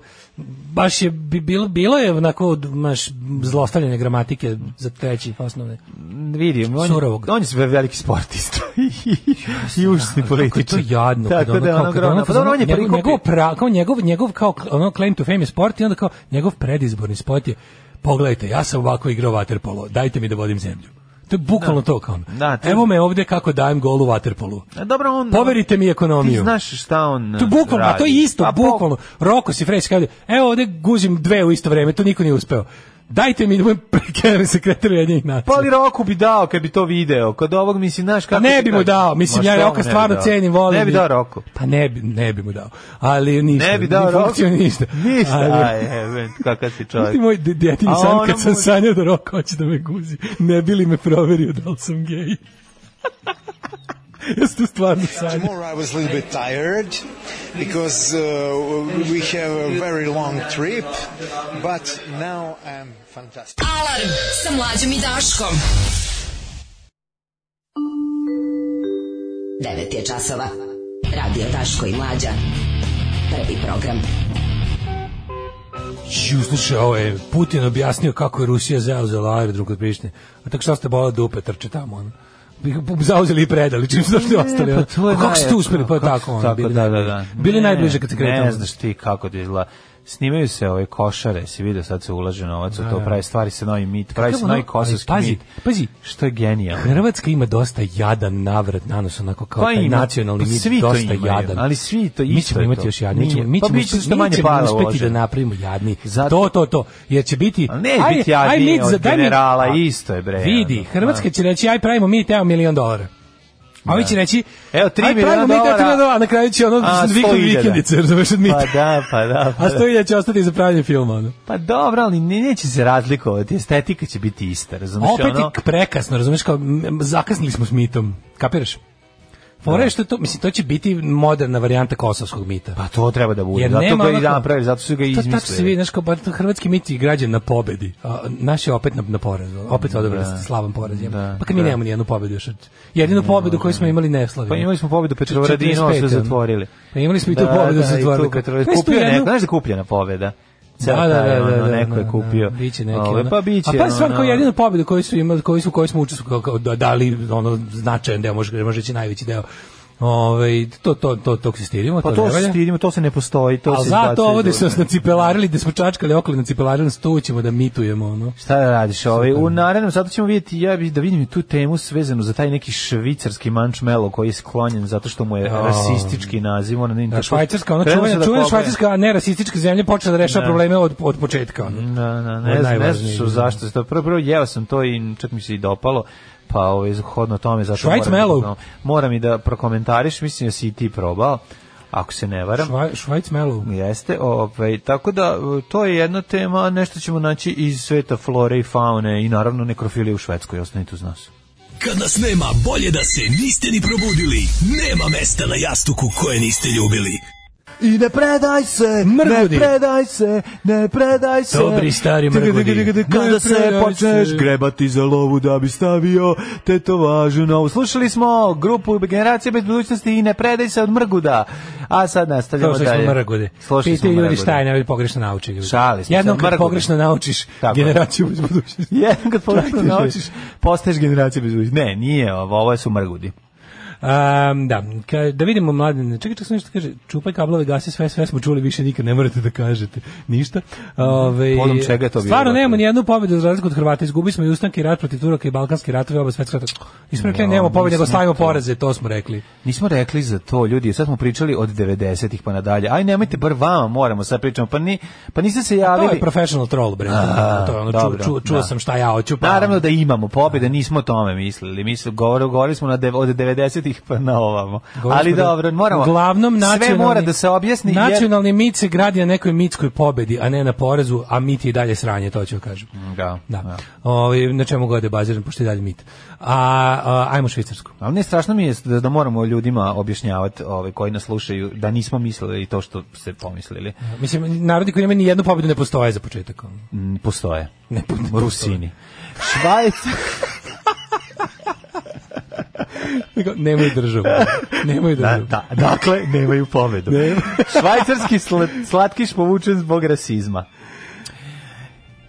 E: baš je, bi- bilo, bilo je onako, znaš, zlostavljanje gramatike za treći osnovne.
F: Vidim, on,
E: Surovog.
F: on je sve veliki sportista i, i užasni političar.
E: Kako je to jadno. kad
F: Tako
E: ono,
F: da,
E: kao, kad
F: ono, grozno.
E: ono,
F: Pa dobro, on je
E: njegov-
F: prikupio-
E: njegov pra- kao njegov, njegov kao ono claim to fame je sport i onda kao njegov predizborni sport je pogledajte, ja sam ovako igrao vaterpolo, dajte mi da vodim zemlju. To je bukvalno
F: Da.
E: to kao ono.
F: Da, to je-
E: Evo me ovde kako dajem gol u vaterpolu.
F: A Pa dobro, on...
E: Poverite mi ekonomiju.
F: Ti znaš šta on
E: To je bukvalno, a
F: radi.
E: to je isto,
F: Pa,
E: bukvalno. Roko si Freć kaže, evo ovde guzim dve u isto vreme, to niko nije uspeo. Dajte mi da budem generalni sekretar jednih nacija.
F: Pa ali Roku bi dao kad bi to video. Kod ovog, mislim, znaš
E: Pa
F: kako...
E: ne
F: ti
E: bi mu
F: kažem.
E: dao, mislim
F: Ma
E: ja
F: što mu
E: Roka
F: ne bi
E: stvarno
F: dao?
E: cenim, volim.
F: Ne bi dao Roku.
E: Pa ne bi, ne bi mu dao. Ali ništa.
F: Ne bi
E: ni
F: dao Roku.
E: funkciju, ništa.
F: Ništa,
E: Ali-
F: aj, evo, kakav si čovjek.
E: Isti moj de- djetini
F: A
E: san
F: ono
E: kad sam
F: mu-
E: sanjao da Roko hoće da me guzi. Ne bi li me proverio da li sam gej. Jeste stvarno sanjao.
O: Tomorrow I was a little bit tired because uh, we have a very long trip, but now I'm fantastic.
D: Alarm sa mlađom i Daškom.
M: 9 je časova. Radio Daško i Mlađa. Prvi program.
E: Ju, slušaj, ovo je ovaj, Putin objasnio kako je Rusija zauzela aerodrom kod Prištine. A tako šta ste bola dupe, trče tamo, ono. Bi ga Zauzeli i predali, čim su došli
F: Ne,
E: ostali. ono.
F: Pa to je
E: A kako ste
F: najjače,
E: uspeli, pa
F: kako
E: tako,
F: su
E: ono,
F: tako,
E: bili,
F: da, da,
E: najbliže.
F: da.
E: bili
F: Ne,
E: najbliže kad se kretamo.
F: Ne znaš ti kako to izgleda. Snimaju se ove košare, si vidio, sad se ulaže novac u
E: Da,
F: to,
E: da.
F: pravi stvari se novi mit, pravi
E: Kakav
F: se
E: ono-
F: novi kosovski
E: ali pazi,
F: mit.
E: pazi.
F: Što je genijalno.
E: Hrvatska ima dosta jadan navrat nanos, onako kao
F: Pa
E: taj
F: ima,
E: nacionalni
F: pa
E: mit,
F: svi to
E: dosta
F: imaju,
E: jadan.
F: ali svi to
E: Mi
F: isto
E: ćemo
F: je
E: imati
F: to.
E: još jadni, mi
F: Nije.
E: ćemo, mi
F: Pa
E: ćemo,
F: bit će
E: mi
F: što manje
E: ćemo
F: para
E: uspeti
F: uloženo.
E: da napravimo jadni.
F: Zato-
E: To, to, to. Jer će biti...
F: Ali neće biti jadniji
E: mit
F: od
E: daj mi-
F: generala,
E: A,
F: isto je, bre,
E: Vidi,
F: ono,
E: Hrvatska
F: da.
E: će reći, aj pravimo mit, evo milion dolara. A ovi će reći,
F: Evo, tri
E: aj,
F: miliona
E: pravimo mit, evo
F: dolara.
E: tri miliona dolara, a na kraju će ono
F: A,
E: vikend
F: 100.000.
E: vikendice, razumeš, od mita.
F: Pa da, pa da. Pa
E: A
F: da.
E: sto ilja će ostati za pravljanje filma, ono.
F: Pa dobro, ali ne- neće se razlikovati, estetika će biti ista, razumiješ?
E: Opet
F: ono,
E: je prekasno, razumeš, kao m, zakasnili smo s mitom. Kapiraš? Fora je što to, mislim, to će biti moderna varijanta kosovskog mita.
F: Pa to treba da bude,
E: Jer
F: zato
E: nema
F: ga i
E: onako-
F: napravili, zato su ga i
E: To tako se vidi,
F: izmislili.
E: znaš, kao bar to hrvatski mit je građen na pobedi. A, naš je opet na, na porazu. Opet odobrali
F: Da.
E: ste slavan poraz. jebote.
F: Da,
E: pa kad mi
F: da.
E: nemamo nijednu pobedu još. od- Jedinu pobedu koju smo imali ne slavimo.
F: Pa imali smo pobedu Petrovaradinu, ali
E: 45,
F: sve
E: ono.
F: zatvorili.
E: Pa imali smo i tu
F: Da,
E: pobedu
F: da,
E: sa
F: i tu
E: zatvornikom.
F: Petrovaradinu.
E: Pa isto
F: Kupio je
E: jednu-
F: neko, znaš da je kupljena pobeda? Ceo
E: da,
F: taj,
E: da,
F: ono,
E: da, da,
F: neko je
E: da,
F: kupio.
E: Da, biće neki,
F: Ove,
E: ono.
F: pa biće.
E: A pa je stvar
F: ono,
E: kao jedinu pobedu koju su imali, koju su koju smo učestvovali kao da dali ono značajan deo, može može reći najveći deo. Ovaj to to to to se stirimo,
F: Pa
E: to
F: to
E: ne
F: se
E: valja.
F: stidimo, to se ne postoji, to
E: A
F: se izbacuje.
E: zato ovde
F: iz
E: su nas
F: urna.
E: nacipelarili, da smo čačkali okolo nacipelarili, nas tu ćemo da mitujemo, ono.
F: Šta da radiš? Ovaj, u narednom sada ćemo vidjeti, ja bih da vidim i tu temu svezanu za taj neki švicarski mančmelo koji je sklonjen zato što mu je rasistički naziv. Ono,
E: Da, švajcarska, ona čuvena, čuvena švajcarska nerasistička zemlja počela da rešava
F: Da. Mm.
E: probleme od, od početka. Ono. Od
F: Da, da, ne znam, ne
E: najvažnijih.
F: znam što- zašto se to. Prvo, prvo jeo sam to i čak mi se i dopalo, pa ovaj, hodno tome, zato
E: Švajc
F: moram,
E: mellow.
F: da- moram i da prokomentariš, mislim da si i ti probao, ako se ne varam.
E: Švaj, Švajc Melo.
F: Jeste, ovaj, tako da e, to je jedna tema, a nešto ćemo naći iz sveta flore i faune i naravno nekrofilije u Švedskoj, ostanite uz nas.
P: Kad nas nema, bolje da se niste ni probudili. Nema mesta na jastuku koje niste ljubili.
F: I ne predaj se,
E: Mrgudi.
F: ne predaj se, ne predaj se.
E: Dobri stari
F: Tika, tika,
E: mrgudi.
F: tika, tika,
E: Ne
F: Kada se
E: predaj
F: počneš
E: se.
F: grebati za lovu da bi stavio tetovažu na ovu. Slušali smo grupu Generacije bez budućnosti i ne predaj se od Mrguda. A sad nastavljamo
E: Slušali
F: dalje.
E: smo mrgude.
F: Slušali smo
E: Piti ljudi
F: Mrgude.
E: šta je najbolje pogrešno nauči ljudi.
F: Šali smo se,
E: Jednom kad
F: mrgude.
E: pogrešno naučiš
F: Tako je.
E: generaciju bez budućnosti.
F: Jednom kad pogrešno
E: Praktično.
F: naučiš, postaješ generacija bez budućnosti. Ne, nije ovo, ovo su Mrgudi.
E: Um, da, Ka- da vidimo mladen. Čekaj, čekaj, sam nešto kaže. Čupaj kablove, gasi sve, sve smo čuli, više nikad ne morate da kažete ništa. Ove,
F: Povodom čega je to bilo?
E: Stvarno nemamo ni jednu pobedu za razliku od Hrvata. Izgubili smo i ustanke i rat protiv Turaka i balkanski ratovi, oba svetska. Ispravljamo,
F: Ja,
E: nemamo pobede, nego
F: nismo
E: slavimo
F: to.
E: poraze, to smo rekli.
F: Nismo rekli za to, ljudi, sad smo pričali od 90-ih pa nadalje. Aj, nemojte, bar vama moramo sad pričamo, pa, ni, pa niste se javili.
E: To je professional troll, bre.
F: A,
E: to je ono,
F: dobro,
E: ču, ču, čuo
F: da.
E: sam šta ja hoću. Pa,
F: Naravno da imamo pobjede, nismo o tome mislili. Mi su, govor, govorili smo na dev- od 90-ih pa na ovamo.
E: Govorili
F: Ali
E: smo da-
F: dobro, moramo.
E: Uglavnom
F: sve
E: nacionalni
F: mora da se objasni. Jer,
E: Nacionalni mit se gradi na nekoj mitskoj pobedi, a ne na porezu, a mit je i dalje sranje, to ću kažem.
F: da,
E: Da. Ovaj, na čemu god je baziran, pošto je dalje mit. A, a ajmo Švicarsku.
F: Ali ne strašno mi je da, da moramo ljudima objašnjavati ovaj, koji nas slušaju da nismo mislili to što ste pomislili.
E: Mislim, narodi koji nemaju ni jednu pobedu ne postoje za početak. ono.
F: Mm, Postoje.
E: Ne, po- ne
F: Rusini. Švajc.
E: Nego, Nemaju državu. Nemaju
F: Da,
E: državu.
F: da, dakle, nemaju pobedu. Švajcarski sl- slatkiš povučen zbog rasizma.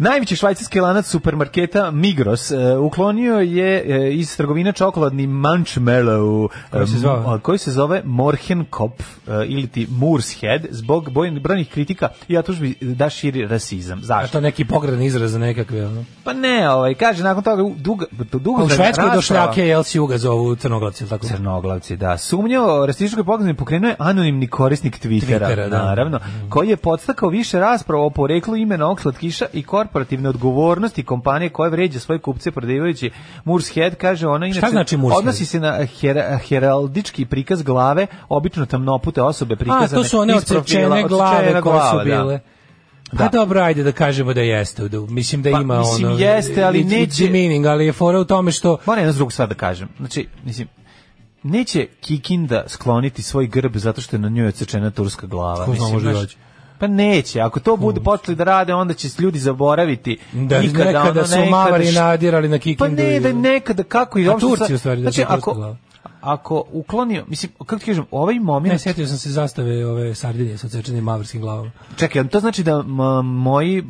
F: Najveći švajcarski lanac supermarketa Migros e, uklonio je e, iz trgovine čokoladni Munchmallow
E: Koji se
F: e,
E: zove?
F: m- koji se zove Morhenkopf e, ili ti Moorshead zbog boj- brojnih kritika i atužbi da širi rasizam.
E: A
F: Zašto?
E: to neki pogredan izraz za nekakve. Ono.
F: Pa ne, ovaj, kaže, nakon toga dugo dugo
E: A u Švedskoj do šljake jel si uga zovu crnoglavci, ili tako?
F: Crnoglavci, da. Sumnja o rasističkoj pogledu pokrenuo je anonimni korisnik Twittera,
E: Twittera, da. Mhm.
F: naravno, koji je podstakao više rasprava o poreklu imena ovog slatkiša i korporativne odgovornosti kompanije koja vređa svoje kupce prodajući Moorshead, kaže ona inače.
E: znači Moorshead?
F: Odnosi se na hera- heraldički prikaz glave, obično tamnopute osobe
E: A,
F: prikazane.
E: to su one
F: iz profila,
E: odsečene glave
F: odsečena
E: koje
F: glava,
E: su
F: da.
E: bile. Pa dobro, ajde da kažemo da jeste. da- mislim da
F: Pa,
E: ima
F: mislim,
E: ono...
F: jeste, ali
E: it's- it's
F: neće-
E: meaning, ali je fora u tome što...
F: Moram jednu drugu stvar da kažem. Znači, mislim, neće Kikinda skloniti svoj grb zato što je na njoj odsečena turska glava.
E: Ko zna,
F: Mislim,
E: možda i
F: znaš,
E: hoće.
F: Pa neće, ako to budu počeli da rade, onda će ljudi zaboraviti.
E: Da,
F: Nikada,
E: nekada,
F: ono,
E: su
F: nekada
E: mavari
F: š-
E: nadirali na
F: Pa
E: Kikindu.
F: ne,
E: i-
F: da nekada, kako i
E: A
F: uopšte
E: Turci
F: sad-
E: u stvari, da
F: znači,
E: su turska
F: ako,
E: glava.
F: ako uklonio, mislim, kako ti kažem, ovaj
E: Ne,
F: moment
E: sjetio sam se zastave ove sardinije sa odsečenim mavarskim glavama.
F: Čekaj, to znači da m, moji m,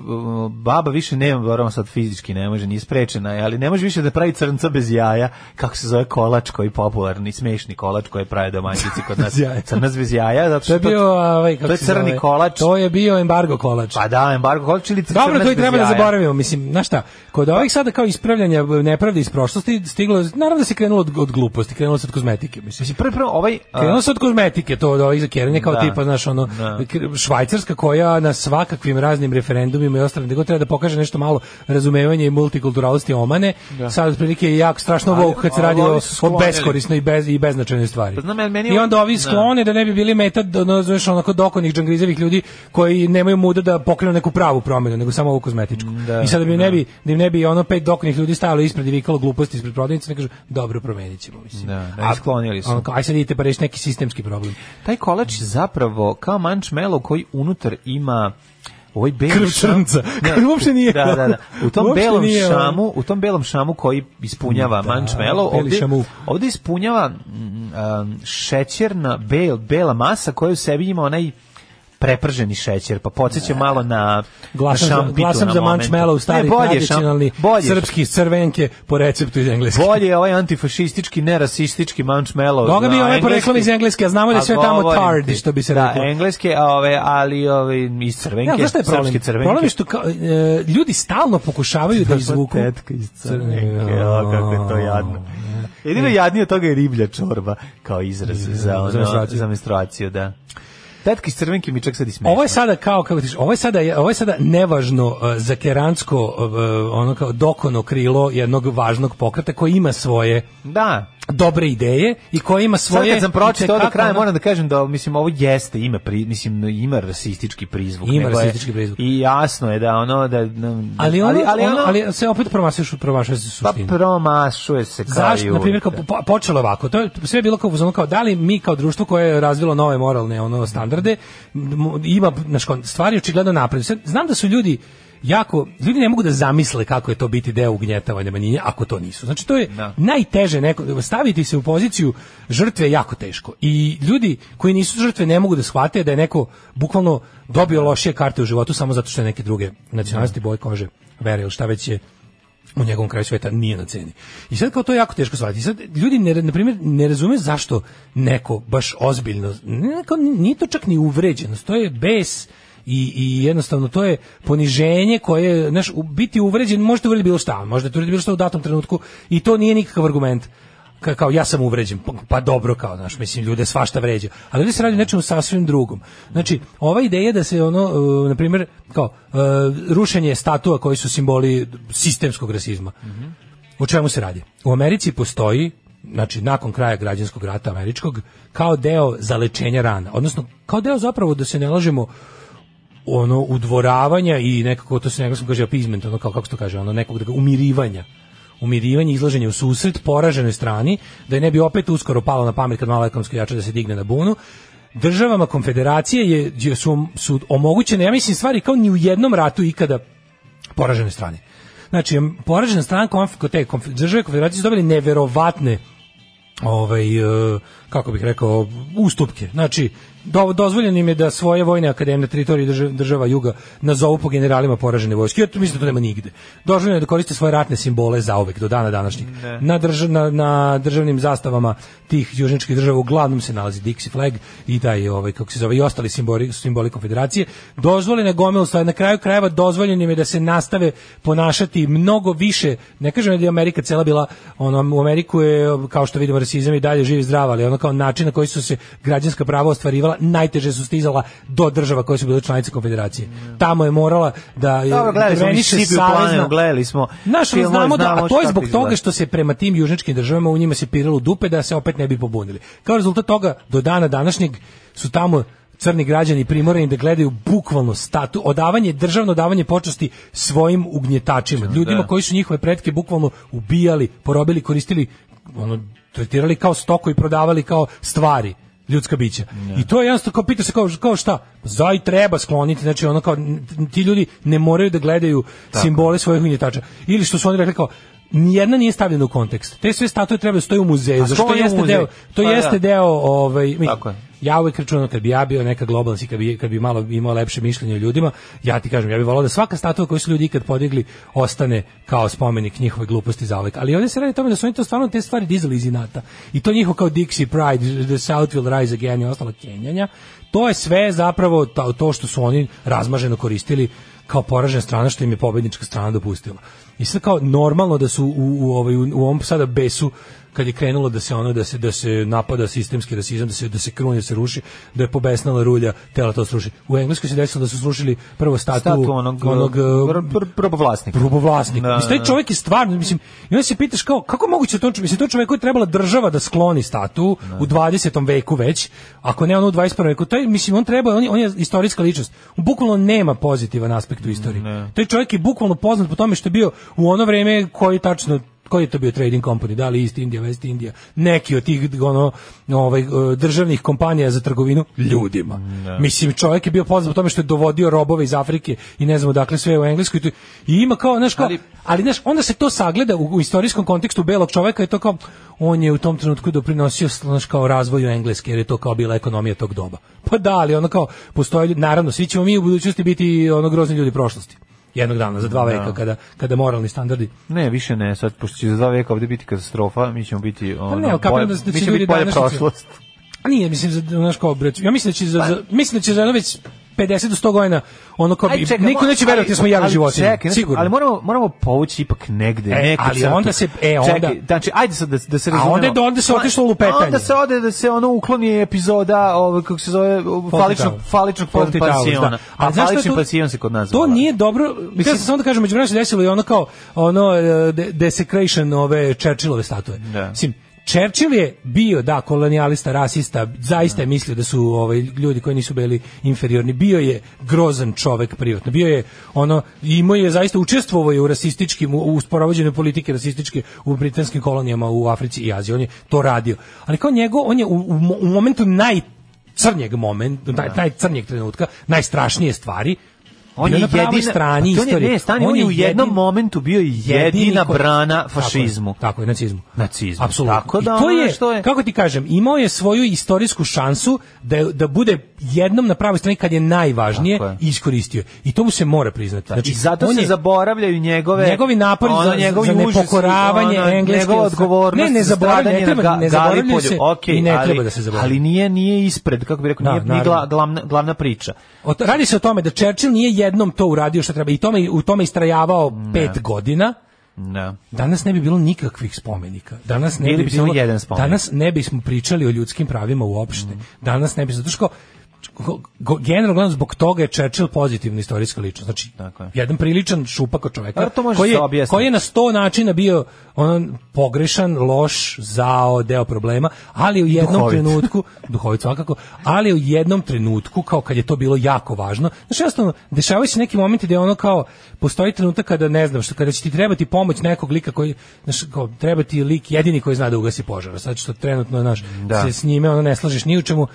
F: baba više nema, naravno sad fizički ne može, nije sprečena, je, ali ne može više da pravi crnca bez jaja, kako se zove kolač koji je popularni, smešni kolač koji pravi domaćici kod nas.
E: Bez jaja.
F: Crnac bez jaja, zato
E: To
F: što
E: je bio, ovaj, kako
F: to je
E: se zove,
F: crni kolač.
E: To je bio embargo kolač.
F: Pa da, embargo kolač ili crnac
E: Dobro, to i
F: bez
E: treba da
F: jaja.
E: zaboravimo. Mislim, znaš šta, kod ovih sada kao ispravljanja nepravde iz prošlosti, stiglo, je- naravno da se krenulo od, od gluposti, krenulo se od kozmetike. Mislim,
F: Mislim, prvo, prvo, ovaj... a,
E: Krenulo se od kozmetike, to od ovih za keranje, kao
F: Da.
E: tipa, znaš, ono,
F: Da.
E: k- švajcarska koja na svakakvim raznim referendumima i ostalim, nego treba da pokaže nešto malo razumevanja i multikulturalnosti omane, sad otprilike je jako strašno
F: Ali-
E: vok kad se
F: ali
E: radi o,
F: ovi su
E: o
F: sklonili.
E: beskorisnoj i, bez, i beznačajnoj stvari.
F: Pa znam, ali meni
E: I
F: on-
E: onda ovi
F: da.
E: sklone da ne bi bili meta, da, ono, znaš, onako dokonih džangrizevih ljudi koji nemaju muda da pokrenu neku pravu promjenu, nego samo ovu kozmetičku. I sada bi ne bi, da im ne bi ono pet dokonih ljudi stajalo ispred i vikalo gluposti ispred prodavnice, ne kažu, dobro, promenit ćemo, mislim.
F: Da, da,
E: A-
F: isklonili su.
E: ono kao, aj sad idite pa rešite neki sistemski problem.
F: taj kolač je zapravo kao mančmelo koji unutar ima ovaj beli
E: Krv
F: šam-
E: crnca,
F: Ne,
E: koji uopšte nije-
F: Da, da, da. U tom
E: uopšte
F: belom
E: nije, ono-
F: šamu, u tom belom šamu koji ispunjava mančmelo,
E: beli
F: ovdje,
E: šamu.
F: ovdje ispunjava mm, um, šećerna bel, bela masa koja u sebi ima onaj preprženi šećer, pa podsjeća malo na
E: Glasam,
F: na
E: za,
F: šampitu
E: glasam
F: na
E: za
F: momentu.
E: mančmela u
F: Ne,
E: stari
F: bolje je šam-
E: tradicionalni
F: bolje je
E: srpski crvenke po receptu iz engleske.
F: Bolje je ovaj antifašistički, nerasistički marshmallow.
E: Boga
F: na
E: bi ovaj
F: engleski.
E: poreklom iz engleske, a znamo da je
F: A
E: sve tamo
F: govorim
E: tardi,
F: ti.
E: što bi se
F: da,
E: reklo.
F: engleske, a ove, ali ove, iz crvenke,
E: Ne, ali znaš šta je problem?
F: srpske crvenke.
E: Problem je što kao, e, ljudi stalno pokušavaju da izvuku...
F: Pa tetka iz crvenke, a, kako je to jadno. Jedino jadnije od toga je riblja čorba, kao izraz za, ono,
E: za menstruaciju.
F: za menstruaciju, da. Tetka iz crvenke mi čak sad i smešno.
E: Ovo je sada kao kako tiš, ovo je sada ovo je sada nevažno e, za keransko e, ono kao dokono krilo jednog važnog pokreta koji ima svoje
F: Da.
E: dobre ideje i koji ima
F: Sad
E: svoje
F: kad sam pročitao do
E: itekako
F: kraja,
E: ono-
F: moram da kažem da mislim ovo jeste ima pri, mislim ima rasistički prizvuk,
E: Ima
F: nego je-
E: rasistički prizvuk.
F: I jasno je da ono da, da
E: ali ono, ali,
F: ono-
E: ali se opet promašuje promašuje se
F: Pa
E: suštinu.
F: promašuje se kao Pa i
E: Zašto, na
F: uvijek.
E: primjer, kao, po- počelo je ovako, to je sve je bilo kao, u fazonu kao da li mi kao društvo koje je razvilo nove moralne ono, standarde, m- ima, znaš, kao, stvari očigledno napreduju. Sad, znam da su ljudi jako, ljudi ne mogu da zamisle kako je to biti deo ugnjetavanja manjine ako to nisu. Znači to je najteže neko, staviti se u poziciju žrtve je jako teško. I ljudi koji nisu žrtve ne mogu da shvate da je neko bukvalno dobio lošije karte u životu samo zato što je neke druge nacionalnosti, boje kože, vere ili šta već je u njegovom kraju sveta nije na ceni. I sad kao to je jako teško shvatiti. I Sad ljudi ne, na primjer ne razume zašto neko baš ozbiljno, ne, kao, nije to čak ni uvređenost, to je bes i, i jednostavno to je poniženje koje, znaš, u- biti uvređen možete uvredi bilo šta, možete uvredi bilo šta u datom trenutku i to nije nikakav argument Ka- kao ja sam uvređen, pa, pa dobro kao, znaš, mislim, ljude svašta vređa, ali ovdje se radi o nečemu sasvim drugom. Znači, ova ideja da se ono, e, na primjer, kao, e, rušenje statua koji su simboli sistemskog rasizma, o čemu se radi? U Americi postoji, znači nakon kraja građanskog rata američkog, kao deo zalečenja rana, odnosno kao deo zapravo da se ne lažemo ono udvoravanja i nekako to se engleskom kaže appeasement, ono kao kako se to kaže, ono nekog da ga- umirivanja umirivanje, izlaženje u susret poraženoj strani, da je ne bi opet uskoro palo na pamet kad malo ekonomski jače da se digne na bunu. Državama konfederacije je, je- su, su omogućene, ja mislim, stvari kao ni u jednom ratu ikada poražene strane. Znači, poražena strana konf, kod te konf, države konfederacije su dobili neverovatne ovaj, e, kako bih rekao, ustupke. Znači, do, dozvoljeno im je da svoje vojne akademije na teritoriji država, država Juga nazovu po generalima poražene vojske. Ja to mislim da to nema nigde. Dozvoljeno je da koriste svoje ratne simbole zaovek do dana današnjeg.
F: Ne.
E: Na, drž- na, na državnim zastavama tih južničkih država uglavnom se nalazi Dixie flag i taj ovaj kako se zove i ostali simboli simboli konfederacije. Dozvoljeno je gomilu stvari. na kraju krajeva dozvoljeno im je da se nastave ponašati mnogo više. Ne kažem da je Amerika cela bila ono u Ameriku je kao što vidimo rasizam i dalje živi zdrav, ali ono kao način na koji su se građanska prava ostvarivala najteže su stizala do država koje su bile članice konfederacije. Tamo je morala da
F: Dobro, gledali smo
E: interveniše
F: Mississippi u planinu,
E: savezna-
F: gledali smo
E: Znaš, ali
F: filmove,
E: znamo da,
F: ovaj znamo
E: a to je
F: kako
E: zbog
F: izgleda.
E: toga što se prema tim južničkim državama u njima se piralo u dupe da se opet ne bi pobunili. Kao rezultat toga, do dana današnjeg su tamo crni građani primorani da gledaju bukvalno statu, odavanje, državno davanje počasti svojim ugnjetačima, ljudima
F: Da.
E: koji su njihove pretke bukvalno ubijali, porobili, koristili, ono, tretirali kao stoku i prodavali kao stvari ljudska bića. I to je jednostavno kao pita se kao, kao šta, Pa zaj treba skloniti, znači ono kao n- ti ljudi ne moraju da gledaju simbole svojih ugnjetača. Ili što su oni rekli kao nijedna nije stavljena u kontekst. Te sve statue treba da stoje u muzeju.
F: A
E: Zašto to
F: stoje u
E: jeste
F: muzeju.
E: deo? To
F: Pa da.
E: jeste deo ovaj mi-
F: Tako je.
E: ja uvek računam kad bi ja bio neka globalna kad bi, kad bi malo imao lepše mišljenje o ljudima, ja ti kažem, ja bih volao da svaka statua koju su ljudi ikad podigli ostane kao spomenik njihove gluposti zauvek. Ali ovdje se radi o tome da su oni to stvarno te stvari dizali iz inata. I to njihov kao Dixie Pride, The South Will Rise Again i ostalo kenjanja, to je sve zapravo ta- to što su oni razmaženo koristili kao poražena strana što im je pobednička strana dopustila. I sad kao normalno da su u, u, ovaj, u, u ovom sada besu kad je krenulo da se ono da se da se napada sistemski rasizam, da se da se kruni, da se ruši, da je pobesnala rulja, tela to sruši. U Engleskoj se desilo da su srušili prvo statu,
F: Statu onog,
E: onog eh, e,
F: pr- pr- probovlasnika.
E: probovlasnika.
F: Da,
E: Mislim, taj
F: da.
E: čovjek je stvarno, mislim, i onda se pitaš kao, kako je moguće to, mislim, to čovjeku je trebala država da skloni statu u 20. veku već, ako ne ono u 21. veku, to je, mislim, on treba, on je, on je istorijska ličnost. On bukvalno nema pozitivan aspekt u istoriji. Taj čovjek je bukvalno poznat po tome što je bio u ono vrijeme koji tačno koji je to bio trading company, da li East India, West India, neki od tih ono, ovaj, eh, državnih kompanija za trgovinu ljudima. Mislim, čovjek je bio poznat po tome što je dovodio robove iz Afrike i ne znam odakle sve u Engleskoj. I ima kao, znaš, kao, ali, znaš, onda se to sagleda u, u istorijskom kontekstu belog čovjeka je to kao, on je u tom trenutku doprinosio znaš, kao razvoju Engleske, jer je to kao bila ekonomija tog doba. Pa da, ali ono kao, postoje, ljudi- naravno, svi ćemo mi u budućnosti biti ono grozni ljudi prošlosti. Jednog dana, za dva
F: Da.
E: veka, kada, kada moralni standardi
F: Ne, više ne, sad, pošto će za dva veka ovdje biti katastrofa, mi ćemo biti, ono,
E: Pa ne, ali kapiram
F: bolje,
E: da- da će
F: mi ćemo
E: ljudi
F: biti bolje
E: današnjice-
F: prošlost.
E: A nije, mislim, za, znaš kao, bre, ja mislim da će za,
F: Pa-
E: za- mislim da će za jedno već 50 do 100 godina, ono kao,
F: Aj,
E: bi-
F: čekaj,
E: niko
F: mo-
E: neće verovati
F: ali-
E: da smo javi
F: ali
E: životinje,
F: čekaj, znači,
E: sigurno.
F: Ali moramo, moramo povući ipak negde.
E: E,
F: neku
E: ali
F: crtu.
E: onda se- e, onda-
F: Čekaj, znači, ajde sad da, da se
E: A
F: razumemo. Pa,
E: onda je do- onda se otišlo u lupetanje.
F: A Onda se ode da se ono ukloni epizoda, ovo, kako se zove, o,
E: Fawlty
F: faličnog,
E: Towers.
F: faličnog
E: Fawlty Towers, da.
F: pansiona. A
E: Ali znaš šta je
F: falični
E: tu-
F: pansion se kod nas
E: To nije dobro. Mislim sam samo da kažem, međuvremenu se desilo i ono kao ono e, de- desecration ove Churchillove statue. Mislim, Churchill je bio, da, kolonijalista, rasista, zaista je mislio da su ovaj, ljudi koji nisu bili inferiorni. Bio je grozan čovek privatno. Bio je ono, imao je zaista učestvovao je u rasističkim, u, u sprovođenju politike rasističke u britanskim kolonijama u Africi i Aziji. On je to radio. Ali kao njegov, on je u, u, mo- u momentu naj crnjeg momenta, taj, taj crnjeg trenutka, najstrašnije stvari,
F: On
E: bio
F: je
E: na pravoj
F: jedina-
E: strani
F: pa to on je-
E: istorije.
F: ne, stani, on je u jednom momentu bio jedina
E: ko-
F: brana
E: Tako je,
F: fašizmu.
E: Tako je, nacizmu.
F: Nacizmu.
E: Apsolutno.
F: Tako da
E: I to
F: ono
E: je,
F: što je-
E: kako ti kažem, imao je svoju istorijsku šansu da, je- da bude jednom na pravoj strani kad je najvažnije
F: Tako je.
E: i iskoristio. je. I to mu se mora priznati. Znači,
F: I Znači, zato
E: on
F: se
E: je-
F: zaboravljaju njegove
E: njegovi napori
F: ono,
E: za,
F: njegovi
E: za
F: užasi,
E: nepokoravanje
F: ono,
E: engleske
F: njegova odgovornost
E: ne ne
F: za
E: zaboravlja ne
F: stradanje
E: treba
F: na Ga-
E: ne zaboravlja
F: Galipolju.
E: se
F: Okej,
E: i ne
F: ali-
E: treba da se zaboravlja
F: ali nije nije ispred kako bi rekao
E: Da,
F: nije, nije
E: naravno.
F: gla- glavna glavna priča
E: O, to- radi se o tome da Churchill nije jednom to uradio što treba i tome u tome istrajavao pet godina
F: ne
E: Danas ne bi bilo nikakvih spomenika. Danas ne
F: Bili
E: bi,
F: bi
E: bilo
F: samo jedan spomenik.
E: Danas ne bismo pričali o ljudskim pravima uopšte. Danas ne bi zato što go- go- generalno gledano, zbog toga je Churchill pozitivna istorijska ličnost. Znači, jedan priličan šupak od čoveka
F: Dobro, Pa, to može
E: koji je,
F: se objasniti.
E: koji je na sto načina bio on pogrešan, loš, zao, deo problema, ali u jednom
F: duhovit.
E: trenutku, duhovit svakako, ali u jednom trenutku, kao kad je to bilo jako važno, znaš, jednostavno, dešavaju se neki momenti gde ono kao, postoji trenutak kada, ne znam, što, kada će ti trebati pomoć nekog lika koji, znaš, kao, treba ti lik jedini koji zna da ugasi požar, sad što trenutno, znaš,
F: Da.
E: se s njime ono ne slažeš ni u čemu,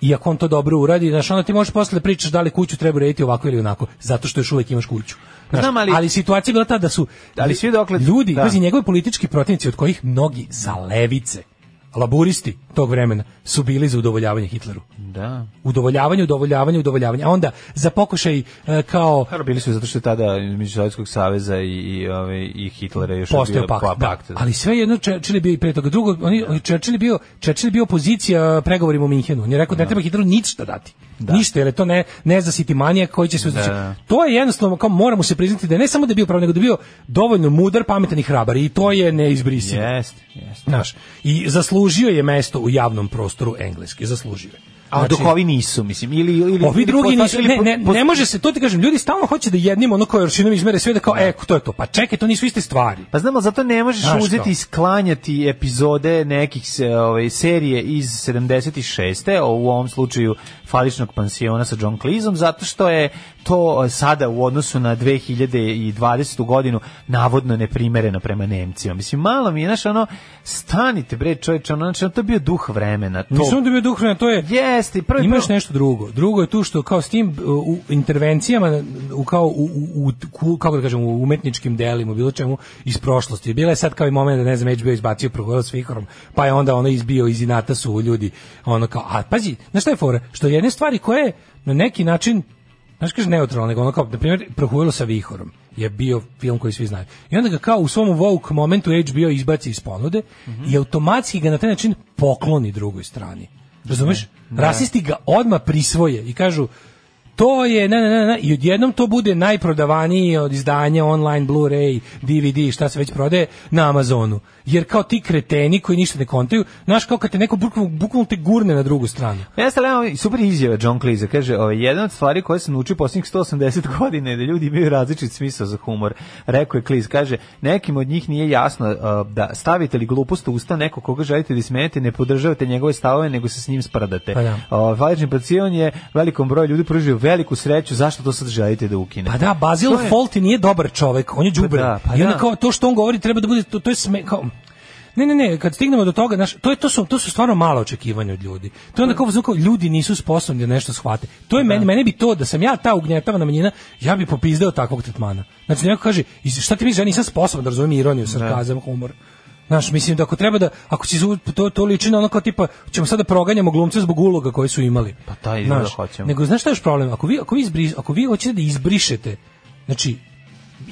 E: i ako on to dobro uradi, znaš, onda ti možeš posle da pričaš da li kuću treba urediti ovako ili onako, zato što još uvijek imaš kuću. Znaš,
F: Znam,
E: ali,
F: ali-
E: situacija je bila ta da su
F: Ali svi dokle-
E: ljudi,
F: da.
E: pazi, njegovi politički protivnici od kojih mnogi za levice, laburisti tog vremena su bili za udovoljavanje Hitleru.
F: da
E: Udovoljavanje, udovoljavanje, udovoljavanje. A onda za pokušaj e, kao
F: Dobro, Pa bili su zato što je tada između Sovjetskog saveza i i ovaj i Hitlera još je
E: postao
F: bio
E: pakt,
F: pa-
E: da.
F: pakt.
E: Ali sve jedno Churchill je bio i pre toga. Drugo, oni Churchill je bio Churchill je bio opozicija e, pregovorima u Minhenu. On je rekao da ne treba Hitleru ništa dati. Ništa, jer je to ne ne za siti manija koji će se
F: Da,
E: znači,
F: da.
E: To je jednostavno kao moramo se priznati da je ne samo da je bio pravi, nego da je bio dovoljno mudar, pametan i hrabar i to je neizbrisivo.
F: Jeste, jeste.
E: Znaš, i zaslužio je mesto u javnom prostoru engleski, zaslužio je.
F: A
E: Znači,
F: dok ovi nisu, mislim, ili ili
E: Ovi
F: ili
E: drugi
F: posta-
E: nisu,
F: ili
E: ne,
F: po-
E: ne,
F: post-
E: ne može se, to ti kažem, ljudi stalno hoće da jednim ono kao joršinom izmere sve da kao, e, to je to, pa čekaj, to nisu iste stvari.
F: Pa znamo, zato ne možeš
E: Znaš
F: uzeti
E: kao?
F: i sklanjati epizode nekih se, ovaj, serije iz 76. o, u ovom slučaju faličnog pansiona sa John Cleeseom, zato što je to eh, sada u odnosu na 2020. godinu navodno neprimereno prema Nemcima. Mislim, malo mi je, znaš, ono, stanite, bre, čovječe, ono, znači, ono, to je bio duh vremena. To,
E: Nisam da bio duh vremena, to je...
F: Jeste, i prvi
E: Imaš
F: prvo-
E: nešto drugo. Drugo je tu što kao s tim uh, u intervencijama u kao u, u, u ku- kako da kažem u umetničkim delima, u bilo čemu iz prošlosti. Bila je sad kao i moment da ne znam HBO izbacio progovor s Vihorom, pa je onda ono izbio iz inata su ljudi ono kao a pazi, znaš šta je fora? Što jedne stvari koje na neki način Znaš kaže neutralno, nego ono kao, na primjer, Prohujelo sa vihorom je bio film koji svi znaju. I onda ga kao u svom woke momentu HBO izbaci iz ponude i automatski ga na taj način pokloni drugoj strani. Razumeš? Rasisti ga odma prisvoje i kažu to je, ne, ne, ne, ne, i odjednom to bude najprodavaniji od izdanja online, Blu-ray, DVD, šta se već prodaje, na Amazonu. Jer kao ti kreteni koji ništa ne kontaju, znaš kao kad te neko bukvalno bukvalno te gurne na drugu stranu.
F: Jeste, ali evo, super izjava John Cleese, kaže, ovaj, jedna od stvari koje sam naučio posljednjih 180 godina je da ljudi imaju različit smisao za humor. Rekao je Cleese, kaže, nekim od njih nije jasno uh, da stavite li glupost u usta neko koga želite da smenete, ne podržavate njegove stavove, nego se s njim spradate.
E: Pa da.
F: Uh, Valični pacion je velikom broju ljudi pružio veliku sreću, zašto to sad želite da ukine?
E: Pa da, Basil
F: To je-
E: Fawlty nije dobar čovek, on je đubre.
F: da, pa
E: I onda
F: da.
E: kao to što on govori treba da bude to, to je sme, kao Ne, ne, ne, kad stignemo do toga, znaš, to je to su to su stvarno mala očekivanja od ljudi. To je onda
F: Pa
E: kao, kao ljudi nisu sposobni da nešto shvate. To je meni, meni bi to da sam ja ta ugnjetavana manjina, ja bi popizdeo takvog tretmana. Znači da neko kaže, "Iz- šta ti misliš, ja nisam sposoban da razumem ironiju, sarkazam, humor. Znaš, mislim da ako treba da, ako će izvu- to, to liči na ono kao tipa, ćemo sada proganjamo glumce zbog uloga koje su imali. Pa
F: taj izgleda hoćemo.
E: Nego znaš šta je još problem? Ako vi, ako vi, izbri- ako vi hoćete da izbrišete, znači,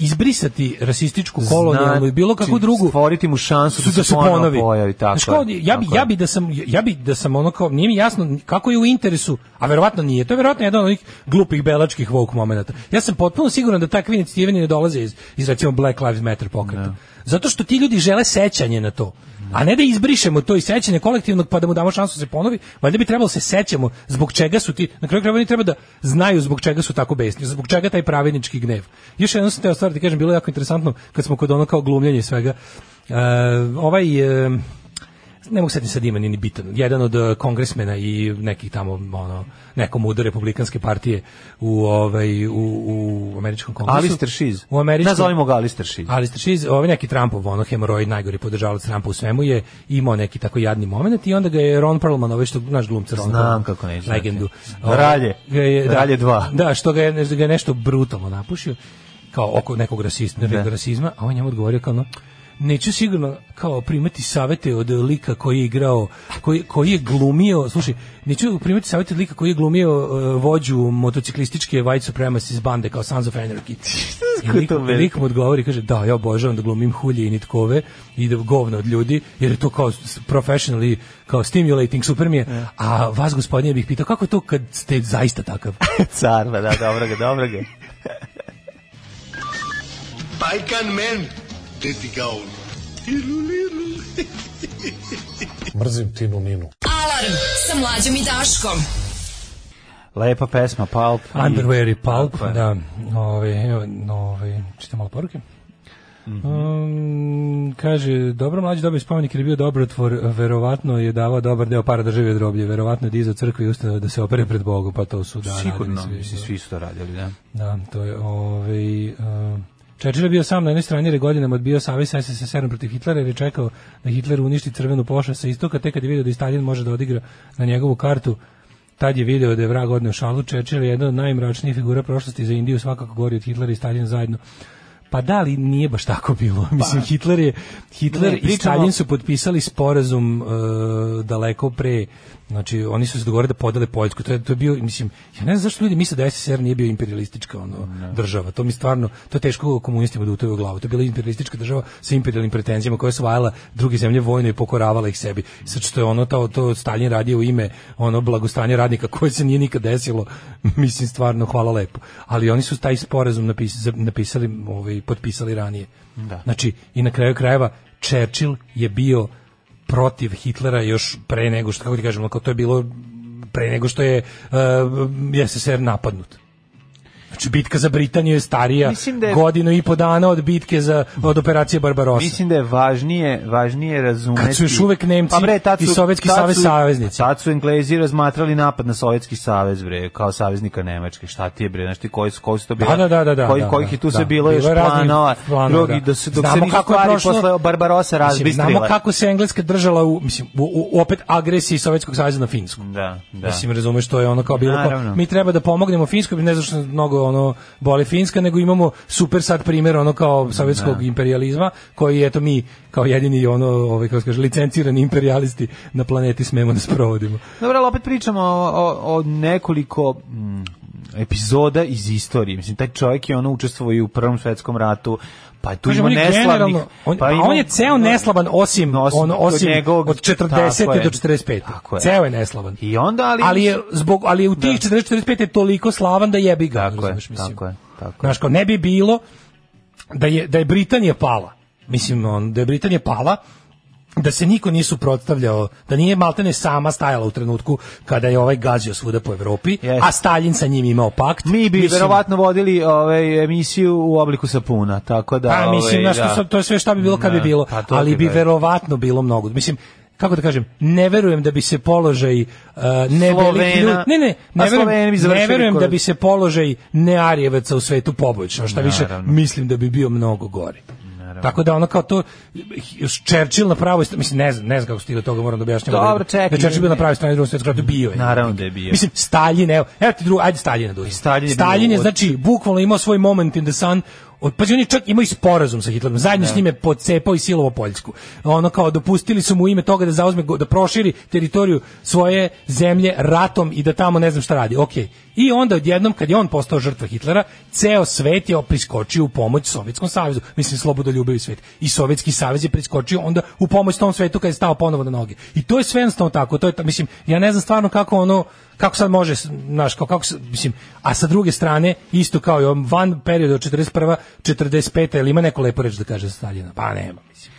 E: izbrisati rasističku kolonijalnu i bilo kakvu
F: Znači,
E: drugu
F: Stvoriti mu šansu da,
E: da se ponovi.
F: pojavi, tako
E: Znaš, kao,
F: je,
E: ja bi
F: tako
E: ja
F: je.
E: bi da sam ja bi da sam ono kao nije mi jasno kako je u interesu, a verovatno nije. To je verovatno jedan od onih glupih belačkih woke momenata. Ja sam potpuno siguran da takve inicijative ne dolaze iz iz recimo Black Lives Matter pokreta. Zato što ti ljudi žele sećanje na to. A ne da izbrišemo to i sećanje kolektivnog pa da mu damo šansu da se ponovi, valjda bi trebalo da se sećamo zbog čega su ti, na kraju krajeva oni treba da znaju zbog čega su tako besni, zbog čega taj pravednički gnev. Još jednom sam teo stvar da ti kažem, bilo je jako interesantno kad smo kod ono kao glumljenja i svega. E, ovaj e, ne mogu setiti sad ime ni bitan, jedan od eh, kongresmena i neki tamo ono, nekom udo republikanske partije u, ovaj, u, u američkom kongresu.
F: Alistair Shiz.
E: U američkom...
F: Nazovimo ga Alistair Shiz.
E: Alistair Shiz, ovaj neki Trumpov, ono hemoroid, najgori podržavac Trumpa u svemu je imao neki tako jadni moment i onda ga je Ron Perlman, ovaj što, znaš glumca Ron
F: Znam
E: Perlman,
F: kako neću
E: Legendu.
F: znati.
E: Ovaj,
F: Ralje.
E: ga je- da.
F: Ralje dva.
E: Da, što ga je, ne- ga je nešto brutalno napušio, kao oko nekog rasizma, nekog rasizma, a on je njemu odgovorio kao ono, neću sigurno kao primati savete od lika koji je igrao, koji, koji je glumio, slušaj, neću primati savete od lika koji je glumio eh, vođu motociklističke white supremacist bande kao Sons of Anarchy. I
F: Kako
E: lik,
F: to meni?
E: lik mu odgovori, kaže, da, ja obožavam da glumim hulje i nitkove i da govno od ljudi, jer je to kao s- professionally, kao stimulating, super mi je. A vas, gospodine, bih pitao, kako je to kad ste zaista takav?
F: Car, pa da, dobro ga, dobro ga.
P: Balkan men, deti gaun.
O: Mrzim Tinu Ninu.
D: Alarm sa mlađom i Daškom.
F: Lepa pesma, Pulp. i-
E: Underwear i pulp,
F: Tako je.
E: da. Ove, evo, ove, čitam malo poruke.
F: Mhm.
E: Um, kaže, dobro mlađi dobio spomenik jer je bio dobrotvor, verovatno je davao dobar deo para državi od roblje, verovatno je dizao crkve i ustanove da se opere pred Bogom, pa to su da radili
F: Sigurno,
E: svi.
F: mislim, svi su to radili, da.
E: Da, to je ovaj uh, Churchill je bio sam na jednoj strani jer je godinama odbio savez sa SSSR-om protiv Hitlera jer je čekao da Hitler uništi crvenu pošast sa istoka, te kad je video da i Stalin može da odigra na njegovu kartu, tad je video da je vrag odneo šalu. Churchill je jedna od najmračnijih figura prošlosti za Indiju, svakako gori od Hitlera i Stalina zajedno. Pa da, ali nije baš tako bilo. Mislim, Hitler je Hitler
F: Pa, Ne,
E: i
F: pričamo-
E: Stalin su potpisali sporazum e, daleko pre znači oni su se dogovorili da podele Poljsku to je, to je bio mislim ja ne znam zašto ljudi misle da SSR nije bio imperialistička ono država to mi stvarno to je teško komunistima da utoju u glavu to je bila imperialistička država sa imperialnim pretenzijama koja je osvajala druge zemlje vojno i pokoravala ih sebi sad što je ono to, to Stalin radio u ime ono blagostanje radnika koje se nije nikad desilo mislim stvarno hvala lepo ali oni su taj sporazum napisali, napisali ovaj, potpisali ranije
F: Da.
E: Znači, i na kraju krajeva, Churchill je bio protiv Hitlera još pre nego što, kako ti kažemo, kao to je bilo pre nego što je uh, SSR napadnut. Znači, bitka za Britaniju je starija
F: Mislim da je-
E: godinu i po dana od bitke za, od operacije Barbarossa.
F: Mislim da je važnije, važnije razumeti... Pa,
E: Kad su još uvek Nemci
F: tad
E: i Sovjetski
F: tad
E: savez
F: su-
E: saveznici.
F: Tad su Englezi razmatrali napad na Sovjetski savez, bre, kao saveznika Nemačke. Šta ti je, bre, znaš ti koji su, koji su to bili?
E: Da, da, da, da, da,
F: koji,
E: da,
F: kojih je tu
E: da.
F: se bilo još
E: Bilo je raznih
F: planova,
E: planova, da.
F: drugi, da se, dok se
E: Znamo
F: nisu
E: kako je
F: stvari
E: prošlo-
F: posle Barbarossa
E: Mislim,
F: razbistrila.
E: znamo kako se Engleska držala u, mislim, u, u- opet agresiji Sovjetskog saveza na Finsku.
F: Da, da.
E: Mislim, razumeš, to je ono kao bilo
F: Naravno.
E: kao, mi treba da pomognemo Finskoj, ne zato što mnogo ono boli Finska, nego imamo super sad primjer ono kao sovjetskog
F: Da.
E: imperializma, koji eto mi kao jedini ono, ovaj, kako se kaže, licencirani imperialisti na planeti smemo da sprovodimo.
F: Dobro, ali opet pričamo o, o, o nekoliko mm, epizoda iz istorije. Mislim, taj čovjek je ono učestvovao i u Prvom svetskom ratu, pa tu
E: Kažem,
F: ima
E: on je
F: neslavnih...
E: generalno- on, pa
F: ima-
E: on je ceo neslaban osim,
F: Osim-
E: ono,
F: od
E: osim
F: ono njegovog-
E: od 40.
F: tako je.
E: do 45.
F: Tako je.
E: Ceo je neslavan.
F: I onda, ali...
E: ali je zbog ali je u tih 40 45 je toliko slavan da jebi ga
F: Tako je,
E: razumeš, mislim.
F: tako je, tako je.
E: Znaš, kao ne bi bilo da je da je Britanija pala mislim on da je Britanija pala da se niko nije suprotstavljao, da nije Maltene sama stajala u trenutku kada je ovaj gazio svuda po Evropi,
F: Jeste.
E: a Stalin sa njim imao pakt.
F: Mi bi
E: Mislim,
F: verovatno vodili ovaj emisiju u obliku sapuna, tako da...
E: Pa mislim,
F: ovaj,
E: znaš, to sad- to je sve šta bi bilo kad bi
F: Ne,
E: bilo,
F: pa to
E: ali
F: ti
E: bi
F: kažem.
E: verovatno bilo mnogo. Mislim, kako da kažem, ne verujem da bi se položaj uh, ne
F: Slovena-
E: velikih ljudi- ne, ne,
F: Pa
E: ne
F: Sloveni
E: verujem,
F: bi
E: ne
F: završili
E: verujem da
F: korak.
E: bi se položaj nearjevaca u svetu poboljšao, šta više,
F: Naravno.
E: mislim da bi bio mnogo gori. Tako da ono kao to Churchill na pravoj strani, mislim ne znam, ne znam kako stigao do toga, moram da objašnjavam.
F: Dobro,
E: da-
F: čekaj.
E: Da je Churchill bio na pravoj strani drugog svjetskog rata bio je.
F: Naravno da je bio.
E: Mislim Stalin, evo, evo ti drugo, ajde Staljina dođi.
F: Stalin je bio
E: je,
F: od-
E: znači bukvalno imao svoj moment in the sun. Od, pazi, on je čak imao i sporazum sa Hitlerom. Zajedno s njime je pocepao i silovo Poljsku. Ono kao dopustili su mu u ime toga da zauzme, go- da proširi teritoriju svoje zemlje ratom i da tamo ne znam šta radi. Okej. I onda odjednom kad je on postao žrtva Hitlera, ceo svet je priskočio u pomoć Sovjetskom savezu. Mislim slobodoljubivi svet. I Sovjetski savez je priskočio onda u pomoć tom svetu kad je stao ponovo na noge. I to je sve jednostavno tako. To je ta- mislim ja ne znam stvarno kako ono kako sad može, znaš, kao, kako, se- mislim, a sa druge strane, isto kao i ovom van periodu od 41. 45. ili ima neko lepo reč da kaže za Staljina? Pa nema, mislim.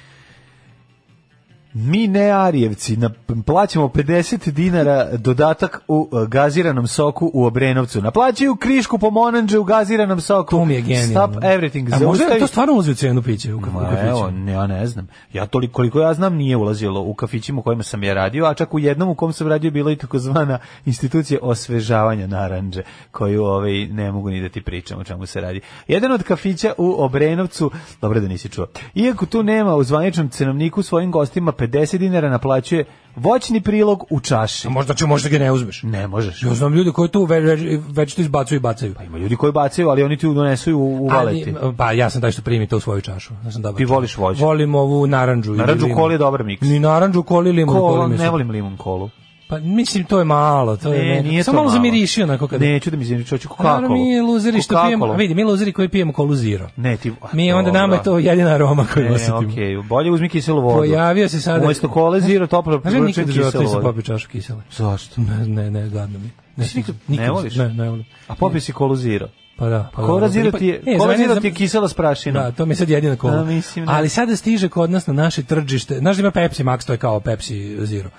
F: Mi ne Arijevci nap- plaćamo 50 dinara dodatak u e, gaziranom soku u Obrenovcu. Naplaćaju krišku po Monanđe u gaziranom soku.
E: To mi je genijalno.
F: Stop everything.
E: A možda
F: Zaustavi-
E: je to stvarno ulazi u cenu piće u, ka- u
F: Ma,
E: kafiću?
F: evo, ne, ja ne znam. Ja toliko koliko ja znam nije ulazilo u kafićima u kojima sam ja radio, a čak u jednom u kom sam radio bila i takozvana institucija osvežavanja naranđe, koju ovaj ne mogu ni da ti pričam o čemu se radi. Jedan od kafića u Obrenovcu, dobro da nisi čuo. Iako tu nema u zvaničnom cenovniku svojim gostima 50 dinara naplaćuje voćni prilog u čaši.
E: možda ću, možda ga ne uzmeš.
F: Ne možeš.
E: Ja znam ljude koji tu ve, ve, već to izbacuju i bacaju.
F: Pa ima ljudi koji bacaju, ali oni ti donesu u, u valeti.
E: Ali, pa ja sam taj što primi to u svoju čašu. Ja sam dobar
F: Ti
E: čovjek.
F: voliš voće?
E: Volim ovu narandžu. i
F: Narandžu
E: limun.
F: koli je dobar miks.
E: Ni narandžu koli limun.
F: Kola,
E: koli mi su-
F: ne volim limun kolu.
E: Pa mislim to je malo, to je.
F: Ne,
E: nekako-
F: E, nije
E: Samo
F: to
E: malo
F: malo.
E: zamiriši onako kada.
F: Neću da mi zemljiš, hoću
E: A, Pa naravno,
F: Coca-Cola.
E: mi luzeri što
F: Coca-Cola.
E: pijemo, vidi, mi luzeri koji pijemo kolu zero.
F: Ne, ti...
E: Mi onda
F: Dobro.
E: nama je to jedina aroma koju
F: Ne,
E: osetimo.
F: E, okej, bolje uzmi kiselu vodu.
E: Pojavio se sada...
F: Umesto kole, zero, toplo,
E: Znaš, ja nikad u
F: kiselu
E: životu nisam
F: vodu.
E: popio čašu kisele.
F: Zašto?
E: Ne, ne, ne, gadno mi. Ne,
F: Nisi nikad-
E: nikad-
F: ne voliš?
E: Ne, ne volim.
F: A popio si kolu zero.
E: Pa da. Pa
F: Kola
E: dobro.
F: zero ti je,
E: Pa- e,
F: kola
E: za mene-
F: zero
E: za-
F: ti je kisela s prašinom.
E: Da, to mi je sad jedina kola.
F: Da, mislim, ne.
E: Ali sada stiže kod nas na naše tržište. Znaš da ima Pepsi Max, to je kao Pepsi Zero.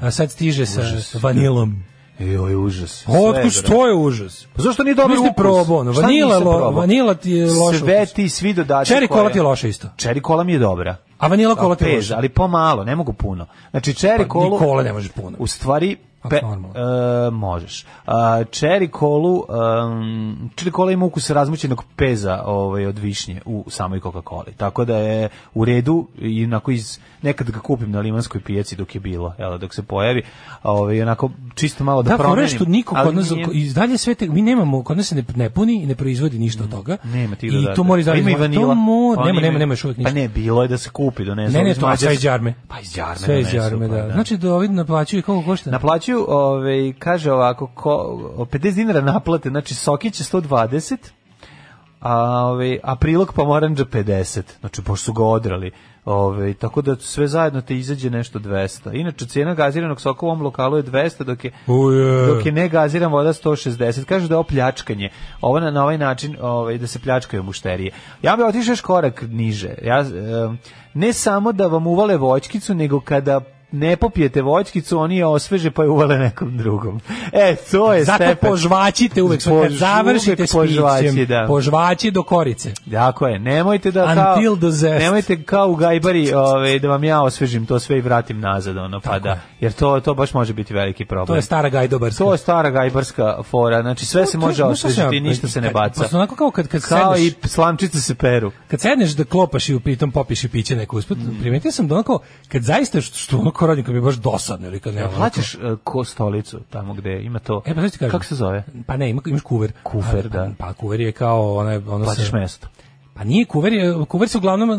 E: A sad stiže sa vanilom.
F: Joj, užas.
E: Otko
F: Sve,
E: što je užas?
F: Pa zašto nije dobri
E: Nisi
F: ukus?
E: probao, ono,
F: Šta
E: vanila
F: nisam
E: lo-
F: probao?
E: vanila ti je loš
F: Sve
E: ukus.
F: ti svi dodaci.
E: Čeri kola
F: koje-
E: ti je loša isto.
F: Čeri kola mi je dobra.
E: A vanila kola ti je
F: Pez,
E: loša.
F: ali pomalo, ne mogu puno. Znači, čeri
E: Pa,
F: kolu...
E: ni kola ne možeš puno.
F: U stvari,
E: Ako
F: pe, e,
E: normalno.
F: možeš. A, čeri kolu, um, čeri kola ima ukus razmućenog peza ovaj, od višnje u samoj Coca-Coli. Tako da je u redu, i onako iz, nekad ga kupim na limanskoj pijaci dok je bilo, jel, dok se pojavi, ovaj, onako čisto malo da,
E: Da, fora je
F: promenim.
E: što niko
F: ali
E: kod nas
F: nije-
E: i dalje sve te, mi nemamo, kod nas se ne, ne puni i ne proizvodi ništa od toga.
F: Mm. Nema tih
E: I
F: dodataka.
E: to mora iz
F: Pa
E: dalje.
F: Ima i vanila.
E: To mora,
F: Pa
E: nema, nema,
F: oni imaju-
E: nema još uvijek ništa.
F: Pa ne, bilo je da se kupi, donesu.
E: Ne, ne,
F: iz
E: to, a sve
F: Mađarske.
E: iz jarme.
F: Pa iz jarme
E: Sve iz
F: donesu,
E: jarme,
F: pa
E: da. Znači da ovi naplaćuju koliko košta?
F: Naplaćuju, ovaj, kaže ovako, ko, o, 50 dinara naplate, znači sokić je 120, a, ovaj, a prilog pomoranđa 50, znači pošto su ga odrali. Ovaj, tako da sve zajedno te izađe nešto 200. Inače, cijena gaziranog soka u ovom lokalu je 200, dok je,
E: Uje.
F: dok je negaziran voda 160. Kažu da je ovo pljačkanje. Ovo na, na ovaj način ovaj, da se pljačkaju mušterije. Ja bih otišao još korak niže. Ja, em, ne samo da vam uvale voćkicu, nego kada ne popijete voćkicu, oni je osveže pa je uvale nekom drugom. E, to je
E: Zato
F: stepen.
E: požvaćite uvek, sve, kad
F: Pož-
E: završite
F: uvek
E: s
F: požvaći,
E: pićem,
F: da.
E: požvaći do korice.
F: Tako je, nemojte da
E: Until the
F: kao,
E: zest.
F: nemojte kao u gajbari ovaj, da vam ja osvežim to sve i vratim nazad, ono, pa da, jer to, to baš može biti veliki problem.
E: To je stara gajdobarska.
F: To je stara gajbarska fora, znači sve se može
E: Znaš šta sam ja-
F: osvežiti, ništa se ne
E: kad-
F: baca.
E: posle onako kao kad, kad
F: Kao
E: sedneš-
F: i slamčice se peru.
E: kad sedneš da klopaš i pritom popiš i piće neko usput,
F: Mm.
E: primetio sam da onako, kad zaista što, što onako radim, kad mi je baš dosadno ili kad ne...
F: Ja, plaćaš e, ko stolicu tamo gde ima to.
E: E, pa znaš ti kažem.
F: Kako se zove?
E: Pa ne, ima, imaš kuver.
F: Kufer,
E: Pa-
F: da.
E: Pa kuver je kao onaj... Ono
F: Plaćaš
E: sa-
F: mesto.
E: Pa nije kuver, je, kuver se uglavnom,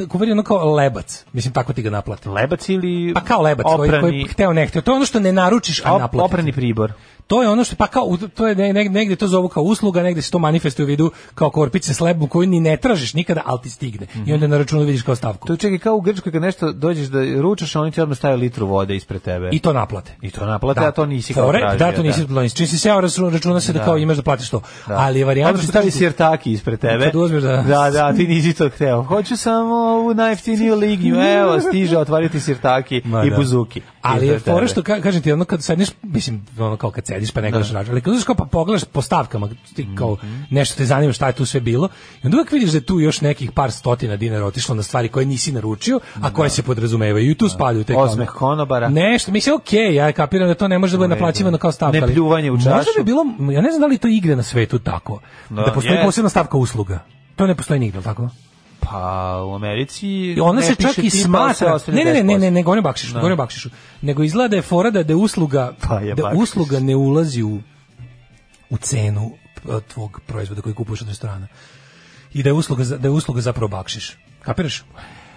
E: eh, kuver je ono kao lebac. Mislim, tako ti ga naplate.
F: Lebac ili
E: Pa kao lebac koji, koji
F: oprani,
E: hteo ne hteo. To je ono što ne naručiš, a
F: op-
E: naplati.
F: oprani pribor.
E: To je ono što pa kao u- to je ne- neg- negde to zovu kao usluga, negde se to manifestuje u vidu kao korpice s lebom koju ni ne tražiš nikada, ali ti stigne. I onda na računu vidiš kao stavku.
F: Mhm. To je čekaj kao u Grčkoj kad nešto dođeš da ručaš, oni ti odmah stave litru vode ispred tebe.
E: I to naplate.
F: I to naplate, a to nisi kao
E: Fore,
F: tražio.
E: Da, to nisi, da. Čim si seo računa, računa se da,
F: Da.
E: kao imaš da platiš to.
F: Da.
E: Ali je varijanta...
F: Odmah ti
E: što
F: stavi
E: kažu-
F: sirtaki ispred tebe.
E: Kad uzmeš da-
F: Da, da, ti nisi to hteo. Hoću samo ovu najjeftiniju lignju. Evo, stiže otvariti sirtaki
E: Ma
F: i
E: da.
F: buzuki.
E: Ali je
F: ispred
E: fora
F: tebe.
E: što ka, kažem ti, ono kad sediš, mislim, ono kao kad sediš pa ne gledaš račun, ali kad uzeš kao pa pogledaš po stavkama, ti kao
F: Mhm.
E: nešto te zanima šta je tu sve bilo, i onda uvek vidiš da je tu još nekih par stotina dinara otišlo na stvari koje nisi naručio, a koje se podrazumevaju i tu spadaju te
F: Osmeh konobara.
E: Nešto, mislim, okej, ja kapiram da to ne može da bude naplaćivano kao stavka.
F: Ne
E: ali
F: pljuvanje u
E: Možda
F: čašu.
E: bi bilo, ja ne znam da li to igre na svetu tako,
F: Da,
E: da, postoji
F: jest.
E: posebna stavka usluga. To ne postoji nigde, jel tako?
F: Pa u Americi
E: I ona
F: ne
E: se čak
F: piše pa
E: i
F: tipa, ali se
E: smatra.
F: ostavlja
E: Ne, ne, ne, ne, ne, ne
F: 10%.
E: govorim o bakšišu,
F: Da.
E: govorim o bakšišu. Nego izgleda da je fora da da je usluga
F: Pa je
E: da
F: bakšiš.
E: usluga ne ulazi u u cenu e, tvog proizvoda koji kupuješ od restorana. I da je usluga za- da je usluga zapravo bakšiš. Kapiraš?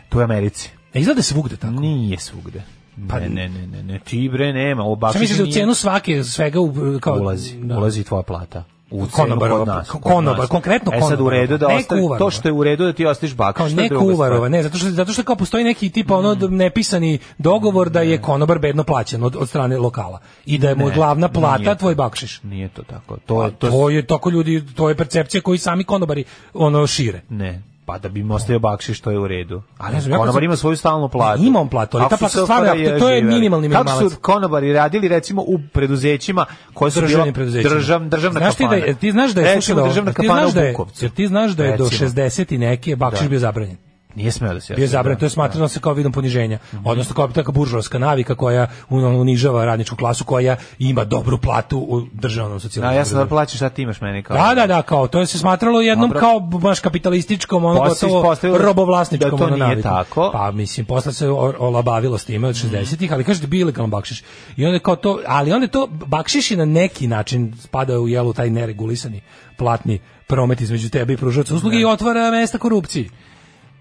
F: To je u Americi.
E: E izgleda da se svugde tako.
F: Nije svugde.
E: Pa-
F: ne, ne, ne, ne, ne, ti bre nema, ovo
E: Šta
F: bakšiš
E: misliš da u
F: nije- Pa
E: cenu svake svega u, kao
F: ulazi,
E: da.
F: ulazi i tvoja plata. U cenu
E: Konobarova,
F: kod nas,
E: ko-
F: kod
E: konobar,
F: nas.
E: konkretno
F: E sad u
E: konobarova,
F: redu da
E: ne
F: ostavi,
E: kuvarova.
F: to što je u redu da ti ostaviš bakšiš.
E: kao
F: to Mm. je
E: ne
F: druga stvar.
E: kuvarova, ne, zato što zato što kao postoji neki tipa ono d- nepisani dogovor da je konobar bedno plaćen od, od strane lokala i da je mu
F: Ne,
E: glavna
F: nije
E: plata
F: to.
E: tvoj bakšiš.
F: Nije to tako. To
E: Pa
F: je to,
E: to je tako ljudi, to je percepcija koju sami konobari ono šire.
F: ne. Pa da bi im ostavio bakšiš, to je u redu. Ali
E: Ne znam, ja kad
F: konobar
E: sam-
F: ima svoju stalnu platu.
E: Ima on platu, ali
F: Kako
E: ta
F: su
E: plata
F: se
E: stvarno,
F: operali,
E: to je
F: živeli.
E: minimalni
F: Kako
E: minimalac.
F: su konobari radili, recimo, u preduzećima koje su bila
E: Državnim preduzećima.
F: držav, državna
E: znaš ti
F: kafana.
E: da je, ti znaš da je,
F: Recimo,
E: slušaj ovo,
F: državna
E: ti
F: kafana
E: znaš
F: u
E: da je,
F: Bukovcu.
E: jer ti znaš da je do
F: Recimo.
E: 60 i neke bakšiš
F: Da.
E: bio zabranjen.
F: Nije smeo da Mhm. se
E: Bio je zabranjen, to je smatrano se kao vidom poniženja. Odnosno kao taka buržovska navika koja un- unižava radničku klasu koja ima dobru platu u državnom
F: Da,
E: socijalnom.
F: ja sam da
E: preduzeću.
F: plaćaš, šta ti imaš meni kao.
E: Da, da, da, kao to je se smatralo jednom
F: Dobro.
E: kao baš kapitalističkom, ono
F: Posle se
E: gotovo
F: ispostavilo
E: robovlasničkom
F: da to
E: ono
F: nije
E: navikom.
F: tako. Mhm.
E: Pa mislim posle se o- olabavilo s time od 60-ih, ali kažete bio ilegalan bakšiš. I onda je kao to, ali onda je to bakšiš i na neki način spada u jelu taj neregulisani platni promet između tebe i pružaoca usluge i otvara mesta korupciji.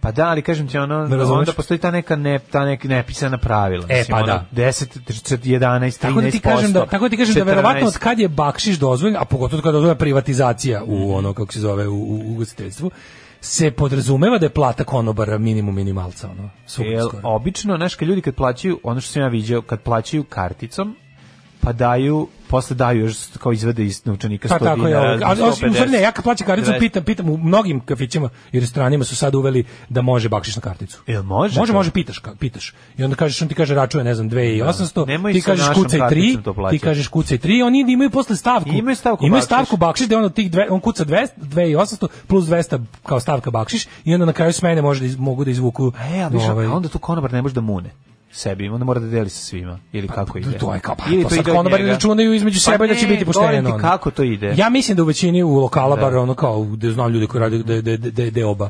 F: Pa da, ali kažem ti ono,
E: Ne razumeš?
F: onda postoji ta neka ne, ta nek nepisana pravila.
E: E,
F: Mislim,
E: pa
F: ono,
E: da.
F: 10, 30, 11, 13%.
E: Tako da ti kažem da tako da ti kažem da
F: 14.
E: verovatno od kad je bakšiš dozvoljen, a pogotovo od kad je dozvoljena privatizacija u ono kako se zove u, u u ugostiteljstvu, se podrazumeva da je plata konobara minimum minimalca ono. svugdje
F: Jel,
E: skoro.
F: obično, znaš, kad ljudi kad plaćaju, ono što sam ja viđao, kad plaćaju karticom, pa daju, posle daju još kao izvede iz novčanika 100
E: Pa tako je.
F: dinara,
E: ali- Ali
F: 150.
E: osim- u stvari ne, ja kad plaćam karticu,
F: 20.
E: pitam, pitam u mnogim kafićima i restoranima su sad uveli da može bakšiš na karticu.
F: Jel može?
E: Može,
F: to?
E: može, pitaš, ka- pitaš. I onda kažeš, on ti kaže račun je, ne znam, 2800,
F: Da. Nemoj
E: ti
F: sa
E: kažeš
F: našom
E: kucaj 3,
F: karticom to plaćati.
E: ti kažeš kucaj 3, oni imaju posle stavku.
F: Imaju stavku
E: Imaju
F: bakšiš.
E: stavku bakšiš, da je ono tih dve, on kuca 200, 2800 plus 200 kao stavka bakšiš i onda na kraju smene može da iz- mogu da izvuku.
F: E, ali viš,
E: ovaj,
F: a onda tu konobar ne može da mune sebi, onda mora da deli sa svima, ili kako ide.
E: to je kao, pa,
F: Ili
E: to
F: to
E: sad
F: ide od
E: konobari
F: njega.
E: računaju između
F: Pa
E: sebe da će
F: ne,
E: biti pošteno.
F: govorim ti
E: ono.
F: kako to ide.
E: Ja mislim da u većini u lokala, bar ono kao, da znam ljudi koji rade, da je da, je- da, je deoba.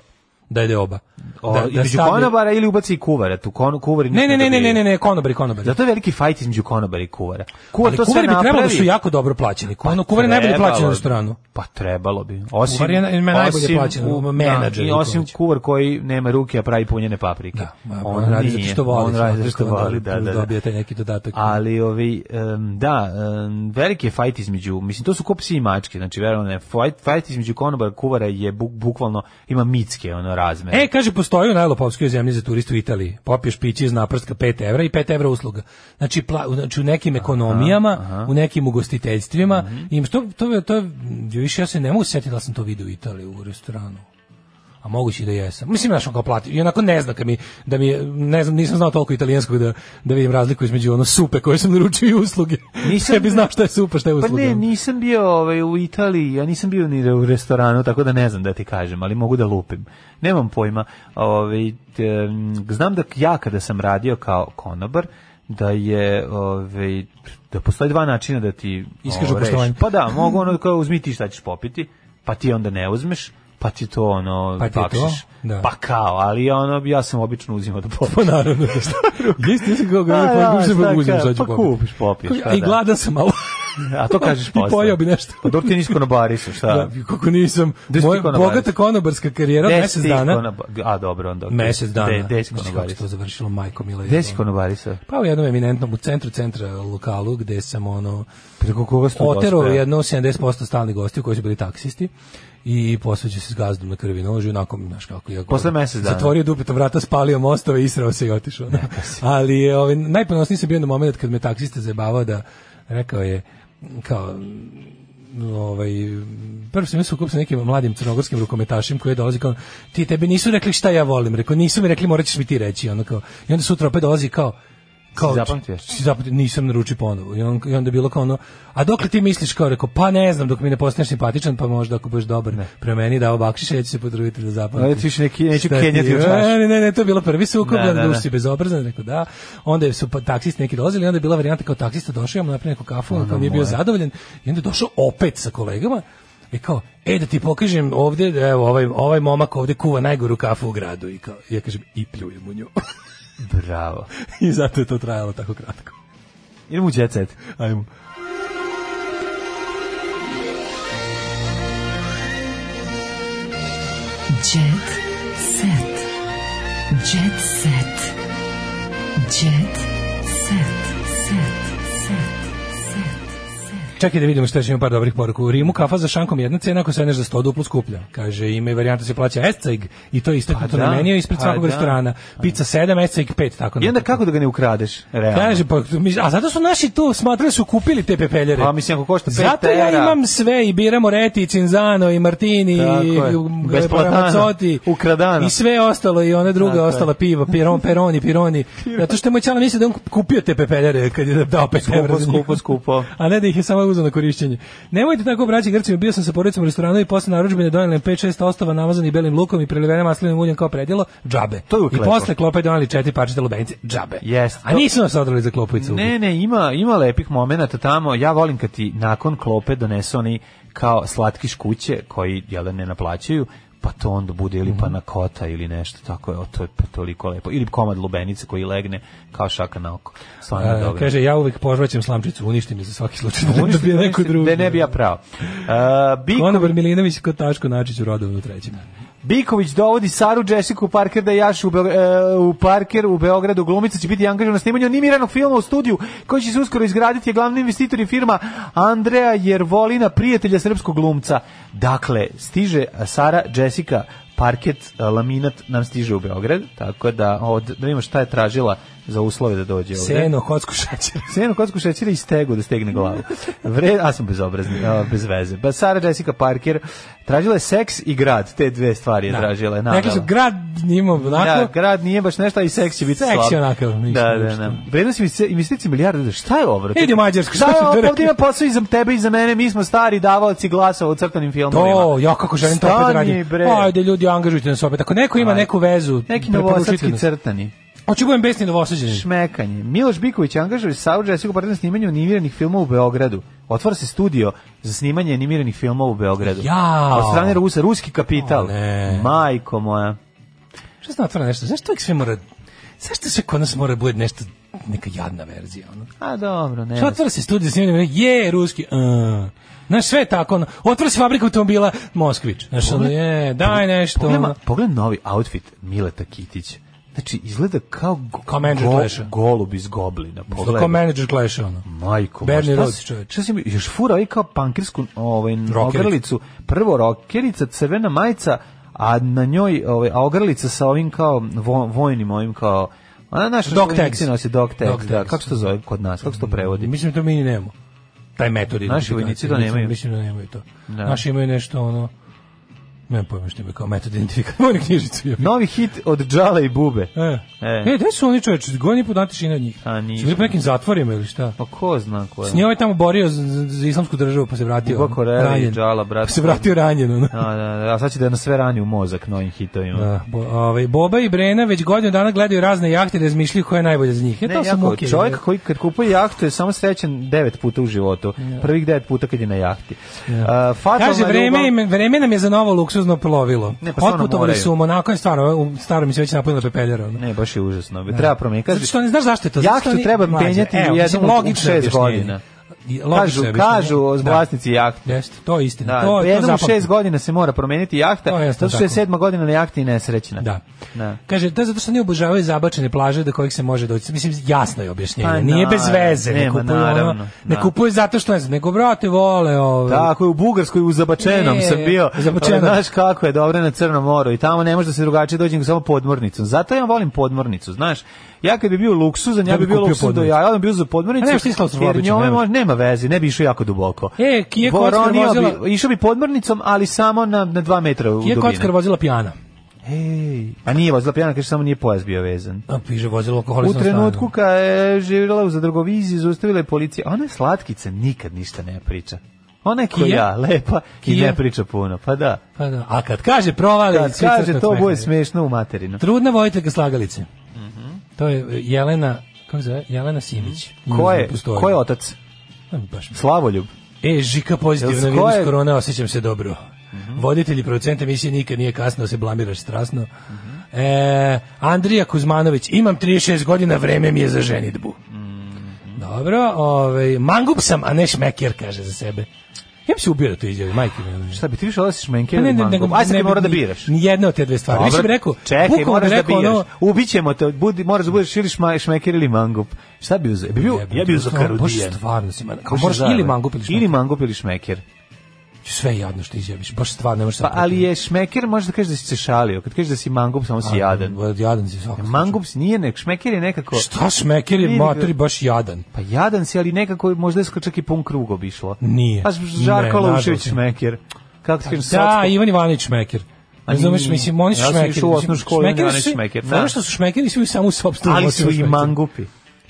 E: Da je deoba.
F: O,
E: Da,
F: Ovaj, između
E: stavljaju-
F: konobara ili ubaci i kuvara, tu kon, kuvari
E: Ne, ne,
F: ništa
E: ne, ne, ne,
F: dobijaju.
E: ne, ne, konobari, konobari.
F: Zato je veliki fajt između konobara i kuvara. Kuvar
E: Ali
F: to sve
E: kuvari bi trebalo da
F: napravi. Pa
E: su jako dobro plaćeni. Ono, kuvari je najbolje
F: Trebalo
E: plaćen u
F: bi.
E: restoranu.
F: Pa trebalo bi. Osim,
E: Kuvar je na- ima najbolje ono, plaćen,
F: u-
E: menadžer
F: Da, i
E: Nikolić.
F: osim kuvar koji nema ruke, a pravi punjene paprike.
E: Ma, On, radi zato što voli.
F: On radi zato što
E: onda
F: voli, da, da, da.
E: Dobije taj neki dodatak.
F: Ali ovi, em, da, em, veliki je fajt između, mislim, to su ko psi i mačke, znači, verovno ne, fajt, fajt između konobara i kuvara je buk, bukvalno, ima mitske, ono, razmere.
E: E, kaže, postoji u najlopovskoj zemlji za turiste u Italiji. Popiješ piće iz naprska 5 evra i 5 evra usluga. Znači, pla, u- znači u nekim ekonomijama,
F: aha. Mhm.
E: u nekim ugostiteljstvima, im to, to, to, to, više ja se ne mogu sjetiti da sam to vidio u Italiji u restoranu. A moguće i da jesam. Mislim, znaš, on kao plati. I onako ne zna kad mi, da mi, je- ne znam, nisam znao toliko italijanskog da, da vidim razliku između ono supe koje sam naručio i usluge.
F: Nisam-
E: Nisam, ne bi znao šta je supa, šta je
F: Pa
E: usluga.
F: ne, nisam bio ovaj, u Italiji, ja nisam bio ni u restoranu, tako da ne znam da ti kažem, ali mogu da lupim. Nemam pojma. Ovaj, t- em, znam da ja kada sam radio kao konobar, da je ovaj, da postoje dva načina da ti
E: Iskažu
F: ovo, rešiš.
E: poštovanje.
F: Pa da, mogu ono kao uzmi ti šta ćeš popiti, pa ti onda ne uzmeš, pa ti to ono
E: Pa ti je to,
F: bakšiš.
E: da.
F: Pa kao, ali ono ja sam obično uzimao da popim.
E: Pa naravno. Jeste, jeste kao ga
F: A,
E: ovaj
F: da,
E: pojma, uzem,
F: Pa šta
E: uzem,
F: kao,
E: sad ću
F: pa
E: popiti.
F: kupiš, popiješ,
E: Kaže,
F: pa
E: a I
F: da.
E: gladan sam malo.
F: A to kažeš
E: I
F: posle.
E: pojeo bi nešto.
F: Pa dobro ti nisi konobari su, šta?
E: Da, kako nisam.
F: Pa. Gde si ti
E: Moja
F: konobar?
E: bogata konobarska karijera od
F: Gde
E: mesec
F: si ti
E: dana.
F: konobar- A dobro, onda. okej.
E: Mesec dana.
F: Gde- Gde si
E: Znaš kako se
F: konobarisa?
E: to završilo, majko mila.
F: Gde si
E: jebola.
F: konobarisa?
E: Pa u jednom eminentnom, u centru centra lokalu, gde sam ono...
F: Preko Pa koga ste
E: Otero
F: dospeo?
E: jedno 70% stalnih gostiju koji su bili taksisti i posveđao se s gazdom na krvi nožu, onako, znaš kako ja
F: Posle mesec dana.
E: Zatvorio dupetom vrata, spalio mostove, israo se i otišao. Ali je, ovaj, najponosniji sam bio na moment kad me taksista zajebavao da rekao je, kao, ovaj prvo sam se sa nekim mladim crnogorskim rukometašem koji je dolazi kao ti tebi nisu rekli šta ja volim rekao nisu mi rekli moraćeš mi ti reći ono kao i onda sutra opet dolazi kao kao
F: Si zapamtio?
E: si zapamtio, nisam naručio ponovo i, on, i onda je bilo kao ono a dokle ti misliš kao rekao pa ne znam dok mi ne postaneš simpatičan pa možda ako budeš dobar prema meni dao bakšiša ja ću se potruditi da zapamtim
F: Ali ti više neki- neću
E: Šta ti-
F: kenjati u čašu.
E: E, ne, ne, ne, to je bilo prvi sukob,
F: Da,
E: da,
F: da, da.
E: si bezobrazan, rekao da. Onda su pa, taksisti neki dolazili, onda je bila varijanta kao taksista došao, ja mu napravio neku kafu,
F: Ono
E: on kao nije bio zadovoljan, i onda je došao opet sa kolegama, i kao, e da ti pokažem ovdje, evo, ovaj, ovaj momak ovdje kuva najgoru kafu u gradu, i kao, ja kažem, i pljujem u nju.
F: Bravo.
E: I zato je to trajalo tako kratko.
F: Idemo u jet set.
E: Ajmo.
D: Jet set. Jet set. Jet set. Set. Set. Set. Set.
E: Čekaj da vidimo šta će ima par dobrih poruka. U Rimu kafa za šankom jedna cena, ako sedneš za 100 duplo skuplja. Kaže, ima i varijanta se plaća Esceg i to je istaknuto
F: Pa
E: na
F: da,
E: meniju ispred
F: pa
E: svakog
F: da.
E: restorana. Pizza 7, Esceg 5, tako
F: I onda kako da ga ne ukradeš? Realno.
E: Kaže, pa, mi- a zato su naši to smatrali su kupili te pepeljere.
F: Pa, mislim, ako košta pet
E: Zato ja
F: evra.
E: imam sve i biramo Reti, i Cinzano, i Martini,
F: Tako
E: i
F: je.
E: um,
F: Bez platana.
E: Ramazzotti,
F: Ukradana.
E: i sve ostalo, i one druga
F: Tako je.
E: ostala piva, piron, peroni, pironi. Zato što je moj čala mislio da je on kupio te pepeljere kad je dao 5
F: Skupo,
E: evra. za njih.
F: skupo, skupo.
E: A ne da ih je samo uzeo na korišćenje. Nemojte tako braći Grcima, bio sam sa porodicom u restoranu i posle narudžbine doneli 5-6 ostava namazanih belim lukom i prelivenim maslinovim uljem kao predjelo, džabe.
F: To je
E: I
F: uvijek lepo.
E: posle klope doneli četiri parčeta lubenice, džabe.
F: Jeste.
E: A nisu nas odrali za klopu i cugu.
F: Ne, ne, ima, ima lepih momenata tamo. Ja volim kad ti nakon klope donesu oni kao slatkiš kuće koji jel, da, ne naplaćaju, pa to onda bude
E: Mhm.
F: ili panakota ili nešto tako je, o, to je pa toliko lepo. Ili komad lubenice koji legne kao šaka na oko. Stvarno je
E: A,
F: dobro.
E: E, kaže, ja uvek požvaćem slamčicu, uništim je za svaki slučaj. Da
F: Uništim,
E: bi je neko
F: uništim,
E: drugi.
F: da ne bi ja pravo. Uh,
E: Konobar Milinović kod Taško Načić u Rodovu u trećem.
F: Biković dovodi Saru Jessica u Parker da jašu u, Beog- e, u Parker u Beogradu. Glumica će biti angažovana na snimanju animiranog filma u studiju koji će se uskoro izgraditi je glavni investitor i firma Andreja Jervolina, prijatelja srpskog glumca. Dakle, stiže Sara Jessica parket, e, laminat nam stiže u Beograd, tako da od, da vidimo šta je tražila za uslove da dođe ovde.
E: Seno, kocku šećer.
F: Seno kocku šećera i stegu da stegne glavu. Vre, a sam bezobrazni, a, bez veze. Ba, Sara Jessica Parker tražila je seks i grad, te dve stvari je tražila. je
E: Rekli su,
F: navela.
E: grad njima
F: Da,
E: onako,
F: grad nije baš nešto, a i seks će biti
E: Seks
F: slab.
E: je onako, ništa,
F: Da, da,
E: ništa.
F: da. Vrednost investicije- investicije milijarde, šta je ovo?
E: Idi u Mađarsku,
F: Šta
E: šta
F: je
E: su
F: ovo?
E: rekli?
F: Ovdje ima posao i za tebe i za mene, mi smo stari davalci glasa u crtanim filmovima.
E: To, ja kako želim to opet
F: Stani,
E: da radim.
F: bre.
E: Ajde, ljudi, angažujte nas opet. Ako neko ima
F: Ajde.
E: neku vezu,
F: Neki
E: preporučite
F: novosadski
E: nas.
F: crtani.
E: Hoću budem besni novosađeni.
F: Šmekanje. Miloš Biković angažuje Saur Jessica Parker na snimanju animiranih filmova u Beogradu. Otvara se studio za snimanje animiranih filmova u Beogradu.
E: Jao.
F: Od strane Rusa, ruski kapital.
E: O, ne.
F: Majko moja.
E: Šta sam otvara nešto? Zašto uvijek sve mora... Zašto sve kod nas mora bude nešto neka jadna verzija? Ono?
F: A dobro, ne.
E: Šta otvara se studij za snimanje? Je, ruski. Uh. Znaš, sve je tako. Ono. Otvara se fabrika automobila Moskvić. Znaš, ono, je, daj nešto.
F: Pogled,
E: ono.
F: pogled novi outfit Mileta Kitića. Znači, izgleda kao, go,
E: Kao menadžer Clash-a.
F: golub iz Goblina.
E: Što
F: Pogled.
E: kao menadžer Clash, ono.
F: Majko,
E: Bernie
F: moja, šta
E: Rhodes,
F: si-
E: čoveče.
F: Šta si mi, još fura i kao pankirsku ovaj,
E: Rokericu.
F: ogrlicu. Prvo rokerica, crvena majica, a na njoj ovaj, a ogrlica sa ovim kao vo- vojnim ovim kao Ona naša
E: Dog tags.
F: nosi dog tags,
E: Dog
F: da.
E: tags.
F: Kako se to zove kod nas? Kako se to prevodi?
E: Mislim da to mi ni nemamo. Taj metod identifikacije.
F: vojnici to
E: Mislim-
F: nemaju.
E: Mislim da nemaju to.
F: Da.
E: Naši imaju nešto, ono... Nemam pojma što imaju kao metod identifikacije. Vojnu knjižicu. Je.
F: Novi hit od Džale i Bube.
E: E.
F: E.
E: E, gde su oni čoveče? Godin i po dana tišina od njih.
F: A, nisu.
E: Su bili po nekim zatvorima ili šta?
F: Pa ko zna ko je?
E: S njoj je ovaj tamo borio za, za, za islamsku državu, pa se vratio.
F: Buba
E: ono,
F: Koreli,
E: ranjen.
F: Džala, brat.
E: Pa se vratio ranjen, ono.
F: Da, da, da, a sad će da nas sve rani u mozak novim hitovima.
E: Da, bo, ovaj, Boba i Brena već godinu dana gledaju razne jahte i razmišljaju koja je najbolja za njih. E,
F: Ne,
E: to su
F: jako,
E: muke.
F: čovjek koji kad kupuje jahtu je samo srećen devet puta u životu. Prvih devet puta kad je na jahti. Uh, fatalna
E: Kaže, vreme,
F: ljubav-
E: im, vreme nam je za novo luksuzno plovilo.
F: Ne, pa stvarno
E: Otputovali
F: moraju.
E: su u Monako, je stvarno, u starom mi se već napunila pepeljera. ono.
F: Ne, baš je užasno. Treba promijeniti. Kaže,
E: Zato što ne znaš zašto je to. zato što
F: Jahtu
E: oni
F: treba
E: mlađe.
F: penjati
E: Evo,
F: u jednom
E: mislim,
F: u
E: logično je
F: šest
E: objašnjenje.
F: godina.
E: I logično
F: Kažu-
E: je objašnjenje.
F: kažu
E: Da.
F: vlasnici jahti.
E: Jeste, to je istina.
F: Da,
E: to, to
F: jednom u
E: zapamtite.
F: šest godina se mora promijeniti jahta,
E: To je jasno
F: zato što je
E: tako.
F: sedma godina na jahti i nesrećna.
E: Da.
F: Da.
E: Kaže, da zato što ne obožavaju zabačene plaže do kojih se može doći. Mislim, jasno je objašnjenje.
F: Pa,
E: Nije bez
F: naravno,
E: veze. Ne
F: nema,
E: kupuju, ono,
F: naravno,
E: ne
F: da.
E: kupuju zato što ne znam, nego brate vole ove.
F: Tako je, u Bugarskoj, u Zabačenom
E: E,
F: sam bio.
E: u Zabačenom.
F: Znaš kako je dobro na Crnom moru i tamo ne može da se drugačije dođe nego samo podmornicom. Zato ja volim podmornicu, znaš. Ja kad bi bio luksuzan, ja
E: Da bi
F: bi bio
E: kupio
F: luksuzan do
E: podmornicu. Pa
F: jaja, ja bi bio za podmornicu.
E: A nemaš ti
F: jer
E: klaustrofobičan,
F: njome
E: nemaš.
F: može- nema veze, ne bi išao jako duboko.
E: E, Kije Kockar
F: Voronio
E: vozila-
F: bi, išao bi podmornicom, ali samo na, na dva metra u
E: Je kockar
F: dubine.
E: vozila pijana.
F: Ej, a nije vozila pijana, kaže samo nije pojas bio vezan.
E: A piže vozilo
F: U
E: alkoholizam.
F: trenutku kad je živjela u zadrugoviziji, zaustavila je policija. Ona je slatkica, nikad ništa ne priča. Ona je ko
E: Kija?
F: ja, lepa i
E: Kija?
F: ne priča puno. Pa da.
E: Pa da. A kad kaže provali,
F: Kad
E: svi
F: kaže
E: crknu
F: to
E: od
F: bude Mhm.
E: smeha.
F: smešno u materinu.
E: Trudna vojiteljka slagalice. To je e, Jelena, kako se zove? Jelena Simić.
F: Mhm. Ko je,
E: Ne postoji.
F: ko je otac?
E: E, Baš mi-
F: Slavoljub.
E: E, Žika pozitivna,
F: Jel s koje-
E: virus korona, osjećam se dobro. Voditelj i producent emisije nikad nije kasno, se blamiraš strasno. E, Andrija Kuzmanović, imam 36 godina, vreme mi je za ženitbu. Dobro, ovaj, mangup sam, a ne šmeker, kaže za sebe. Ja bi se ubio da to izjavi, majke mi. ono,
F: Šta bi ti više odlasiš menke
E: Pa
F: ili mango? Aj sad ti
E: bi-
F: mora da
E: ni-
F: biraš.
E: Nijedna od te dve stvari. Više
F: Dobro,
E: bi rekao,
F: čekaj,
E: bukvalno bi
F: moraš da
E: rekao
F: biraš.
E: ono,
F: Ubićemo te, budi, moraš da budeš ili šma, šmeker ili mangup. Šta bi uzeo? Bi bio, ja bi uzeo
E: to je
F: karudijan.
E: baš stvarno si, man- kao moraš ili mangup ili šmeker.
F: Ili mangup ili šmeker.
E: sve jadno što izjaviš, baš stvarno nemaš šta
F: Pa, ali je šmeker, možeš da kažeš da si se šalio. Kad kažeš da si mangup, samo si
E: A,
F: jadan.
E: Jadan si svakako.
F: Mangup si nije nek, šmeker je nekako...
E: Šta šmeker je,
F: Pa, Vidi ga.
E: mater je baš jadan.
F: Pa jadan si, ali nekako možda je skoro čak i pun krug obišlo.
E: Nije.
F: Pa
E: Ne,
F: Žarko
E: nažalost
F: Laušević
E: ne. Pa
F: šmeker. Kako ti kažeš,
E: Da,
F: socko-
E: Ivan Ivanović Šmeker.
F: A
E: Razumeš,
F: Pa, nije.
E: mislim, oni su
F: Ja sam
E: šmekeri.
F: išao u osnovnu
E: mislim,
F: školu, Ivan
E: šmekeri
F: Ivanović
E: su-
F: Šmeker,
E: Znaš
F: da.
E: što su šmekeri, svi imaju samo u sobstvenom
F: ali
E: osnovu
F: su i
E: šmekeri.
F: mangupi.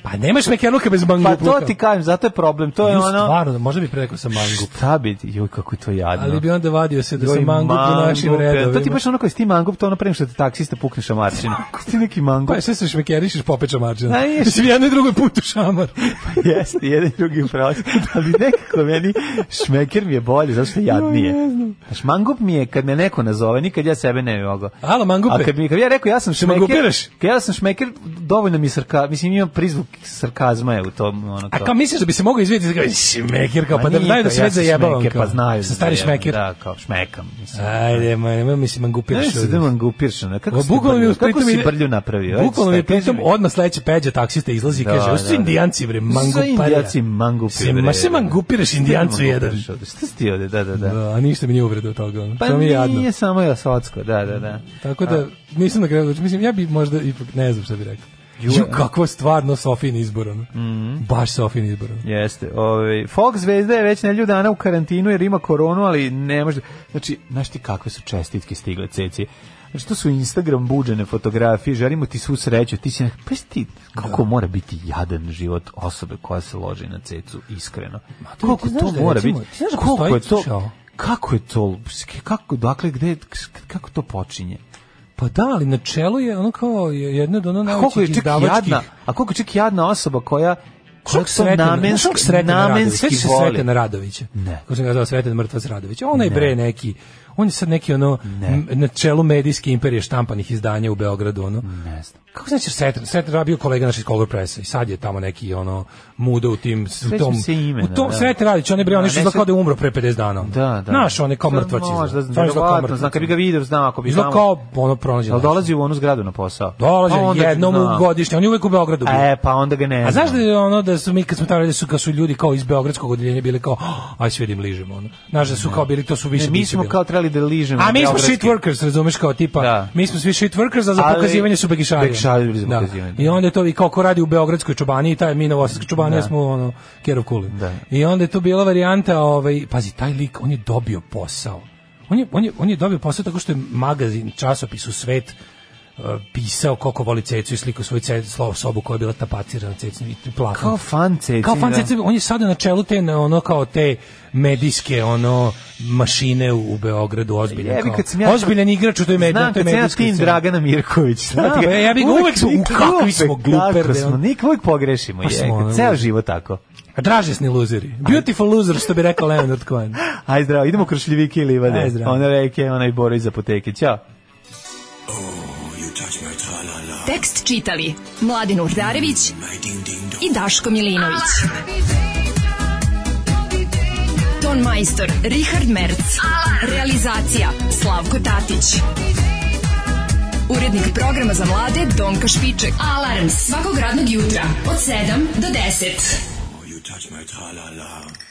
E: Pa nema šmekerluka bez mangupluka.
F: Pa to ti kažem, zato je problem. To je
E: Ju,
F: ono...
E: Stvarno, možda bi preko sa mangup.
F: Šta bi, ti- joj, kako je to jadno.
E: Ali bi onda vadio se da
F: Joj,
E: sam mangup u našim
F: mangupe.
E: redovima.
F: To ti je baš ono koji si ti mangup, to ono prema što te taksista pukneš na marčinu. ti neki mangup.
E: Pa sve se šmekerišiš popeče mačina.
F: Da, je.
E: Mislim, jedno i drugo put u šamar.
F: Jeste, jedan i drugi upravo. Ali nekako meni šmeker mi je bolje, zato što je jadnije.
E: Joj, ne znam.
F: Znaš, mangup mi je kad me neko nazove, nikad ja sebe ne bi mogao.
E: Alo, mangupe.
F: A kad mi kad bi ja rekao ja sam
E: Se
F: šmeker,
E: mangupiraš?
F: kad ja sam šmeker, dovoljno mi je sarka, mislim imam prizvuk sarkazma je u tom ono
E: A
F: to.
E: kao misliš da bi se mogao izvidjeti kao šmeker kao pa da
F: nije,
E: znaju da
F: kao,
E: se već
F: sam
E: zajebavam.
F: šmeker,
E: kao.
F: Pa znaju.
E: Sa stari
F: da zajebam,
E: šmeker.
F: Da, kao šmekam. Mislim.
E: Ajde, ma, nemoj mi se
F: Ne
E: mangupiraš.
F: se da mangupirš, ono, kako
E: O,
F: si
E: bukvalno mi
F: brlju,
E: u Splitu
F: kako si
E: mi-
F: brlju napravio? ajde,
E: Bukvalno mi
F: staj, kaži
E: pritom
F: mi.
E: odmah sledeće peđa taksista izlazi i
F: Da,
E: kaže, ovo
F: da.
E: su indijanci bre,
F: Sve
E: manguparija.
F: indijanci mangupi,
E: Se-
F: bre.
E: Ma se mangupiraš indijancu
F: Sve
E: jedan.
F: mangupiraš ovde, Šta si ti ovde, da, da, da.
E: Da, a ništa mi nije uvredo od toga. ono.
F: Pa
E: to mi je jadno.
F: nije samo ja socko, da, da, da.
E: Tako da, nisam na kraju odlučio. Mislim, ja bi možda, ipak, ne znam šta bi rekao.
F: Ju, Mhm.
E: Ju, kakvo stvarno Sofin izbor, ono. Baš Sofin izbor. ono.
F: Jeste. Ovaj Fox zvezda je već nedelju dana u karantinu jer ima koronu, ali ne može. Znači, znaš ti kakve su čestitke stigle ceci. Znači, to su Instagram buđene fotografije, želimo ti svu sreću, ti si... na- Pa jesi ti, kako mora biti jadan život osobe koja se loži na cecu, iskreno. Koliko
E: ti znaš
F: to
E: da,
F: mora
E: recimo,
F: biti?
E: ti znaš da
F: Koliko
E: postoji-
F: je
E: slušaj ovo.
F: to... Kako je to? Kako, dakle, gde, kako to počinje?
E: Pa da, ali na čelu je ono kao je- jedno od ono
F: A koliko je
E: najvećih
F: čak
E: izdavačkih...
F: jadna, a koliko je čak jadna osoba koja koja
E: Čak
F: to
E: Sretena,
F: namenski,
E: znaš kog Sretena Radovića?
F: namenski
E: Sećaš se
F: voli.
E: Sretena Radovića?
F: Ne.
E: Kako sam ga zvao Sretan mrtvac Radović. Onaj
F: Ne.
E: bre neki, on je sad neki ono m- na čelu medijske imperije štampanih izdanja u Beogradu ono.
F: Ne znam.
E: Kako znači Sretan? Sretan Radović bio kolega naš iz Color Pressa i sad je tamo neki ono muda u tim u
F: Sećam
E: tom
F: se imena,
E: u tom
F: da.
E: Sretan Radović, on je bre on
F: Da,
E: je što
F: ne
E: izgleda kao
F: se-
E: da je umro pre 50 dana. ono.
F: Da, da.
E: Znaš, on je kao
F: Sad
E: mrtvac izgleda.
F: Možda,
E: Stvarno izgleda kao
F: verovatno,
E: mrtvac.
F: znam, kad bi ga video, znam, ako bi
E: Izgleda
F: znamo.
E: kao ono pronađeno.
F: Jel dolazi u onu zgradu na posao?
E: Dolazi
F: A onda ću-
E: jednom u
F: znam.
E: godišnje, on je uvek u Beogradu. bio.
F: E, pa onda ga ne
E: A znaš da
F: znam.
E: je ono da su mi kad smo tamo radili su kad su ljudi kao iz beogradskog odeljenja bili kao "Oh, aj sve idem ližemo ono. Znaš da su kao bili to su više
F: Ne, mi
E: biće
F: smo
E: bili.
F: kao trebali da ližemo.
E: A mi smo
F: beogradski.
E: shit workers, razumeš kao tipa.
F: Da.
E: Mi smo svi shit workers, a za
F: Ali-
E: pokazivanje su begišari.
F: begišari za pokazivanje, da.
E: I onda je to i kao ko radi u beogradskoj čobaniji, taj mi novosadska čobanija
F: Da.
E: smo ono kerov kuli. I onda je tu bila varijanta, ovaj pazi taj lik, on je dobio posao. On je, on je, on je dobio posao tako što je magazin, časopis u svet eh, pisao koliko voli cecu i sliku svoju cecu, slovo sobu koja je bila tapacirana cecom i plakala.
F: Kao fan ceci,
E: Kao fan
F: da.
E: cecom, on je sada na čelu te na ono kao te medijske ono mašine u, u Beogradu ozbiljan.
F: Jebi,
E: kao-
F: kad sam ja-
E: ozbiljan igrač u toj mediji,
F: Znam
E: to je
F: kad sam ja
E: medijski.
F: tim Dragana Mirković.
E: Da,
F: ga,
E: be, ja bih ga uvek su, u kakvi smo gluperde,
F: Kako smo,
E: ono.
F: nik uvek pogrešimo,
E: Pa smo, ono,
F: je, ceo život tako.
E: Dražesni luzeri. Beautiful loser, što bi rekao Leonard Cohen.
F: Aj zdravo, idemo kroz šljivike i
E: Aj,
F: livade.
E: zdravo.
F: Ona reke, onaj bora iz apoteke. Ćao.
D: Tekst čitali Mladin Urdarević i Daško Milinović. Ton majstor Richard Merc. Realizacija Slavko Tatić. Urednik programa za mlade Donka Špiček. Alarms svakog radnog jutra od 7 do 10.
P: You touch my tra-la-la.